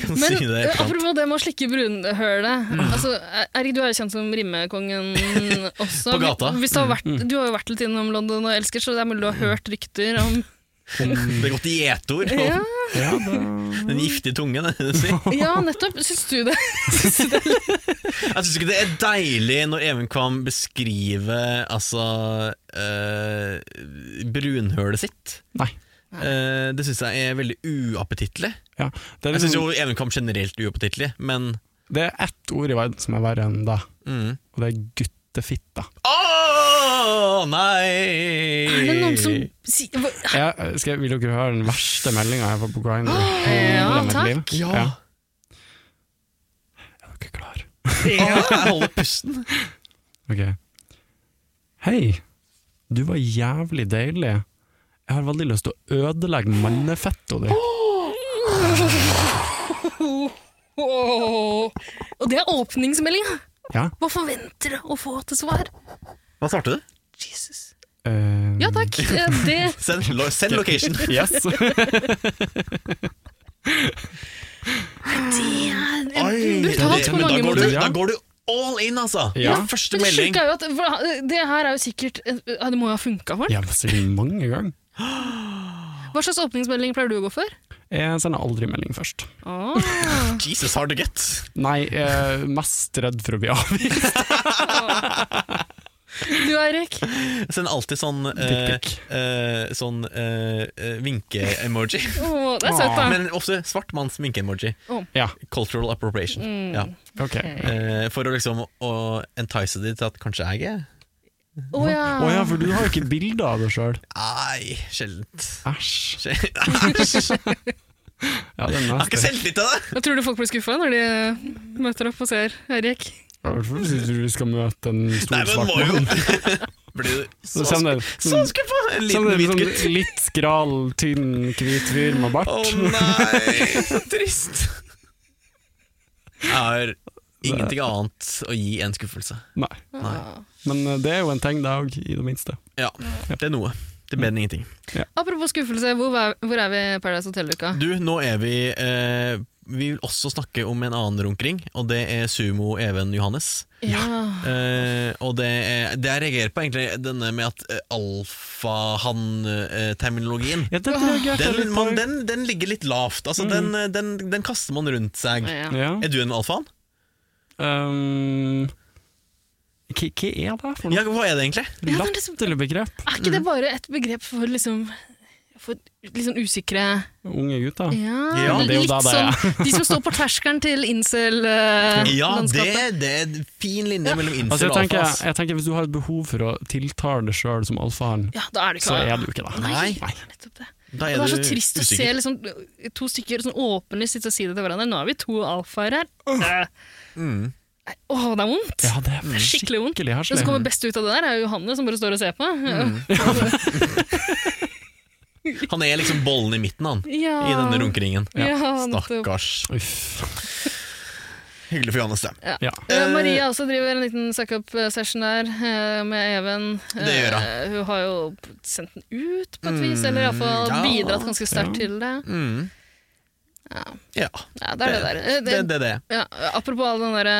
S2: kan si
S3: Men
S2: det Mm.
S3: eh,
S2: etterkant.
S3: apropos det med å slikke brunhølet. Altså, Erik, du er jo kjent som rimekongen også.
S2: På gata. Mm.
S3: Hvis du, har vært, du har jo vært litt innom London og elsker, så det er mulig du har hørt rykter om
S2: Det er godt gjetord. og
S3: Ja,
S1: Ja, det...
S2: Den giftige tungen. er det det du sier.
S3: ja nettopp. Syns du det?
S2: Jeg syns ikke det er deilig når Even Kvam beskriver altså eh, brunhølet sitt.
S1: Nei.
S2: Eh, det syns jeg er veldig uappetittlig.
S1: Ja. Det, er
S2: Jeg syns jo
S3: Mm.
S1: liksom,
S2: Even Kvam generelt er uappetittlig, men
S1: det er ett ord i verden som er verre enn det,
S2: mm.
S1: og det er guttefitta.
S2: Åh, nei!
S3: Er det noen som sier hva-
S1: Jeg, skal, vil dere høre den verste meldinga jeg får på Grindr i
S3: Ja,
S1: hele mitt
S3: takk.
S1: liv?
S2: Ja.
S1: Er dere klare?
S2: Åh, jeg holder pusten.
S1: Ok. Hei, du var jævlig deilig. Jeg har veldig lyst til å ødelegge mannefetto di.
S3: Åh. Og det er åpningsmeldinga!
S1: Ja.
S3: Hva forventer du å få til svar?
S2: Hva svarte du?
S3: Jesus.
S1: eh,
S3: Ja takk, eh, det
S2: Send, lo, send location.
S1: Yes.
S3: jeg-
S2: Oi,
S3: jeg- brutalt
S2: det-
S3: på
S2: men da
S3: mange
S2: går du-
S3: måter.
S1: Ja.
S2: Da går du all in, altså!
S1: Ja.
S2: Den første
S3: Men det
S2: melding.
S3: sjuke er jo at for, Det her er jo sikkert ja, Det må jo ha funka for den.
S1: Jeg har bestilt mange ganger.
S3: Hva slags åpningsmelding pleier du å gå for?
S1: Jeg sender aldri melding først.
S3: Åh,
S2: Jesus, hard to get.
S1: Nei, jeg er mest redd for å bli avvist.
S3: du Eirik.
S2: Send alltid sånn eh,
S1: Dick pic.
S2: eh, Sånn eh, eh, vinke-emoji.
S3: Åh, det er søtt, da.
S2: Men ofte svart manns vinke-emoji.
S1: Ja,
S2: Cultural appropriation.
S3: Mm.
S2: Ja.
S1: ok.
S2: Eh, for å liksom å entice de til at kanskje jeg er
S3: Å ja.
S1: Å ja, for du har jo ikke bilde av det sjøl.
S2: Nei, sjeldent.
S3: Ah.
S1: Æsj.
S2: Sj- Æsj! Jeg
S1: Ja, den er
S2: har ikke selvtillit til det!
S3: Jeg tror du folk blir skuffa når de møter opp og ser Eirik?
S1: Hvorfor syns du vi skal møte en
S2: Nei,
S1: stor
S2: men
S1: svart
S2: må jo
S1: mann?
S2: Blir du så,
S1: Så
S2: sk-
S1: kommer det
S2: så
S1: sånn-
S2: skuffa! Mm. En
S1: sånn
S2: liten
S1: en
S2: hvit
S1: sånn
S2: gutt.
S1: litt skral, tynn, hvit fyr med bart.
S2: Å nei, så trist. Jeg har ingenting annet å gi enn skuffelse.
S1: Nei. Men eh, det er jo en tegn, det òg, i det minste.
S2: Ja, det er noe. Det er bedre enn ingenting.
S3: Apropos skuffelse, hvor er, hvor er vi i Paradise Hotel-uka?
S2: Du, nå er vi eh, Vi vil også snakke om en annen runkering, og det er Sumo Even Johannes.
S3: Ja.
S2: Eh, og det, er, det jeg reagerer på, egentlig, denne med at eh, alfahann-terminologien
S1: Ja, den reagerte jeg
S2: den,
S1: Ah. litt på.
S2: man, den, den ligger litt lavt. Altså, den, eh, den, den kaster man rundt seg.
S3: Ja.
S1: Ja.
S2: Er du en alfahann?
S1: Um, hva, hva er det for noe
S2: Ja, hva er det egentlig?
S3: men det er liksom-
S1: latterbegrep?
S3: Er ikke det bare et begrep for liksom for litt sånn usikre
S1: Unge gutter.
S3: Ja,
S2: Ja,
S1: det er jo
S3: litt
S1: da det er.
S3: sånn De som står på terskelen til eh, incel-landskapet.
S2: Ja, det, det er en fin linje mellom
S1: Altså, jeg,
S2: incel og alfa.
S1: tenker,
S2: ass.
S1: jeg tenker Hvis du har et behov for å tiltale deg sjøl som alfaen,
S3: ja, da er det ikke
S1: så er du ikke det.
S3: Nei.
S2: Nei.
S3: Nettopp det.
S2: Da
S3: Og det er så trist å se
S2: usikker.
S3: liksom, to stykker sånn åpenlig sitte og si det til hverandre. Nå er vi to alfaer her. Øh. Nei, Åh, det er vondt.
S1: Ja, det er
S3: Skikkelig vondt.
S1: skikkelig
S3: Det
S1: heslig.
S3: som Mm. kommer best ut av det der, er jo Johanne som bare står og ser på.
S2: Han er liksom bollen i midten, han.
S3: Ja.
S2: I denne runkeringen.
S3: Ja, nettopp.
S2: Stakkars.
S1: Uff.
S2: Hyggelig for Johannes, det.
S1: Ja.
S3: Eh, Maria også driver en liten suck-up-session der eh, med Even. Eh,
S2: Det gjør hun. Mm,
S3: Hun har jo sendt den ut på et vis, eller iallfall
S2: ja.
S3: bidratt ganske sterkt
S1: Ja.
S3: til det.
S2: Mm.
S3: Ja.
S2: Ja.
S3: ja, det er det der. Eh,
S2: Det er det. det.
S3: Ja, apropos all den derre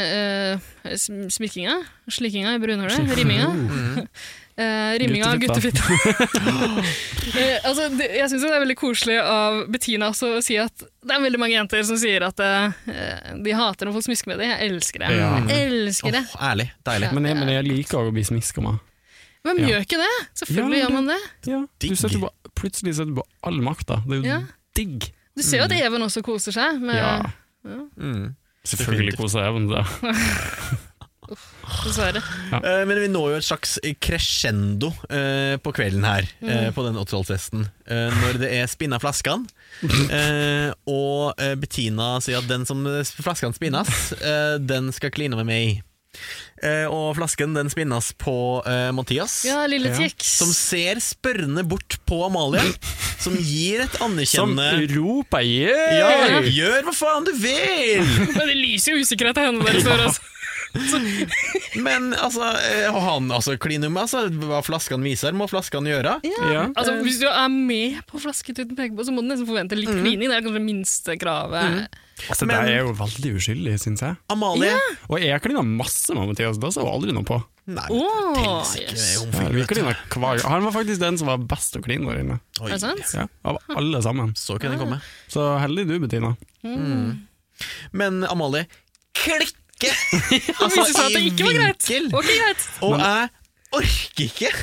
S3: eh, sm- smikkinga, slikkinga i brunhullet, rimminga.
S1: Mm.
S2: Mm.
S3: Eh, rimminga av
S1: Guttefitta.
S3: guttefitta. Eh, altså, det, jeg syns det er veldig koselig av Bettina også å si at det er veldig mange jenter som sier at eh, de hater når folk smisker med dem. Jeg elsker det.
S1: Ja.
S3: Jeg elsker det.
S2: Åh, ærlig. Deilig.
S1: Men, jeg, men jeg liker også å bli smiska med.
S3: Hvem
S1: Ja.
S3: gjør ikke det? Selvfølgelig
S1: Ja,
S3: gjør man det.
S1: Ja. Du
S2: Digg.
S1: setter på, plutselig setter du på all makta. Det er jo
S3: Ja.
S1: digg.
S3: Du ser jo at Even også koser seg med
S1: Mm. Ja.
S2: Mm.
S1: Selvfølgelig koser jeg meg med det.
S3: Dessverre.
S2: Eh, Men vi når jo et slags crescendo eh, på kvelden her, eh, på den 80-tallsfesten. eh, når det er spinna flaskene, eh, og eh, Bettina sier at den som flaskene spinnes, eh, den skal kline med meg. Eh, og flasken den spinnes på eh, Mathias.
S3: Ja, lille
S1: Ja.
S3: Tix.
S2: Som ser spørrende bort på Amalie, som gir et
S1: Som
S2: anerkjennende
S1: roper yeah!
S2: ja, Gjør hva faen du vil!
S3: Men det lyser jo usikkerhet av hendene deres. altså.
S2: Men altså, eh, han altså, kliner med altså, hva flaskene viser, må flaskene gjøre.
S1: Ja.
S3: Altså, hvis du er med på flasketuten peker på, så må du nesten forvente litt klining. Det er kanskje det minste kravet.
S1: Altså,
S2: Men-
S1: det er jo veldig uskyldig, syns jeg.
S2: Amalie
S1: Og jeg klina masse med Mathias, da så hun aldri noe på.
S2: Nei,
S3: Åh,
S2: pelsike, det er
S3: yes.
S1: Ja,
S2: homofil,
S1: vi
S2: vet du.
S1: klinet hver gang. Han var faktisk den som var best å kline der inne.
S2: Oi,
S3: Er det sant? Ah.
S1: Ja, av alle sammen.
S2: Så kunne det komme.
S1: Så heldig du, Bettina.
S2: Men Amalie klikke!
S3: Det viser seg at det ikke var greit.
S2: vinkel.
S3: Ok, greit.
S2: Og jeg orker ikke!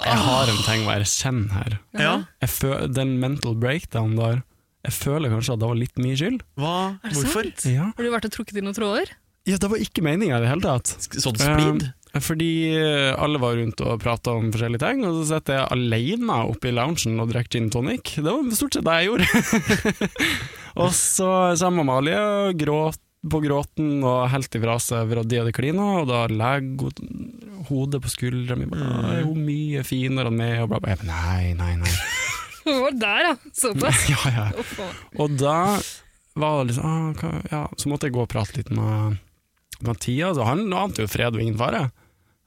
S1: Jeg har en ting å erkjenne her.
S2: Ja,
S1: Jeg fø- den mental breakdown der, jeg føler kanskje at det var litt mye skyld.
S2: hva?
S3: det
S2: Hvorfor?
S3: sant? Har du vært og trukket i noen tråder?
S1: Ja, det var ikke meninga i det hele tatt.
S2: Sånn splid?
S1: Eh, Fordi eh, alle var rundt og prata om forskjellige ting, og så satt jeg alene oppe i loungen og drakk gin tonic. Det var stort sett det jeg gjorde. og så kommer Amalie og gråt på gråten og helt ifra seg for at de hadde klina, og da legger hun hodet på skuldra mi bare, «Å, Er hun mye finere enn meg? Og bla, bla. Jeg bare, Nei, nei, nei.
S3: Det var der, ja. Såpass.
S1: ja, ja.
S3: Å, faen.
S1: Og da var det liksom ah, hva, ja. Så måtte jeg gå og prate litt med Mathias, og han ante jo fred og ingen fare.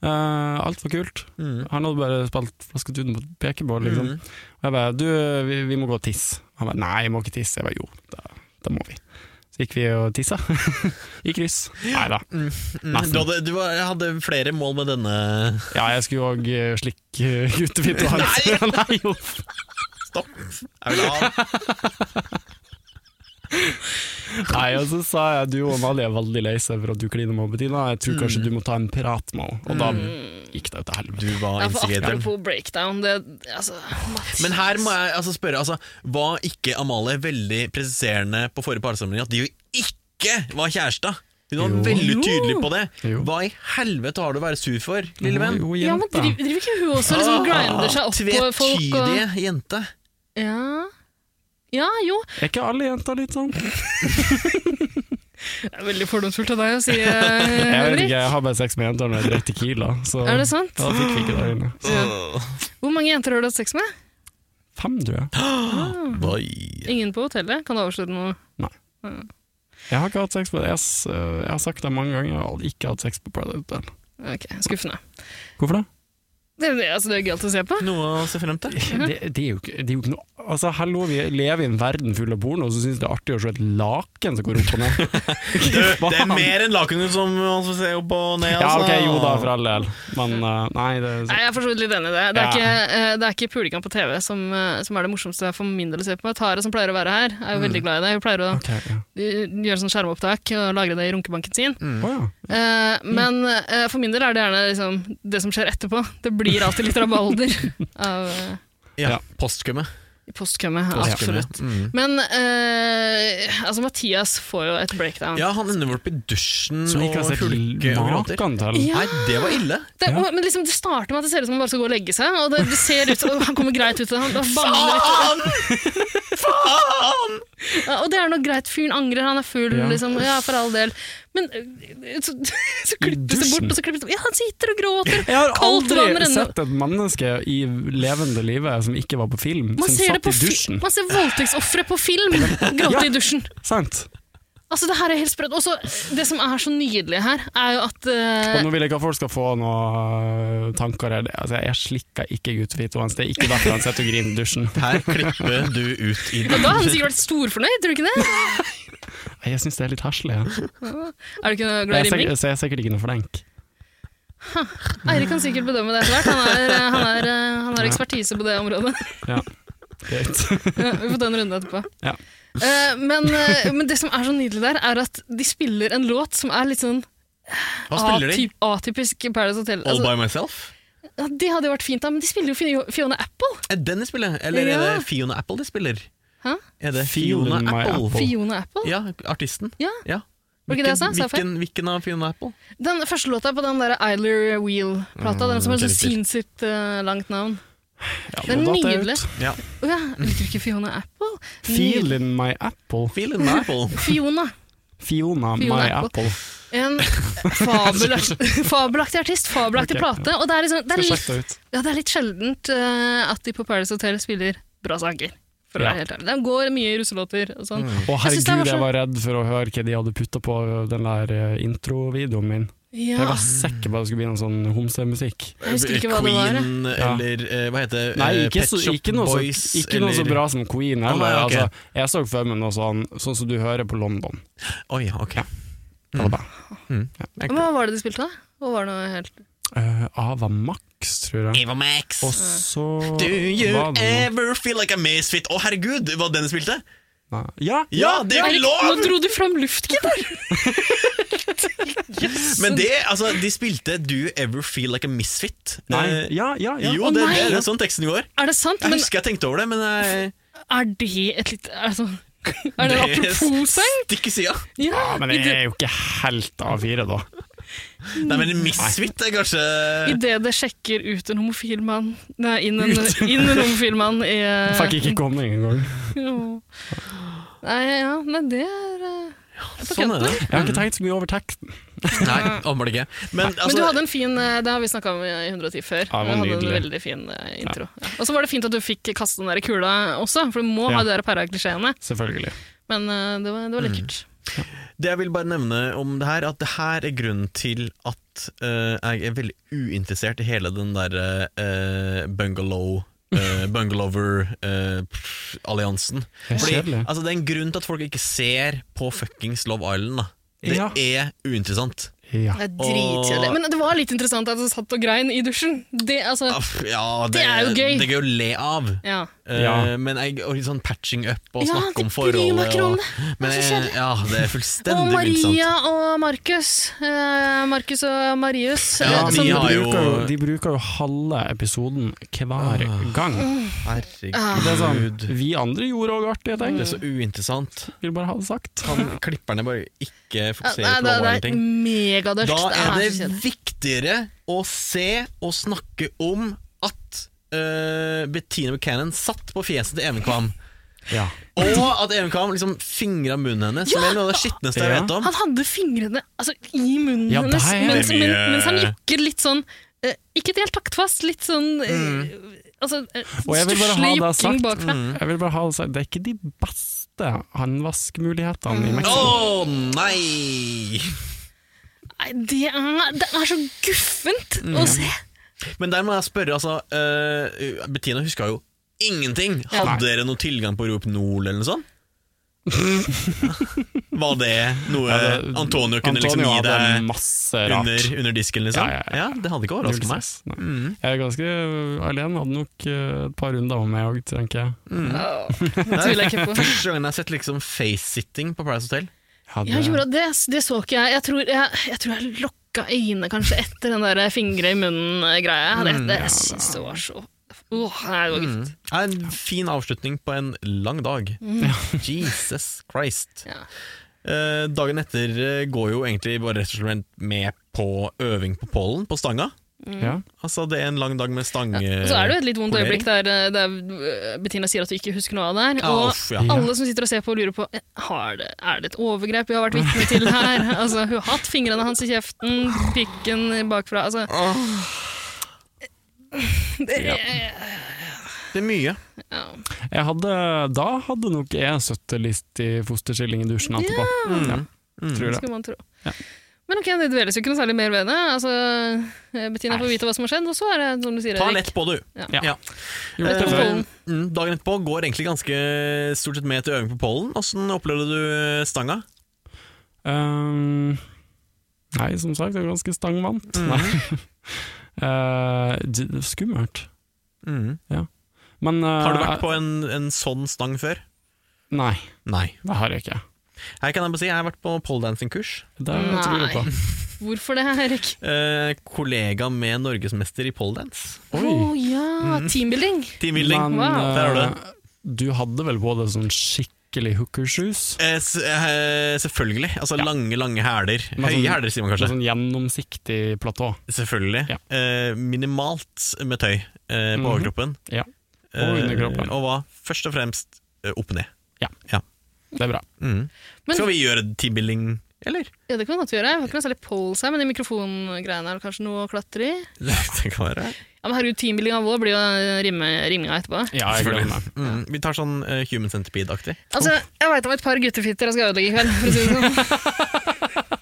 S1: Eh, alt var kult.
S2: Mm.
S1: Han hadde bare spilt Flasketuten på pekeball, liksom.
S2: Mm.
S1: Og jeg bare 'du, vi, vi må gå og tisse'. Han bare 'nei, jeg må ikke tisse'. Jeg bare 'jo, da det må vi. Så gikk vi og tissa. I kryss. Nei da.
S2: Mm, du hadde, du var, hadde flere mål med denne
S1: Ja, jeg skulle òg slikke guttefitt og
S2: Nei!
S1: Nei, jo.
S2: Stopp! Jeg vil ha
S1: Nei, og så sa jeg du og Mali er veldig lei seg for at du kliner med Bettina. Jeg tror kanskje du må ta en prat med henne. Og da gikk det jo til helvete.
S2: Du var
S3: Ja, for
S2: instigatoren.
S3: apropos breakdown, det altså,
S2: Men her må jeg altså spørre, altså, var ikke Amalie veldig presiserende på forrige parsamling at de jo ikke var kjærester? Hun var
S1: Jo.
S2: veldig tydelig på det.
S1: Jo.
S2: Hva i helvete har du å være sur for, lille venn?
S1: Jo,
S3: Ja, men
S1: jenta. Ah,
S3: driver, driver ikke hun også og liksom grinder seg opp på folk? Og,
S2: Tvetydige jente.
S3: ja. ja, jo.
S1: Er ikke alle jenter litt sånn?
S3: Det er veldig fordomsfullt av deg å si, eh,
S1: Jeg vet
S3: Henrik.
S1: ikke, jeg har bare sex med jenter når jeg drar til Kiel, da. Så
S3: Er
S1: ja,
S3: det sant?
S1: da fikk vi ikke det inne.
S3: Hvor mange jenter har du hatt sex med?
S1: Fem, tror jeg.
S2: Oi.
S3: Ingen på hotellet? Kan du avsløre noe?
S1: Jeg har ikke hatt sex på det. Jeg, s- jeg har sagt det mange ganger, jeg har ikke hatt sex på Pride Hotel.
S3: Ok, Skuffende.
S1: Hvorfor det?
S3: Det, det, altså, det er gøy å se på.
S2: Noe å se frem til.
S3: Mhm.
S1: Det, det, er jo ikke, det er jo ikke noe Altså, hallo, vi lever i en verden full av porno, og så syns det er artig å se et laken som går opp og ned.
S2: Det er mer enn lakenet som man får se opp og ned.
S1: Ja,
S2: altså.
S1: ok, jo da, for all del, men eh, nei, det
S3: Nei, Jeg er for så vidt litt enig i det. Det er
S1: Ja.
S3: ikke, eh, det er ikke pulekamp på TV som, eh, som er det morsomste for min del å se på. Tara, som pleier å være her, er jo veldig
S1: Mm.
S3: glad i det. Hun pleier å
S1: Ok, ja.
S3: eh, gjøre sånn skjermopptak og lagre det i runkebanken sin.
S1: Å, ja.
S3: Eh, men eh, for min del er det gjerne liksom, det som skjer etterpå. Det blir alltid litt rabalder av eh,
S2: Ja,
S1: Ja.
S2: Postkømme.
S3: postkømme.
S2: Postkømme.
S3: Absolutt.
S2: Mm.
S3: Men eh, altså, Mathias får jo et breakdown.
S2: Ja, han ender opp i dusjen
S1: Som
S2: og
S1: ikke har sett
S2: hulke og gråter.
S1: maken til.
S3: Ja.
S2: Nei, det var ille.
S3: Det,
S1: Ja.
S3: Men liksom, det starter med at det ser ut som han bare skal gå og legge seg. Og det, det ser ut som, Han kommer greit ut av det. Han, han banner litt.
S2: Faen!
S3: Ja, og det er nok greit, fyren angrer, han er full,
S1: Ja.
S3: liksom, ja, for all del. Men øh, så, så klippes det
S1: dusjen.
S3: bort, og så klippes det Ja, han sitter og gråter!
S1: Jeg har
S3: Kaldt vann
S1: aldri
S3: renner.
S1: sett et menneske i levende livet som ikke var på film,
S3: Man
S1: som
S3: ser, det
S1: satt
S3: på
S1: i
S3: fi-
S1: dusjen.
S3: man ser voldtektsofre på film gråte i dusjen.
S1: Sant?
S3: Altså, det her er helt sprøtt. Og så, det som er så nydelig her, er jo at øh,
S1: Og nå vil jeg ikke at folk skal få noen øh, tanker. eller- Altså, jeg slikker ikke guttefitt hans. Det er ikke derfor han sitter og griner i dusjen.
S2: Her klipper du ut i
S3: Da har han sikkert vært storfornøyd, tror du ikke det?
S1: Nei, Jeg syns det er litt heslig. Ja.
S3: Er du ikke noe
S1: Jeg er
S3: glad i riming?
S1: sikkert, så jeg er sikkert ikke noe flink.
S3: Eirik kan sikkert bedømme det etter hvert. Han, er, øh, han, er, øh, han har ekspertise på det området.
S1: Greit.
S3: Ja, vi får ta en runde etterpå.
S1: Ja.
S3: Eh, men, eh, men det som er så nydelig der, er at de spiller en låt som er litt sånn
S2: Hva spiller de?
S3: atyp- atypisk Paradise Hotel.
S2: All
S3: Ah, Altså,
S2: by myself?
S3: ja, det hadde jo vært fint, da, men de spiller jo Fio- Fiona Apple.
S2: Er Eh, den de spiller? Eller er
S3: Ja.
S2: det Fiona Apple de spiller?
S3: Hæ?
S2: Er det
S1: Fiona
S2: Fiona
S1: My
S2: Apple?
S1: Apple.
S3: Fiona Apple?
S2: Ja, artisten.
S3: Ja. Var det ikke det jeg sa? Sa jeg
S2: Hvilken, hvilken,
S3: feil?
S2: hvilken av Fiona Apple?
S3: Den første låta er på den der Eiler Wheel-plata, den som har
S2: det
S3: så
S2: er riktig.
S3: sinnssykt eh, langt navn.
S1: Ja,
S3: Det er
S1: nå datt jeg ut.
S3: nydelig.
S2: Ja.
S3: Å ja, liker du ikke Fiona Apple? Nydelig.
S1: Feel in my apple.
S2: Feeling My Apple.
S3: Fiona.
S1: Fiona,
S3: Fiona
S1: my
S3: Apple.
S1: apple.
S3: En fabelaktig, fabelaktig artist, fabelaktig
S1: Ok.
S3: plate. Og det er, liksom, det
S1: Skal
S3: er litt
S1: sjekke det ut.
S3: Ja, det er litt sjeldent eh, at de på Paradise Hotel spiller bra sanger. For å
S1: Ja. Mm.
S3: være helt ærlig. De går mye i russelåter og sånn.
S1: Å
S3: Jeg synes det var
S1: herregud,
S3: så-
S1: jeg var redd for å høre hva de hadde putta på den der øh, introvideoen min. Jeg
S3: Ja.
S1: var sikker på at det skulle bli noe sånn homsemusikk.
S3: Jeg husker ikke hva det var.
S2: Queen
S1: Ja.
S2: eller eh, hva heter det?
S1: Nei,
S2: Eh,
S1: ikke,
S2: Pet
S1: så,
S2: Shop
S1: ikke, noe,
S2: Boys,
S1: så, ikke noe så
S2: eller-
S1: bra som Queen heller.
S2: nei, ok.
S1: altså, jeg så for meg noe sånn, sånn som du hører på London.
S2: Oi, ok.
S1: Eller bare,
S3: Hva var det de spilte, da? Hva var det noe helt
S1: øh, Ava Max, tror jeg.
S2: Eva Max.
S1: Og så
S2: Do you
S1: var det noe
S2: ever feel like a misfit? Å, herregud, hva den spilte?
S1: Nei. Ja!
S2: Ja, det er jo
S3: Erik,
S2: ikke lov!
S3: nå dro du fram luftgitar!
S2: Men det, altså, de spilte Do you ever feel like a misfit?
S1: Nei.
S2: Eh,
S1: Ja, ja, ja.
S2: Jo,
S3: Å,
S2: det,
S3: nei.
S2: det, det er sånn teksten går.
S3: Er det sant?
S2: Jeg
S3: Men
S2: husker jeg tenkte over det, men jeg,
S3: er det et litt Er det, sånn, er det en
S2: Det er-
S3: apropos-sang?
S2: stikk i sida.
S3: Ja,
S1: Men
S3: i
S1: det
S3: det-
S1: er jo ikke helt A4, da.
S2: Nei, men misfit er kanskje
S3: Idet det sjekker ut en homofil mann Nei, inn en, inn en homofil mann i eh,
S1: Fikk ikke komme engang.
S3: jo. Nei, ja, men det er eh, på
S2: Sånn er det.
S1: Jeg har ikke tenkt så mye over teksten.
S2: Nei, åpenbart ikke. Men, altså,
S3: Men du hadde en fin, eh, det har vi snakka om i 110 før.
S1: Ja, det var
S3: du hadde en
S1: nydelig.
S3: veldig fin eh, intro. Ja. Og så var det fint at du fikk kaste den der kula også, for du må
S1: Ja.
S3: ha de der paraklisjeene.
S1: Selvfølgelig.
S3: Men eh, det var, det
S2: Mm.
S3: var lekkert.
S2: Det jeg vil bare nevne om det her, at det her er grunnen til at eh, jeg er veldig uinteressert i hele den derre bungalow eh, Bungalover eh, pff, Alliansen.
S1: Det er
S2: Fordi,
S1: kjedelig.
S2: altså, det er en grunn til at folk ikke ser på fuckings Love Island. da Det
S1: Ja.
S2: er uinteressant.
S1: Ja.
S3: Det er dritkjedelig. Men det var litt interessant at du satt og grein i dusjen. Det, altså,
S2: Aff, Ja, det,
S3: Det er jo gøy.
S2: Det er gøy å le av.
S3: ja.
S2: Eh,
S1: Ja.
S2: Men jeg, og litt sånn patching up og
S3: Ja,
S2: snakke
S3: det
S2: om
S3: bryr
S2: forhold.
S3: meg ikke om
S2: og-
S3: det. Det er
S2: Men
S3: så
S2: jeg-
S3: kjedelig.
S2: ja, det er
S3: Og
S2: fullstendig
S3: Maria
S2: uinteressant.
S3: og Markus. Eh, Markus og Marius.
S2: Ja,
S3: eh,
S2: de
S1: altså,
S3: som,
S1: de,
S2: har jo-
S1: bruker jo, de bruker jo halve episoden hver gang.
S3: Ah.
S1: Det er sånn,
S2: Herregud.
S1: vi andre gjorde òg artige ting.
S2: Det er så uinteressant.
S1: Vil bare ha det sagt.
S2: Kan klipperne bare ikke
S3: Ja,
S2: fokusere
S3: Sånn Ah, nei,
S2: på Love
S3: det, det er
S2: Island-ting?
S3: megadørst.
S2: Da er
S3: så
S2: det
S3: kjedelig.
S2: viktigere å se og snakke om at eh, Bettina Buchanan satt på fjeset til Even Kvam.
S1: Ja.
S2: Og at Even Kvam liksom fingra munnen hennes, som er noe av det skitneste jeg
S1: Ja.
S2: vet om.
S3: Han hadde fingrene altså, i munnen
S1: Ja,
S3: hennes,
S1: der er
S3: mens,
S2: det mye-
S3: men, mens han nikker litt sånn eh, Ikke helt taktfast, litt sånn eh, altså, eh,
S1: Mm. Og jeg vil bare ha
S3: stusslig
S1: det
S3: jukking
S1: sagt. Mm.
S3: bakfra.
S1: Jeg vil bare ha altså, det sagt. Det er ikke de beste håndvaskmulighetene i
S2: Å
S1: Mexico.
S2: nei!
S3: Nei, det er, det er så guffent
S1: Mm.
S3: å se!
S2: Men der må jeg spørre, altså eh, Bettina huska jo ingenting.
S3: Ja.
S2: Hadde dere noe tilgang på Rohypnol eller noe sånt? Var det noe
S1: Ja, det-
S2: Antonio kunne liksom
S1: Antonio
S2: gi
S1: hadde
S2: deg
S1: masse rart.
S2: under, under disken,
S1: Ja,
S2: liksom? Ja,
S1: ja, ja.
S2: Det hadde ikke overrasket meg. Mm,
S1: Null stress. Nei. Jeg er ganske alene. Hadde nok eh, et par runder om meg òg, tenker jeg. Mm.
S3: Åh,
S2: mm. Det
S3: tviler jeg
S2: er
S3: ikke på.
S2: første gangen jeg har sett liksom face-sitting på Paradise Hotel.
S1: Hadde-
S3: Ja, gjorde det, det så ikke jeg. Jeg tror jeg, jeg, tror jeg lukka øynene kanskje etter den der fingre i munnen-greia. Det,
S1: Mm.
S3: det, jeg synes det var så Åh, det var guffent.
S2: Mm. Det er en fin avslutning på en lang dag. Jesus Christ.
S3: Mm. Ja.
S2: Eh, dagen etter eh, går jo egentlig bare rett og slett med på øving på pollen, på stanga.
S1: Ja.
S2: Altså, det er en lang dag med stang... eh,
S1: Mm.
S3: Og så er det jo et litt vondt
S2: Polering.
S3: øyeblikk der, eh, der Bettina sier at du ikke husker noe av det her.
S2: Ja,
S3: Og
S2: uff, ja.
S3: alle som sitter og ser på, lurer på eh, har det, er det et overgrep vi har vært vitne til her. altså, hun har hatt fingrene hans i kjeften, pikken bakfra. Altså, det,
S2: Det er mye.
S3: ja.
S1: Jeg hadde, da hadde nok jeg sittet litt i fosterskilling i dusjen etterpå. Ja.
S2: Mm.
S1: Tror det.
S3: skulle man tro. Men ok, det dveles jo ikke noe særlig mer ved det. Altså, eh, Bettina får vite hva som har skjedd, og så er det som du sier,
S2: Ta
S3: Erik.
S2: lett på, du.
S1: Ja.
S2: Ja.
S1: Gjort det
S3: Eh,
S1: før.
S3: pollen.
S2: Mm, dagen etterpå går egentlig ganske eh, stort sett med til øving på pollen. Åssen opplevde du eh, stanga?
S1: Um, nei, som sagt, jeg er ganske stangvant.
S2: Mm.
S1: Nei. Eh, d- det er skummelt.
S2: Mm.
S1: Men eh,
S2: Har du vært på en, en sånn stang før?
S1: Nei,
S2: Nei.
S1: det har jeg ikke.
S2: Her kan jeg bare si, jeg har vært på poledancing-kurs.
S1: Det tror jeg på.
S3: Hvorfor det, Erik?
S2: Eh, kollega med norgesmester i poledance.
S3: Å
S1: Oi.
S3: ja, teambuilding.
S2: Teambuilding.
S1: Men
S3: Wow.
S2: Der har du
S1: eh, du hadde vel på deg sånn skikkelig hookershoes?
S2: Eh, s- eh, selvfølgelig. Altså lange, lange hæler.
S1: Men sånn-
S2: Høye hæler, sier man
S1: Med
S2: kanskje.
S1: sånn gjennomsiktig platå.
S2: Selvfølgelig.
S1: Ja.
S2: Eh, minimalt med tøy eh, på
S1: Mhm.
S2: overkroppen.
S1: Ja. Og
S2: Eh,
S1: underkroppen.
S2: og var først og fremst eh, opp og ned.
S1: Det er bra.
S2: Mhm.
S3: Men-
S2: Skal vi gjøre teambuilding, eller?
S3: Ja, det kan vi godt gjøre. Jeg har ikke noe særlig polls her, men de mikrofongreiene er det kanskje noe å klatre i.
S2: det kan være.
S3: Ja, men herregud, teambuildinga vår blir jo eh, rimme, rimminga etterpå.
S1: Ja, jeg gleder meg.
S2: Mhm. Vi tar sånn eh, human centipede-aktig.
S3: Altså, jeg veit om et par guttefitter jeg skal ødelegge i kveld, for å si det sånn.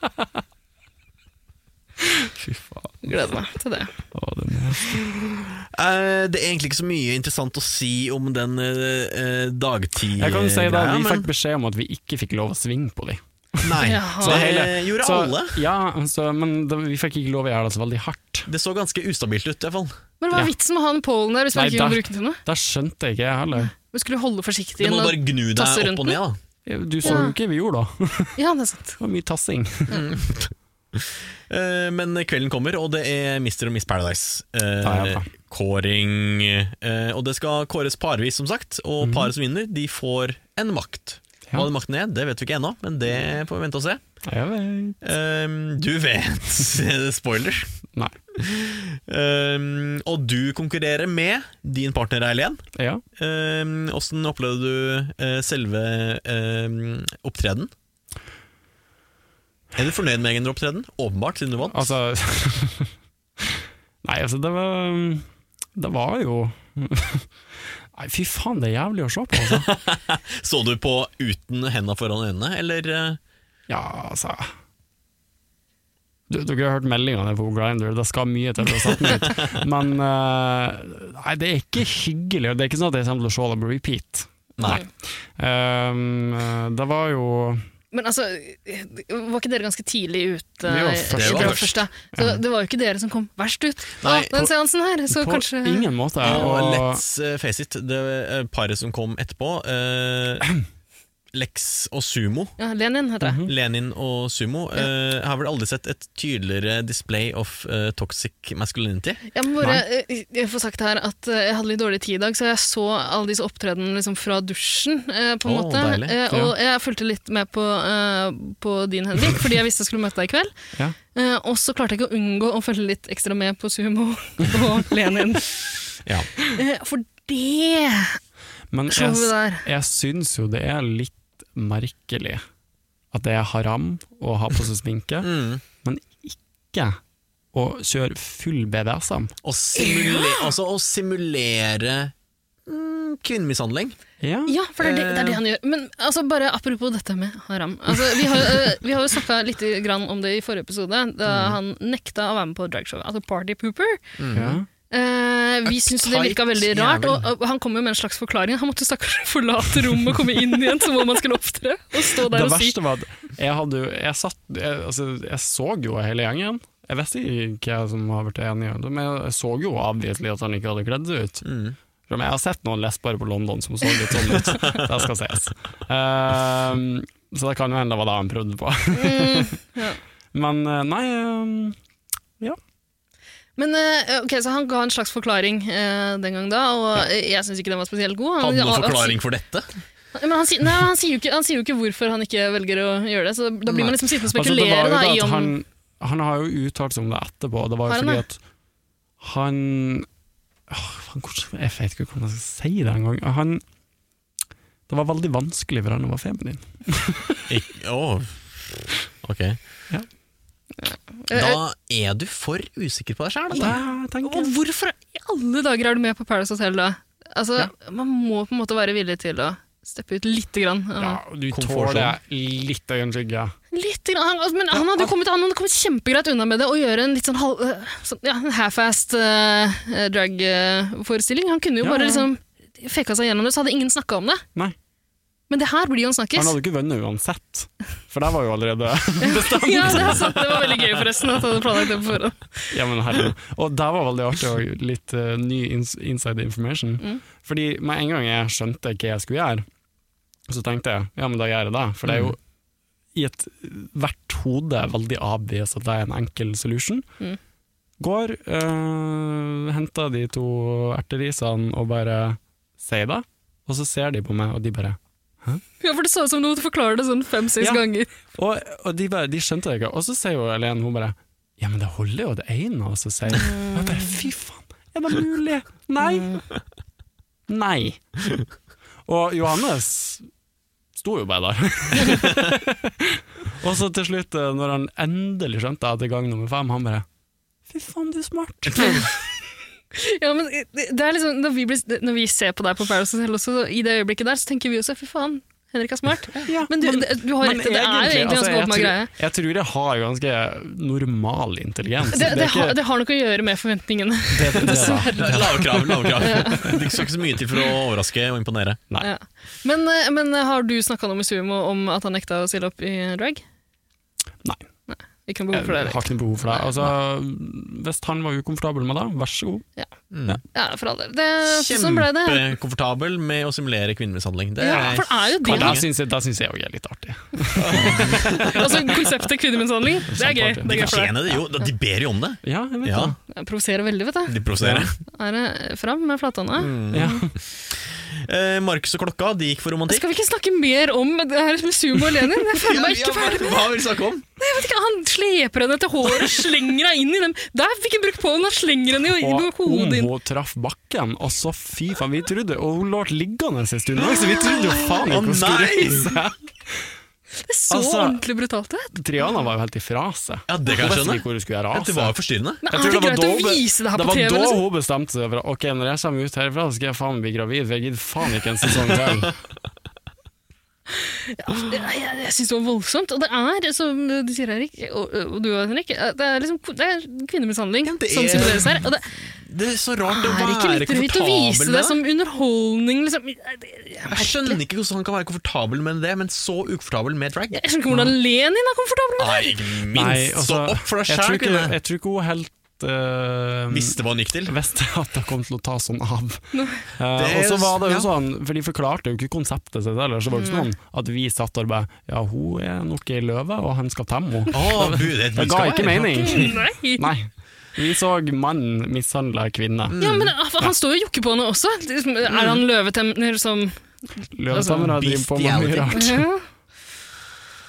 S1: Fy faen.
S3: Gleder meg til det.
S1: Å, den er
S2: Eh, det er egentlig ikke så mye interessant å si om den uh, dagtid...
S1: Jeg kan jo si da,
S2: greia,
S1: Vi
S2: men-
S1: fikk beskjed om at vi ikke fikk lov å svinge på dem.
S2: Nei,
S3: Jaha.
S2: så det hele- gjorde alle.
S1: Ja, så, men det, vi fikk ikke lov å gjøre det så veldig hardt.
S2: Det så ganske ustabilt ut, i hvert fall.
S3: Men hva er
S1: Ja.
S3: vitsen med å ha den pollen der hvis
S1: Nei,
S3: man ikke kan
S1: da-
S3: bruke den til noe?
S1: Da skjønte ikke jeg heller.
S3: Vi skulle holde forsiktig
S2: Du
S3: inn
S2: må
S3: og
S2: bare gnu deg
S3: tasse rundt
S2: opp og ned, da.
S1: Du så jo
S3: Ja.
S1: ikke vi gjorde da.
S3: Ja, det er sant.
S1: Det var mye tassing.
S2: Eh, Men kvelden kommer, og det er Mr. og Miss Paradise. Eh,
S1: Ja, ja, ja.
S2: kåring eh, Og det skal kåres parvis, som sagt. Og paret som vinner, de får en makt.
S1: Mhm. Ja.
S2: Hva den makten er, det vet vi ikke ennå, men det får vi vente og se.
S1: Jeg vet.
S2: Eh, du vet Spoiler.
S1: Nei.
S2: Eh, og du konkurrerer med din partner Eileen.
S1: Ja.
S2: Eh, Åssen opplevde du eh, selve eh, opptreden? Er du fornøyd med egen opptreden? Åpenbart, siden du vant.
S1: Altså Nei, altså, det var Det var jo Nei, fy faen, det er jævlig å se på, altså.
S2: Så du på uten henda foran øynene, eller eh,
S1: Ja, altså du, Dere har hørt meldingene på Grindr, det skal mye til å sette meg ut. sånn Men eh, nei, det er ikke hyggelig, og det er ikke sånn at jeg kommer til å se det på repeat.
S2: Nei.
S1: Um, det var jo
S3: Men altså, var ikke dere ganske tidlig ute?
S1: Vi var først.
S3: i
S2: Det var
S3: det
S2: først.
S3: første? Så det var jo ikke dere som kom verst ut av
S2: Nei,
S3: den
S2: på-
S3: seansen her, så
S1: På
S3: kanskje
S1: ingen måte.
S2: Og
S1: Og
S2: let's eh, face it, det eh, paret som kom etterpå eh, Lex og Sumo,
S3: ja, Lenin heter
S2: Mhm.
S3: det.
S2: Lenin og Sumo, eh, har vel aldri sett et tydeligere display of eh, toxic masculinity.
S3: Jeg må bare eh, jeg får sagt her at eh, jeg hadde litt dårlig tid i dag, så jeg så alle disse opptredenene liksom fra dusjen. eh, på en
S2: Å,
S3: måte.
S2: deilig.
S3: Eh, og jeg fulgte litt med på, eh, på din, Henrik, fordi jeg visste jeg skulle møte deg i kveld.
S1: Ja.
S3: Eh, og så klarte jeg ikke å unngå å følge litt ekstra med på Sumo og Lenin.
S2: Ja.
S3: Eh, for det
S1: Men jeg,
S3: showet der
S1: jeg syns jo det er litt merkelig at det er haram å ha på seg sminke,
S2: Mm.
S1: ikke å kjøre full BDSM.
S2: Å simulere, altså, å simulere mm, kvinnemishandling.
S1: Ja.
S3: Ja, for det er det, det er det han gjør. Men altså, bare apropos dette med haram. Altså, vi har, eh, vi har jo snakka litt grann om det i forrige episode, da han nekta å være med på dragshowet. Altså Party Pooper.
S1: Ja.
S3: Eh, vi syntes det virka veldig
S2: Uptight
S3: rart, og,
S2: jævel.
S3: og han kom jo med en slags forklaring. Han måtte stakkars forlate rommet og komme inn igjen som om han skulle opptre. Og stå der
S1: Det
S3: og si
S1: verste var at jeg, hadde, jo- jeg, satt, jeg, altså, jeg så jo hele gjengen. Jeg vet ikke hva som har blitt enig om det, men jeg så jo obviously at han ikke hadde kledd seg ut.
S2: Mm.
S1: Selv om jeg har sett noen lesbere på London som så litt sånn ut. Det skal ses. Ehm, så det kan jo hende det var det han prøvde på.
S3: mm.
S1: Men eh, nei ehm,
S3: Men eh, ok, så han ga en slags forklaring eh, den gang da, og eh, jeg syns ikke den var spesielt god. Han- altså,
S2: Hadde du noen
S3: han-
S2: forklaring for dette?
S3: Ja, Men han, si- nei, han, sier jo ikke, han sier jo ikke hvorfor han ikke velger å gjøre det, så da blir man liksom sittende og
S1: altså, det
S3: spekulere
S1: var jo
S3: da,
S1: det
S3: i
S1: at
S3: om
S1: han, han har jo uttalt seg om det etterpå, og det var
S3: Har
S1: jo
S3: han
S1: fordi
S3: det?
S1: at han Åh, faen, hvordan- Jeg vet ikke hvordan jeg skal si det engang. Han Det var veldig vanskelig for han å være feminin.
S2: Ik- Åh. Ok.
S3: Eh,
S2: Da er du for usikker på deg sjæl.
S1: Det tenker
S3: Og
S1: jeg.
S3: hvorfor i alle dager er du med på Paradise Hotel da? Altså, Man må på en måte være villig til å steppe ut lite grann.
S1: Ja, du tåler litt øyenskygge.
S3: Litt grann, han, altså, men han hadde jo kommet, han hadde kommet kjempegreit unna med det og gjøre en litt sånn, halv- øh, sånn ja, en half-assed øh, drag-forestilling. han kunne jo
S1: Ja,
S3: bare
S1: ja.
S3: liksom feka seg gjennom det, så hadde ingen snakka om det.
S1: Nei.
S3: Men det her blir jo en snakkis.
S1: Han hadde ikke vunnet uansett, for der var jo allerede
S3: ja, det, er sant. det var veldig gøy, forresten, at han hadde planlagt det på forhånd.
S1: Ja, men herre. Og der var veldig artig og litt eh, ny ins inside information.
S3: Mm.
S1: Fordi med en gang jeg skjønte hva jeg skulle gjøre, så tenkte jeg ja, men da gjør jeg det. For det er jo
S3: Mm.
S1: i et, hvert hode veldig obvious at det er en enkel solution.
S3: Mm.
S1: Går, uh, henter de to erterisene og bare sier det, og så ser de på meg, og de bare
S3: Ja, for det så ut som du måtte forklare det sånn fem-seks
S1: Ja.
S3: ganger.
S1: Og, og de, bare, de skjønte det ikke. Og så sier jo Helene hun bare Ja, men det holder jo det ene. Og så sier hun Og jeg bare Fy faen, er det mulig? Nei. Nei. Og Johannes sto jo bare der. og så til slutt, eh, når han endelig skjønte at det er gang nummer fem, han bare Fy faen, du er smart.
S3: Ja, men det det er liksom, når vi, blir, når vi ser på deg på Paradise Hotel også, så i det øyeblikket der, så tenker vi også fy faen, Henrik er smart.
S1: Ja,
S3: Men du, det- du har rett, det er jo egentlig ganske
S1: altså, jeg
S3: åpenbar
S1: tror-
S3: greie.
S1: Jeg tror jeg har ganske normal intelligens.
S3: altså, Det, det,
S1: er
S3: har,
S1: ikke-
S3: det har nok å gjøre med forventningene.
S1: det- det- det- det-
S2: Lave krav. lave krav Det skal ikke så mye til for å overraske og imponere.
S1: Nei.
S3: Ja. Men, eh, men har du snakka noe med Sumo om at han nekta å stille opp i drag?
S1: Nei.
S3: Ikke noe
S1: Jeg
S3: behov for det?
S1: har
S3: eller?
S1: ikke noe behov for det. Altså, hvis han var ukomfortabel med det, vær så god.
S2: Mm.
S3: Ja, for all del. Det, sånn ble det.
S2: Kjempekomfortabel med å simulere kvinnemishandling. Det
S3: Ja,
S2: er
S3: for det er jo
S1: Og
S3: det
S1: det
S3: han
S1: syns jeg, det syns jeg også er litt artig.
S3: Altså, konseptet kvinnemishandling, det er gøy. Det
S2: De
S3: er gøy for deg.
S2: fortjener det jo, de ber jo om det.
S1: Ja, jeg vet
S2: Ja,
S1: det.
S3: Jeg provoserer veldig, vet du.
S2: de provoserer.
S3: Er det fram med flathånda?
S2: Mm.
S1: Ja.
S2: Eh, Markus og klokka, de gikk for romantikk.
S3: Skal vi ikke snakke mer om det her med Sumo og Lenin? Jeg føler meg ikke
S2: hva,
S3: ferdig.
S2: hva vil du snakke om?
S3: Jeg vet ikke, Han sleper henne til håret og slenger henne inn i dem. Der fikk han brukt på henne! Han slenger henne jo i
S1: Og om
S3: hodet inn.
S1: hun traff bakken, og så fy faen, vi trodde Og hun lå liggende en stund, så vi trodde jo faen ikke hun skulle
S2: Å, nei!
S1: reise seg.
S3: Det så
S1: altså-
S3: ordentlig brutalt ut.
S1: Triana var jo helt ifra seg.
S2: Ja, det kan jeg
S1: Hun visste
S2: skjønne.
S1: ikke hvor hun skulle gjøre av
S2: Det
S1: seg.
S2: var jo forstyrrende.
S3: Men
S1: Jeg
S3: er
S1: tror det
S3: det
S1: var
S3: greit å
S1: da-
S3: vise det her
S1: Det
S3: på
S1: var
S3: TV?
S1: da
S3: Liksom?
S1: hun bestemte seg for at, Ok, når jeg kommer ut herfra, så skal jeg faen bli gravid, for jeg gidder faen ikke en sesong til.
S3: Ja, jeg jeg, jeg syns det var voldsomt. Og det er, som du sier, Henrik, og, og du og Henrik, det er, liksom, det er kvinnemishandling
S2: Ja, det
S3: som
S2: er-
S3: simuleres her. Og det
S2: Ah, Det er så rart å
S3: er
S2: være
S3: ikke lettvint å
S2: komfortabel
S3: vise
S2: med
S3: det
S2: det.
S3: som underholdning, liksom. Jeg, jeg,
S2: Jeg skjønner ikke hvordan han kan være komfortabel med det, men så ukomfortabel med drag.
S3: jeg skjønner ikke hvordan Lenin er komfortabel med det.
S2: Nei, ikke minst!
S3: altså,
S2: Stå opp for
S1: altså,
S2: deg
S1: jeg tror
S2: sjæl,
S1: ikke-
S2: kvinne!
S1: Jeg tror ikke hun helt eh,
S2: Visste hva han gikk til.
S1: visste at det kom til å ta sånn av. Eh,
S2: Det er
S1: og så var det jo
S2: s- ja.
S1: sånn, for de forklarte jo ikke konseptet sitt ellers, så var det ikke sånn at vi satt der og bare Ja, hun er nok ei løve, og han skal temme henne.
S2: Å, bu- det er et
S1: Det ga
S2: budskap
S1: ikke
S2: her.
S1: mening.
S3: Nei.
S1: Nei. Vi så mann mishandle kvinne.
S2: Mm.
S3: Ja, men ah, han står jo og jokker på henne også. Er han løvetemner som
S1: Løvetannere
S2: sånn
S1: driver på med mye rart.
S3: Ja.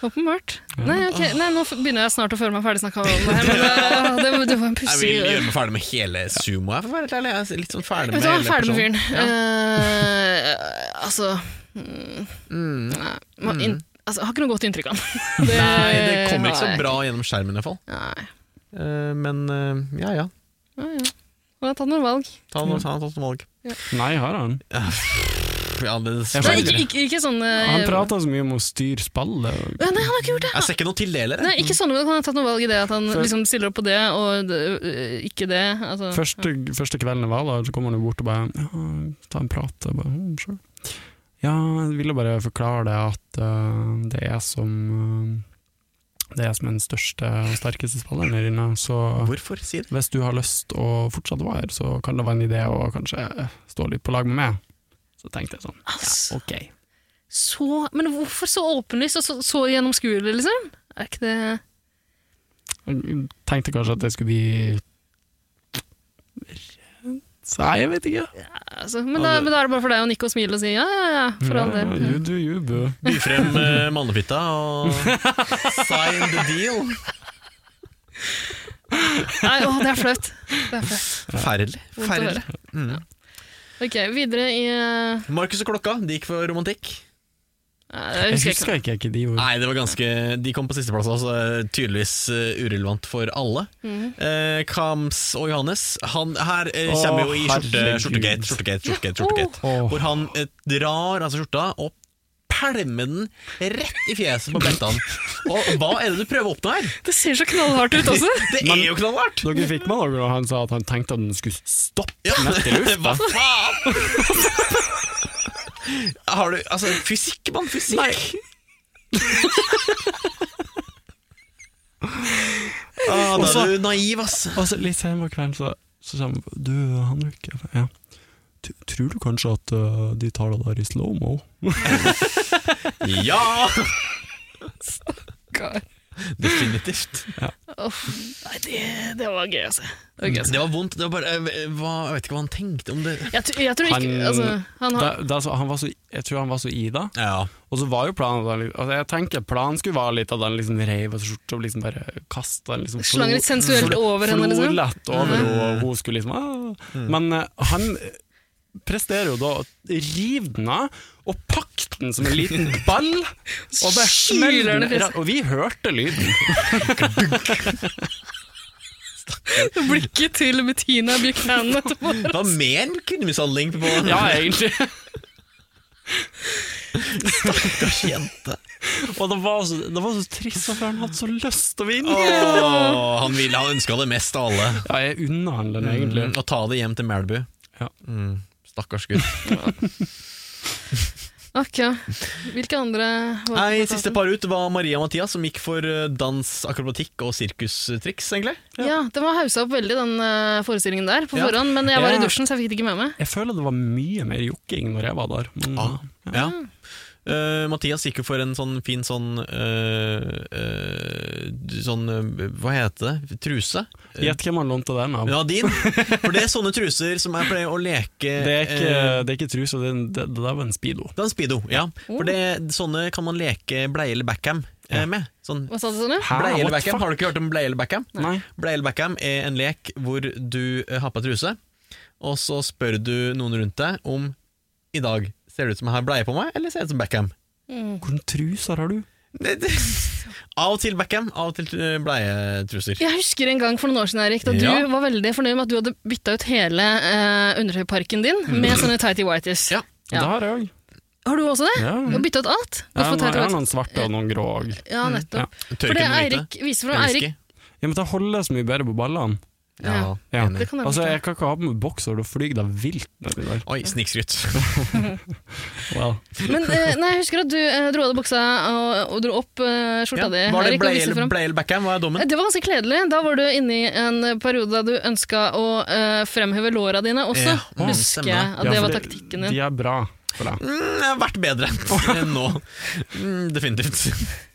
S3: Åpenbart. Nei, ok, Nei, nå f- begynner jeg snart å føle meg ferdig snakka om det her, men eh, det, det var en
S2: Jeg
S3: pussig
S2: vil gjøre meg ferdig med hele sumo. Jeg, for å være helt ærlig. jeg er litt sånn ferdig
S3: Vet
S2: med
S3: du hva,
S2: hele
S3: ferdig med
S2: personen.
S3: fyren. Eh, altså mm, Nei, man, inn- altså, Jeg har ikke noe godt inntrykk av han. Det-
S2: Nei, det kommer ikke så
S3: nei.
S2: bra gjennom skjermen, iallfall.
S3: Nei.
S2: Uh, men eh, ja ja.
S3: Han har tatt noen valg.
S2: Ta noe, ta noe, ta noe valg.
S1: Nei, har han?
S2: Ja, det
S1: Jeg
S3: Nei,
S1: føler-
S3: ikke, ikke, ikke sånn eh,
S1: Han prata så mye om å styre spillet. og-
S3: Nei, han har ikke gjort det.
S2: Jeg ser ikke noen tildelere.
S3: Nei, ikke sånn, men Han har tatt noe valg i det at han
S1: For-
S3: liksom stiller opp på det og øh, ikke det. Altså.
S1: Første, første kvelden jeg var der, så kom han jo bort og bare ja, ta en prat. Jeg bare, «Mm, sure. Ja, jeg ville bare forklare deg at eh, det er som eh, Det er som den største og sterkeste spilleren her inne, så
S2: Hvorfor? Si det.
S1: hvis du har lyst å fortsette å være her, så kan det være en idé å kanskje stå litt på lag med meg. Så tenkte jeg sånn,
S3: Altså,
S1: ok.
S3: så, men hvorfor så åpenlyst og så, så gjennomskuelig, liksom? Er ikke det
S1: Jeg tenkte kanskje at det skulle bli Nei, jeg vet ikke.
S3: altså, men, da,
S1: Ja, det-
S3: men da er det bare for deg å nikke og smile og si ja, ja, ja, for all
S1: Ja,
S3: del.
S1: You do you, boo.
S2: By frem uh, mannefitta og sign the deal.
S3: Nei, å, det er flaut. Det er flaut.
S2: Forferdelig.
S3: Vondt å
S2: Forferdelig.
S3: høre. Ok, videre i øh,
S2: Markus og klokka, de gikk for romantikk.
S3: Nei, jeg
S1: Jeg
S3: husker ikke.
S1: husker ikke, ikke de ordene.
S2: Nei, det var ganske De kom på sisteplass, altså eh, tydeligvis eh, urelevant for alle. Eh, Kams og Johannes, han her eh,
S1: Å,
S2: kommer jo i skjorte,
S1: herregud.
S2: skjortegate, skjortegate, skjortegate, skjortegate.
S1: Åh.
S2: Hvor han eh, drar altså skjorta og pælmer den rett i fjeset på Bettan. og hva er det du prøver å oppnå her?
S3: Det ser så knallhardt ut også.
S2: Det
S1: Men-
S2: er jo knallhardt!
S1: Dere fikk med dere da han sa at han tenkte at den skulle stoppe
S2: Ja,
S1: midt i
S2: hva
S1: lufta.
S2: faen? Har du Altså, fysikk, mann. Fysikk. Ah, da
S1: Også-
S2: er du naiv, ass.
S1: Og så litt senere på kvelden så, så sa han Du, Henrik, jeg bare, ja. "T- tror du kanskje at øh, de tar det der i slow-mo?
S2: Ja!
S3: God.
S2: Definitivt.
S3: Uff. Nei, det, det var gøy, altså. Det var gøy, altså.
S2: Det var vondt. Det var bare, eh, hva, jeg vet ikke hva han tenkte om det.
S3: Jeg, tr- jeg tror ikke
S1: Han-
S3: altså, han har,
S1: Da- da så- han var så, jeg tror han var så i det.
S2: Ja.
S1: Og så var jo planen at han, liksom- altså Jeg tenker planen skulle være litt at han liksom reiv av seg skjorta og liksom bare kasta den liksom
S3: Slang litt
S1: flo-
S3: sensuelt
S1: flo-
S3: over henne, liksom.
S1: Florlett over henne, og hun skulle liksom ah. Men eh, han presterer jo da å rive den av, og pakke den som en liten ball, og bare
S3: Skyler
S1: smelle
S3: den i
S1: den
S3: fjeset.
S1: rett- Og vi hørte lyden.
S3: blikket til Bettina Buchanan etterpå.
S2: Det var mer enn kvinnemishandling på
S1: Ja, egentlig.
S2: stakkars jente.
S1: Og det var så, det var så trist, for han hadde så lyst til å vinne.
S2: Åh, han, ville, han ønska det mest av alle.
S1: Ja, jeg unner han den egentlig.
S2: Mm, Å ta det hjem til Melbu.
S1: Ja.
S2: Mm, stakkars gutt.
S3: Ok, Hvilke andre var det
S2: Nei,
S3: på
S2: Siste
S3: plakaten?
S2: par ut var Maria og Mathias, som gikk for eh, dans, akrobatikk og sirkustriks. egentlig
S3: Ja, Den var hausa opp veldig, den eh, forestillingen der, på
S2: Ja.
S3: forhånd. Men jeg var
S1: Ja.
S3: i dusjen, så jeg fikk det ikke med meg.
S1: Jeg føler det var mye mer jokking når jeg var der. Men,
S2: Ah. Ja. Eh, Mathias gikk jo for en sånn fin sånn eh, eh, Sånn eh, Hva heter det? Truse?
S1: Gjett hvem han lånte den av.
S2: Ja, din. For det er sånne truser som jeg pleier å leke
S1: Det er ikke,
S2: eh,
S1: det er ikke truse, det, er- det, det der var en speedo.
S2: Det er en speedo, ja. For det, sånne kan man leke bleie eller backham eh, med. Sånn
S3: Hva sa du, Sonja?
S1: Hæ?
S2: bleie
S1: What
S2: eller
S1: the
S2: backham.
S1: fuck?
S2: Har du ikke hørt om bleie eller backham?
S1: Nei.
S2: Bleie eller backham er en lek hvor du eh, har på deg truse, og så spør du noen rundt deg om i dag ser det ut som jeg har bleie på meg, eller ser det ut som backham?
S1: Hvilke truser har du?
S2: Det- det- Av og til backham, av og til eh, bleietruser.
S3: Jeg husker en gang for noen år siden, Erik, da
S2: Ja.
S3: du var veldig fornøyd med at du hadde bytta ut hele eh, undertøyparken din med sånne tighty whities.
S2: Ja.
S1: Det har jeg òg.
S3: Har du også det?
S1: Ja,
S3: Du har byttet
S1: Mm.
S3: alt?
S1: Ja,
S3: Godt
S1: nå- jeg
S3: fortalt.
S1: har noen svarte og noen grå òg.
S3: Ja, nettopp. For det
S2: Tørker den lite.
S3: Eirik viser fra
S2: Eller
S3: Eirik
S2: whisky.
S1: Ja, men det holder så mye bedre på ballene.
S3: Ja,
S1: Ja.
S3: Det kan jeg
S1: Altså,
S3: forstå.
S1: jeg kan ikke ha på meg bokser, da flyr det vilt nedi der.
S2: Oi, snikskryt.
S1: Wow.
S3: Men eh, nei, jeg husker at du eh, dro av deg buksa og, og dro opp eh,
S2: Ja,
S3: skjorta di.
S2: var det
S3: Erik, og
S2: Blail
S3: viste frem.
S2: Blail Beckham? Hva er dommen?
S3: Eh, Det var ganske kledelig. Da var du inne i en eh, periode da du ønska å eh, fremheve låra dine også.
S2: Ja, mm,
S3: Husker
S2: stemmer
S3: jeg
S2: det.
S3: at
S1: Ja,
S3: det
S1: for
S3: var taktikken din.
S1: De er bra for deg.
S2: Mm, jeg har vært bedre enn nå. Mm, definitivt.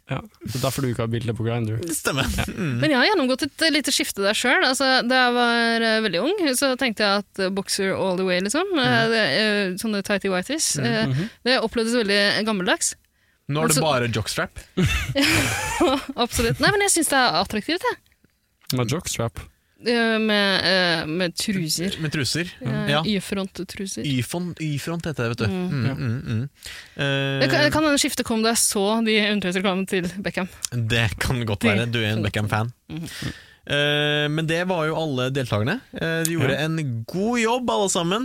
S1: Ja. Det er derfor du ikke har bilde på Grindr.
S2: Det stemmer. Mm.
S3: Men jeg har gjennomgått et eh, lite skifte der sjøl. Altså, da jeg var eh, veldig ung, så tenkte jeg at eh, boxer all the way, liksom.
S2: Mhm.
S3: Eh, det, eh, sånne tighty whities. eh,
S1: Mhm.
S3: Det opplevdes veldig gammeldags.
S2: Nå er det
S3: Altså-
S2: bare jockstrap.
S3: Absolutt. Nei, men jeg syns det er attraktivt, jeg.
S1: Med jockstrap.
S3: Eh, Med, eh, med truser.
S2: Med truser.
S3: Eh,
S2: Mm, Ja.
S3: Y-front-truser.
S2: Y-front Y-front heter det, vet du.
S3: Mm.
S2: Mm,
S1: Ja.
S2: mm, mm.
S3: Det kan,
S2: Eh,
S3: det kan hende skiftet kom da jeg så de undertøysreklamene til Beckham.
S2: Eh, Det kan godt
S3: Det
S2: være. Du er en
S3: kan godt
S2: Beckham-fan.
S3: Mhm.
S2: Eh, men det var jo alle deltakerne. Eh, de gjorde
S1: Ja.
S2: en god jobb, alle sammen.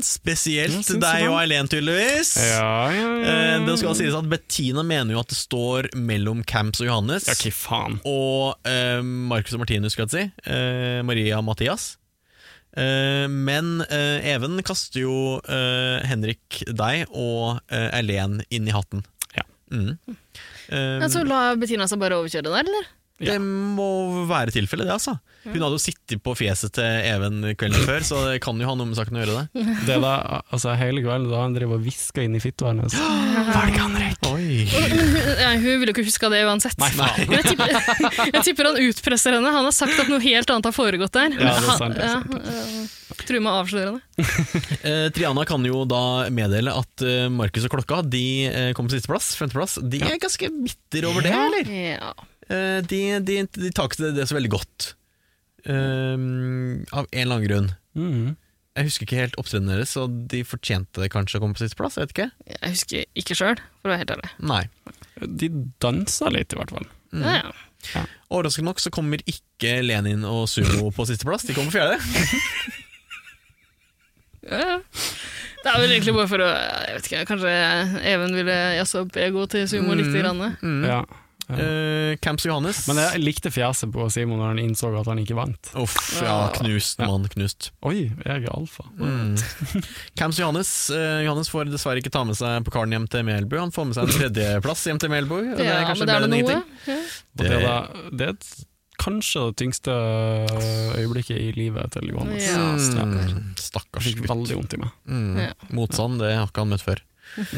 S1: Jeg
S2: Spesielt
S1: syns
S2: deg
S1: det.
S2: og Eileen, tydeligvis.
S1: Ja, ja,
S2: Eh, det skal sies at Bettina mener jo at det står mellom Camps og Johannes.
S1: Ja, hva faen.
S2: Og eh, Marcus og Martinus, skal jeg si. Eh, Maria og Mathias. Eh, men eh, Even kaster jo eh, Henrik, deg og eh, Eileen inn i hatten.
S1: Ja.
S2: Mm. Eh,
S3: Ja, så la Bettina seg bare overkjøre der, eller?
S1: Ja.
S2: Det må være tilfellet, det, altså. Hun hadde jo sittet på fjeset til Even kvelden før, så det kan jo ha noe med saken å gjøre, det.
S1: Det da, altså, hele kvelden da han driver og hvisker inn i fitta hennes.
S2: Var det ikke Henrik? Oi.
S3: Men hun, ja, hun ville jo ikke huska det uansett.
S1: Nei, faen.
S3: Men jeg tipper, jeg tipper han utpresser henne. Han har sagt at noe helt annet har foregått der.
S1: Ja, det er sant, det er
S3: Han- ja, øh, Truer med å avsløre henne.
S2: Eh, Triana kan jo da meddele at eh, Markus og Klokka De eh, kom på sisteplass, femteplass. De er ganske bitter over det, eller?
S3: Ja.
S2: Eh, de, de, de tar ikke det, det så veldig godt. Ehm, av en eller annen grunn.
S1: Mhm.
S2: Jeg husker ikke helt opptredenen deres, så de fortjente det kanskje å komme på sisteplass. Jeg vet ikke.
S3: Jeg husker ikke sjøl, for å være helt ærlig.
S2: Nei.
S1: De danser litt, i hvert fall.
S2: Mm.
S3: Ja, ja.
S2: Overraskende nok så kommer ikke Lenin og Sumo på sisteplass, de kommer på fjerde.
S3: Ja, ja. Det er vel egentlig bare for å Jeg vet ikke, Kanskje Even ville jazze opp egoet til sumo litt. Grann.
S2: Mm.
S1: Ja.
S2: Eh, Camps Johannes.
S1: Men jeg likte fjeset på Simon når han innså at han ikke vant.
S2: Uff, ja, knust,
S1: Ja.
S2: mann, knust.
S1: Oi, jeg er alfa.
S2: Mm. Camps Johannes eh, Johannes får dessverre ikke ta med seg pokalen hjem til Melbu. Han får med seg en tredjeplass hjem til Melbu. og
S3: Ja,
S2: kanskje
S3: men det er
S2: bedre
S3: det
S2: enn
S3: noe.
S2: ingenting.
S3: Ja.
S1: Og det, er da, det er et- kanskje det tyngste øh, øyeblikket i livet til Johannes.
S3: Ja, stakkar.
S2: Mm,
S1: Jeg
S2: stakkars
S1: fikk
S2: gutt.
S1: veldig vondt i meg.
S2: Mm.
S3: Ja.
S2: Motstand, det har ikke han møtt før.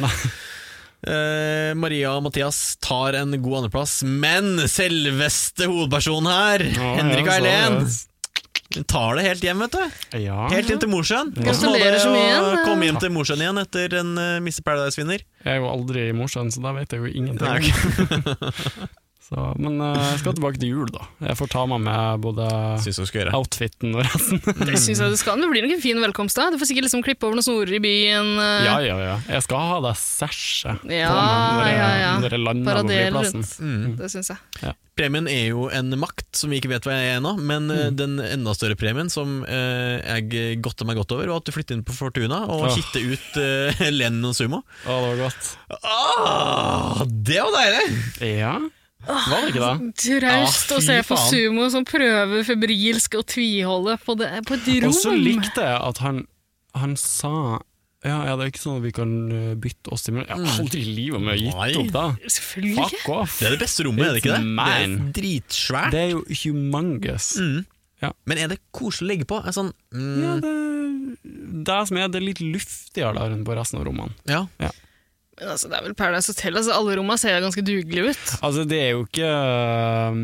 S1: Nei.
S2: Eh, Maria og Mathias tar en god andreplass, men selveste hovedpersonen her,
S1: Ja,
S2: Henrik
S1: ja, så-
S2: Eileen, hun tar det helt hjem, vet du.
S1: Ah, Ja.
S2: Helt inn til Mosjøen.
S1: Ja.
S2: Hvordan var det
S3: Gratulerer så mye
S2: å
S3: igjen.
S2: Komme hjem til Mosjøen igjen etter en uh, Miss Paradise-vinner.
S1: Jeg er jo aldri i Mosjøen, så da vet jeg jo ingenting.
S2: Nei,
S1: Så, men eh, jeg skal tilbake til jul, da. Jeg får ta med meg både
S2: Syns hun skal gjøre.
S1: outfiten og resten.
S3: Det synes jeg du skal. Det blir nok en fin velkomst. da Du får sikkert liksom klippe over noen snorer i byen. eh,
S1: Ja, ja, ja. Jeg skal ha det sasjet på meg
S3: Ja,
S1: når jeg,
S3: ja, ja.
S1: når jeg lander på
S3: Paradere
S1: flyplassen.
S3: rundt.
S2: Mm.
S3: Det syns jeg.
S2: Premien er jo en makt som vi ikke vet hva er ennå, men eh,
S1: Mm.
S2: den enda større premien som eh, jeg godter meg godt over, var at du flytter inn på Fortuna og
S1: Åh.
S2: kitter ut uh, Lennon og Sumo.
S1: Å, det var godt.
S2: Ah, det var deilig!
S1: Ja, var det ikke det?
S3: Traust
S2: Ja,
S3: å
S2: fy
S3: se på
S2: faen.
S3: sumo som prøver febrilsk å tviholde på, det, på et
S1: Og
S3: rom.
S1: så likte jeg at han, han sa ja, ja, det er ikke sånn at vi kan eh, bytte oss til Jeg har aldri i livet med å gitt
S2: Nei.
S1: opp da.
S3: Selvfølgelig ikke.
S1: Fuck off.
S2: Det er det beste rommet, er det ikke det? Det
S1: Man.
S2: er dritsvært. Mm.
S1: Det er jo humongous.
S2: Men er det koselig å legge på? Er sånn, mm,
S1: Ja, det, det som er, det er litt luftigere der enn på resten av rommene.
S2: ja.
S3: Men altså, det er vel Paradise Hotel. Altså, alle rommene ser ganske dugelige ut.
S1: Altså, det er jo ikke um,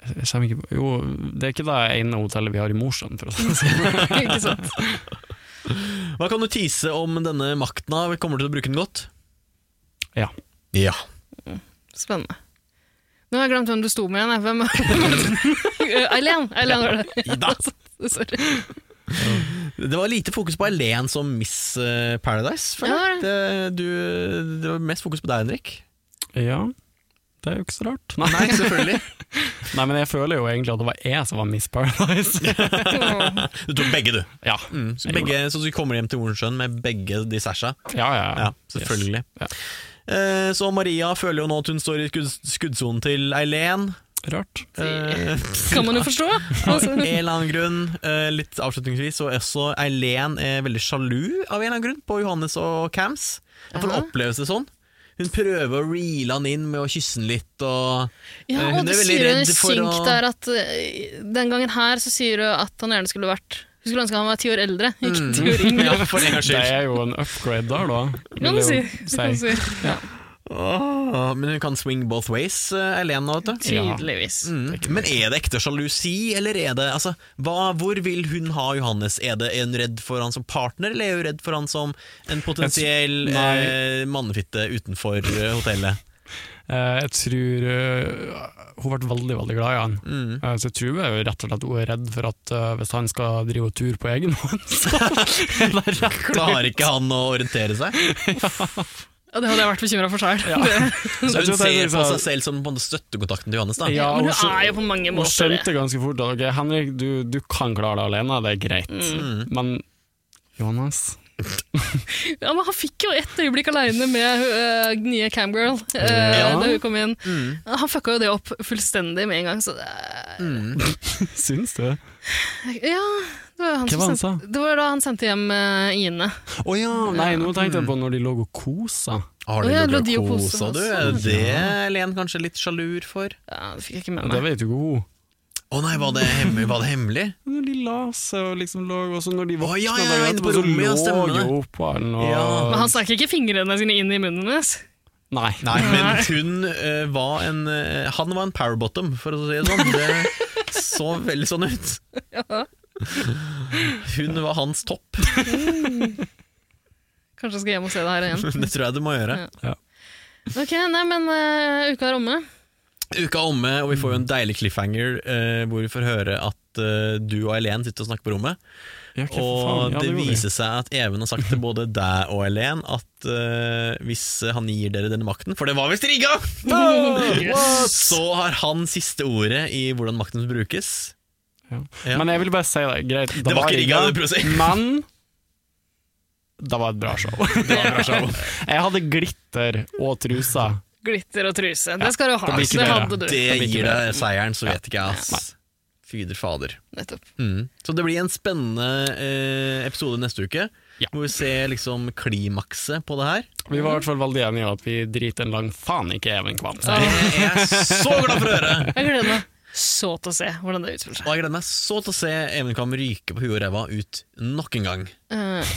S1: Jeg kommer ikke på Jo, det er ikke det ene hotellet vi har i Mosjøen, for å si det
S2: Altså.
S1: sånn.
S3: ikke sant?
S2: Hva kan du tease om denne makten? da? Kommer du til å bruke den godt?
S1: Ja.
S2: Ja.
S3: Spennende. Nå har jeg glemt hvem du sto med igjen. jeg. Hvem Eh, Eileen! Eileen var det.
S2: Ida.
S3: Sorry.
S2: Det var lite fokus på Eileen som Miss eh, Paradise. føler jeg.
S3: Ja,
S2: det, du, det var mest fokus på deg, Henrik.
S1: Ja. Det er jo ikke så rart. Nei,
S2: Nei, selvfølgelig.
S1: nei men jeg føler jo egentlig at det var jeg som var Miss Paradise.
S3: Åh.
S2: Du tok begge, du.
S1: ja.
S2: Mm, så,
S1: Jeg gjorde
S2: begge, så du kommer hjem til Hornsjøen med begge de sæsja?
S1: Ja, ja,
S2: Ja, selvfølgelig.
S1: Ja.
S2: Eh, Så Maria føler jo nå at hun står i skudd- skuddsonen til Eileen.
S1: Rart.
S2: Eh,
S3: Kan man jo forstå.
S2: Av
S3: Altså,
S2: en eller annen grunn, eh, litt avslutningsvis, og også Eileen er veldig sjalu av en eller annen grunn på Johannes og Cams. Jeg får
S3: Jaha.
S2: opplevelse sånn. Hun prøver å reele han inn med å kysse han litt og
S3: ja,
S2: Eh, hun
S3: og du
S2: er veldig
S3: sier jo i
S2: redd for
S3: synk
S2: å-
S3: der at eh, den gangen her så sier du at han gjerne skulle vært Hun skulle ønske han var ti år eldre, ikke ti år yngre.
S2: Mm. Ja, for en gangs
S1: Det
S2: skyld.
S1: er jo en upgrade der, da.
S3: Kan du
S1: vil
S3: si.
S1: jeg jo
S3: Kan du si.
S2: Åh, Men hun kan swing both ways, eh, Eileen nå, vet du.
S3: Tydeligvis.
S2: Mm. Men er det ekte sjalusi, eller er det altså, hva, Hvor vil hun ha Johannes? Er, det, er hun redd for han som partner, eller er hun redd for han som en potensiell
S1: Jeg tror- nei.
S2: eh, mannefitte utenfor eh, hotellet?
S1: Eh, jeg tror eh, hun ble veldig veldig glad i han.
S2: Mm.
S1: Eh, så jeg tror hun er jo rett og slett hun er redd for at eh, hvis han skal drive og tur på egen hånd, så er det rett
S2: Klarer ikke han å orientere seg?
S3: Ja, det hadde jeg vært bekymra for sjøl.
S2: Så
S1: Jeg
S2: hun
S1: tror det er
S2: ser på
S1: liksom-
S2: seg selv som på en måte støttekontakten til Johannes, da?
S1: Ja,
S3: Men
S1: og
S3: hun
S1: så-
S3: er jo på mange
S1: Hun
S3: måter det.
S1: skjønte ganske fort at ok, Henrik, du, du kan klare det alene, det er greit.
S2: Mm.
S1: Men Johannes
S3: Ja, men han fikk jo ett øyeblikk aleine med uh, nye Camgirl uh,
S1: Ja. Mm.
S3: da hun kom inn. Han fucka jo det opp fullstendig med en gang, så det er-
S1: Syns du?
S3: Ja, det var, han
S1: Hva
S3: som
S1: var han
S3: sendte- det var da han sendte hjem eh, Ine.
S1: Å ja! Nei, nå
S2: Mm.
S1: tenkte jeg på når de lå og kosa.
S2: Har
S3: Å, ja,
S2: ligget
S3: lå de og koset
S2: koset, du?
S3: oss.
S2: Er det det Len kanskje er litt sjalur for?
S3: Ja, det fikk jeg ikke med
S1: Det
S3: meg.
S1: vet jo ikke hun.
S2: Å nei, var det hemmelig? Var det hemmelig?
S1: Når de la seg og liksom lå og så når de våkna
S2: Å, ja, ja,
S1: dagen
S2: ja, inne på
S1: etterpå, så
S2: rommet, ja,
S1: lå
S2: stemmer det.
S1: jo på han og
S2: Ja.
S3: Men han stakk ikke fingrene sine inn i munnen hennes.
S1: Nei.
S2: Nei, men hun eh, var en eh, Han var en powerbottom, for å si det sånn. Det så veldig sånn ut.
S3: Ja.
S2: Hun var hans topp.
S3: Kanskje jeg skal hjem og se det her igjen.
S2: Det tror jeg du må gjøre.
S3: Ja. Ok, nei, men eh, uka er omme.
S2: Uka er omme, og vi får jo en deilig cliffhanger eh, hvor vi får høre at eh, du og Eileen sitter og snakker på rommet.
S1: Ja, ok, for faen,
S2: Og
S1: ja,
S2: det
S1: gjorde de.
S2: viser seg at Even har sagt til både deg og Eileen at eh, hvis han gir dere denne makten, for det var visst rigga, så har han siste ordet i hvordan makten brukes.
S1: Ja.
S2: Ja.
S1: Men jeg vil bare si det, greit.
S2: Det var ikke rigga, det prøvde å si.
S1: Men det var et bra show. jeg hadde glitter og truser.
S3: Glitter og truse. Det skal du ha.
S1: det blir ikke
S3: Det
S1: bedre.
S3: hadde du.
S2: Det
S1: blir ikke
S2: gir
S1: bedre.
S2: deg seieren, så vet ikke jeg, ass. Fyder fader.
S3: Nettopp.
S2: Mm. Så det blir en spennende eh, episode neste uke,
S1: Ja.
S2: hvor vi ser liksom klimakset på det her.
S1: Vi var i hvert fall veldig enige om at vi driter en lang faen ikke Even Kvam.
S3: Så jeg
S2: Jeg er så glad for å høre!
S3: gleder meg så til å se hvordan det utspiller seg.
S2: Og jeg gleder meg så til å se Even Kam ryke på huet og ræva ut nok en gang.
S3: Eh,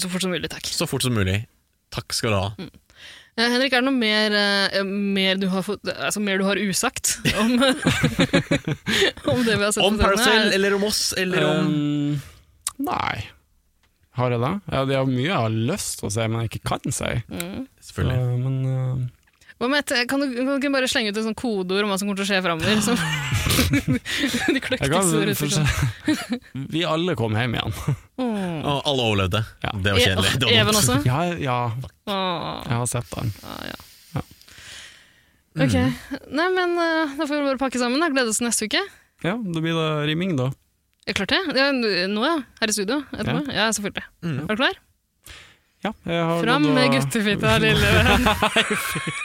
S3: så fort som mulig, takk.
S2: Så fort som mulig. Takk skal du ha.
S3: Eh, Henrik, er det noe mer, eh, mer, du har fått, altså, mer du har usagt om, om det vi har sett?
S2: Om
S3: på scenen?
S2: Paracel, eller om oss, eller om
S1: Um, nei. Har jeg det? Ja, det er mye jeg har lyst til å si, men jeg ikke kan si.
S2: Selvfølgelig.
S1: Uh, men uh,
S3: Hva med et, kan, du, kan du ikke bare slenge ut et sånt kodeord om hva som kommer til å skje framover? Som, de
S1: jeg
S3: kløktige
S1: kan,
S3: store
S1: for, Vi alle kom hjem igjen.
S3: Åh.
S2: Og alle overlevde.
S1: Ja. E-
S2: Det var kjedelig. Det var
S3: Mm. E- Even
S2: dumt.
S3: også?
S1: Ja, ja,
S3: Åh,
S1: jeg har sett den.
S3: ja, ja.
S1: Ja.
S3: Ok. Nei, men eh, da får vi bare pakke sammen. da. Glede oss til neste uke.
S1: Ja, da blir det rimming, da.
S3: Er klart det? Ja, nå, ja. Her i studio. Etterpå. Ja, selvfølgelig.
S2: Mm.
S3: Er du klar?
S1: Ja, jeg har
S3: Fram
S1: gått og-
S3: med guttefitta, lille venn.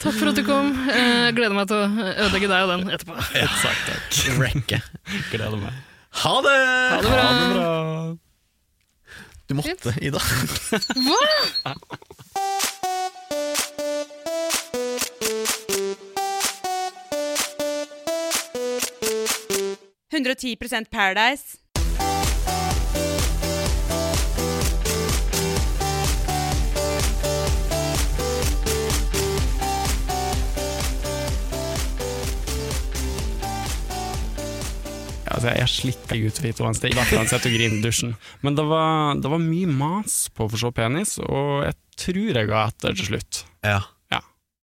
S3: Takk for at du kom. Eh, gleder meg til å ødelegge deg og den etterpå.
S2: Wrecket.
S1: Gleder meg.
S2: Ha det!
S3: Ha det bra.
S1: Ha det bra.
S2: Du måtte, Ida.
S5: Paradise.
S1: Ja, Altså, jeg slipper guttefit og en sted, i hvert fall sett og grine i dusjen. Men det var, det var mye mas på å få se penis, og jeg tror jeg ga etter til slutt.
S2: Ja.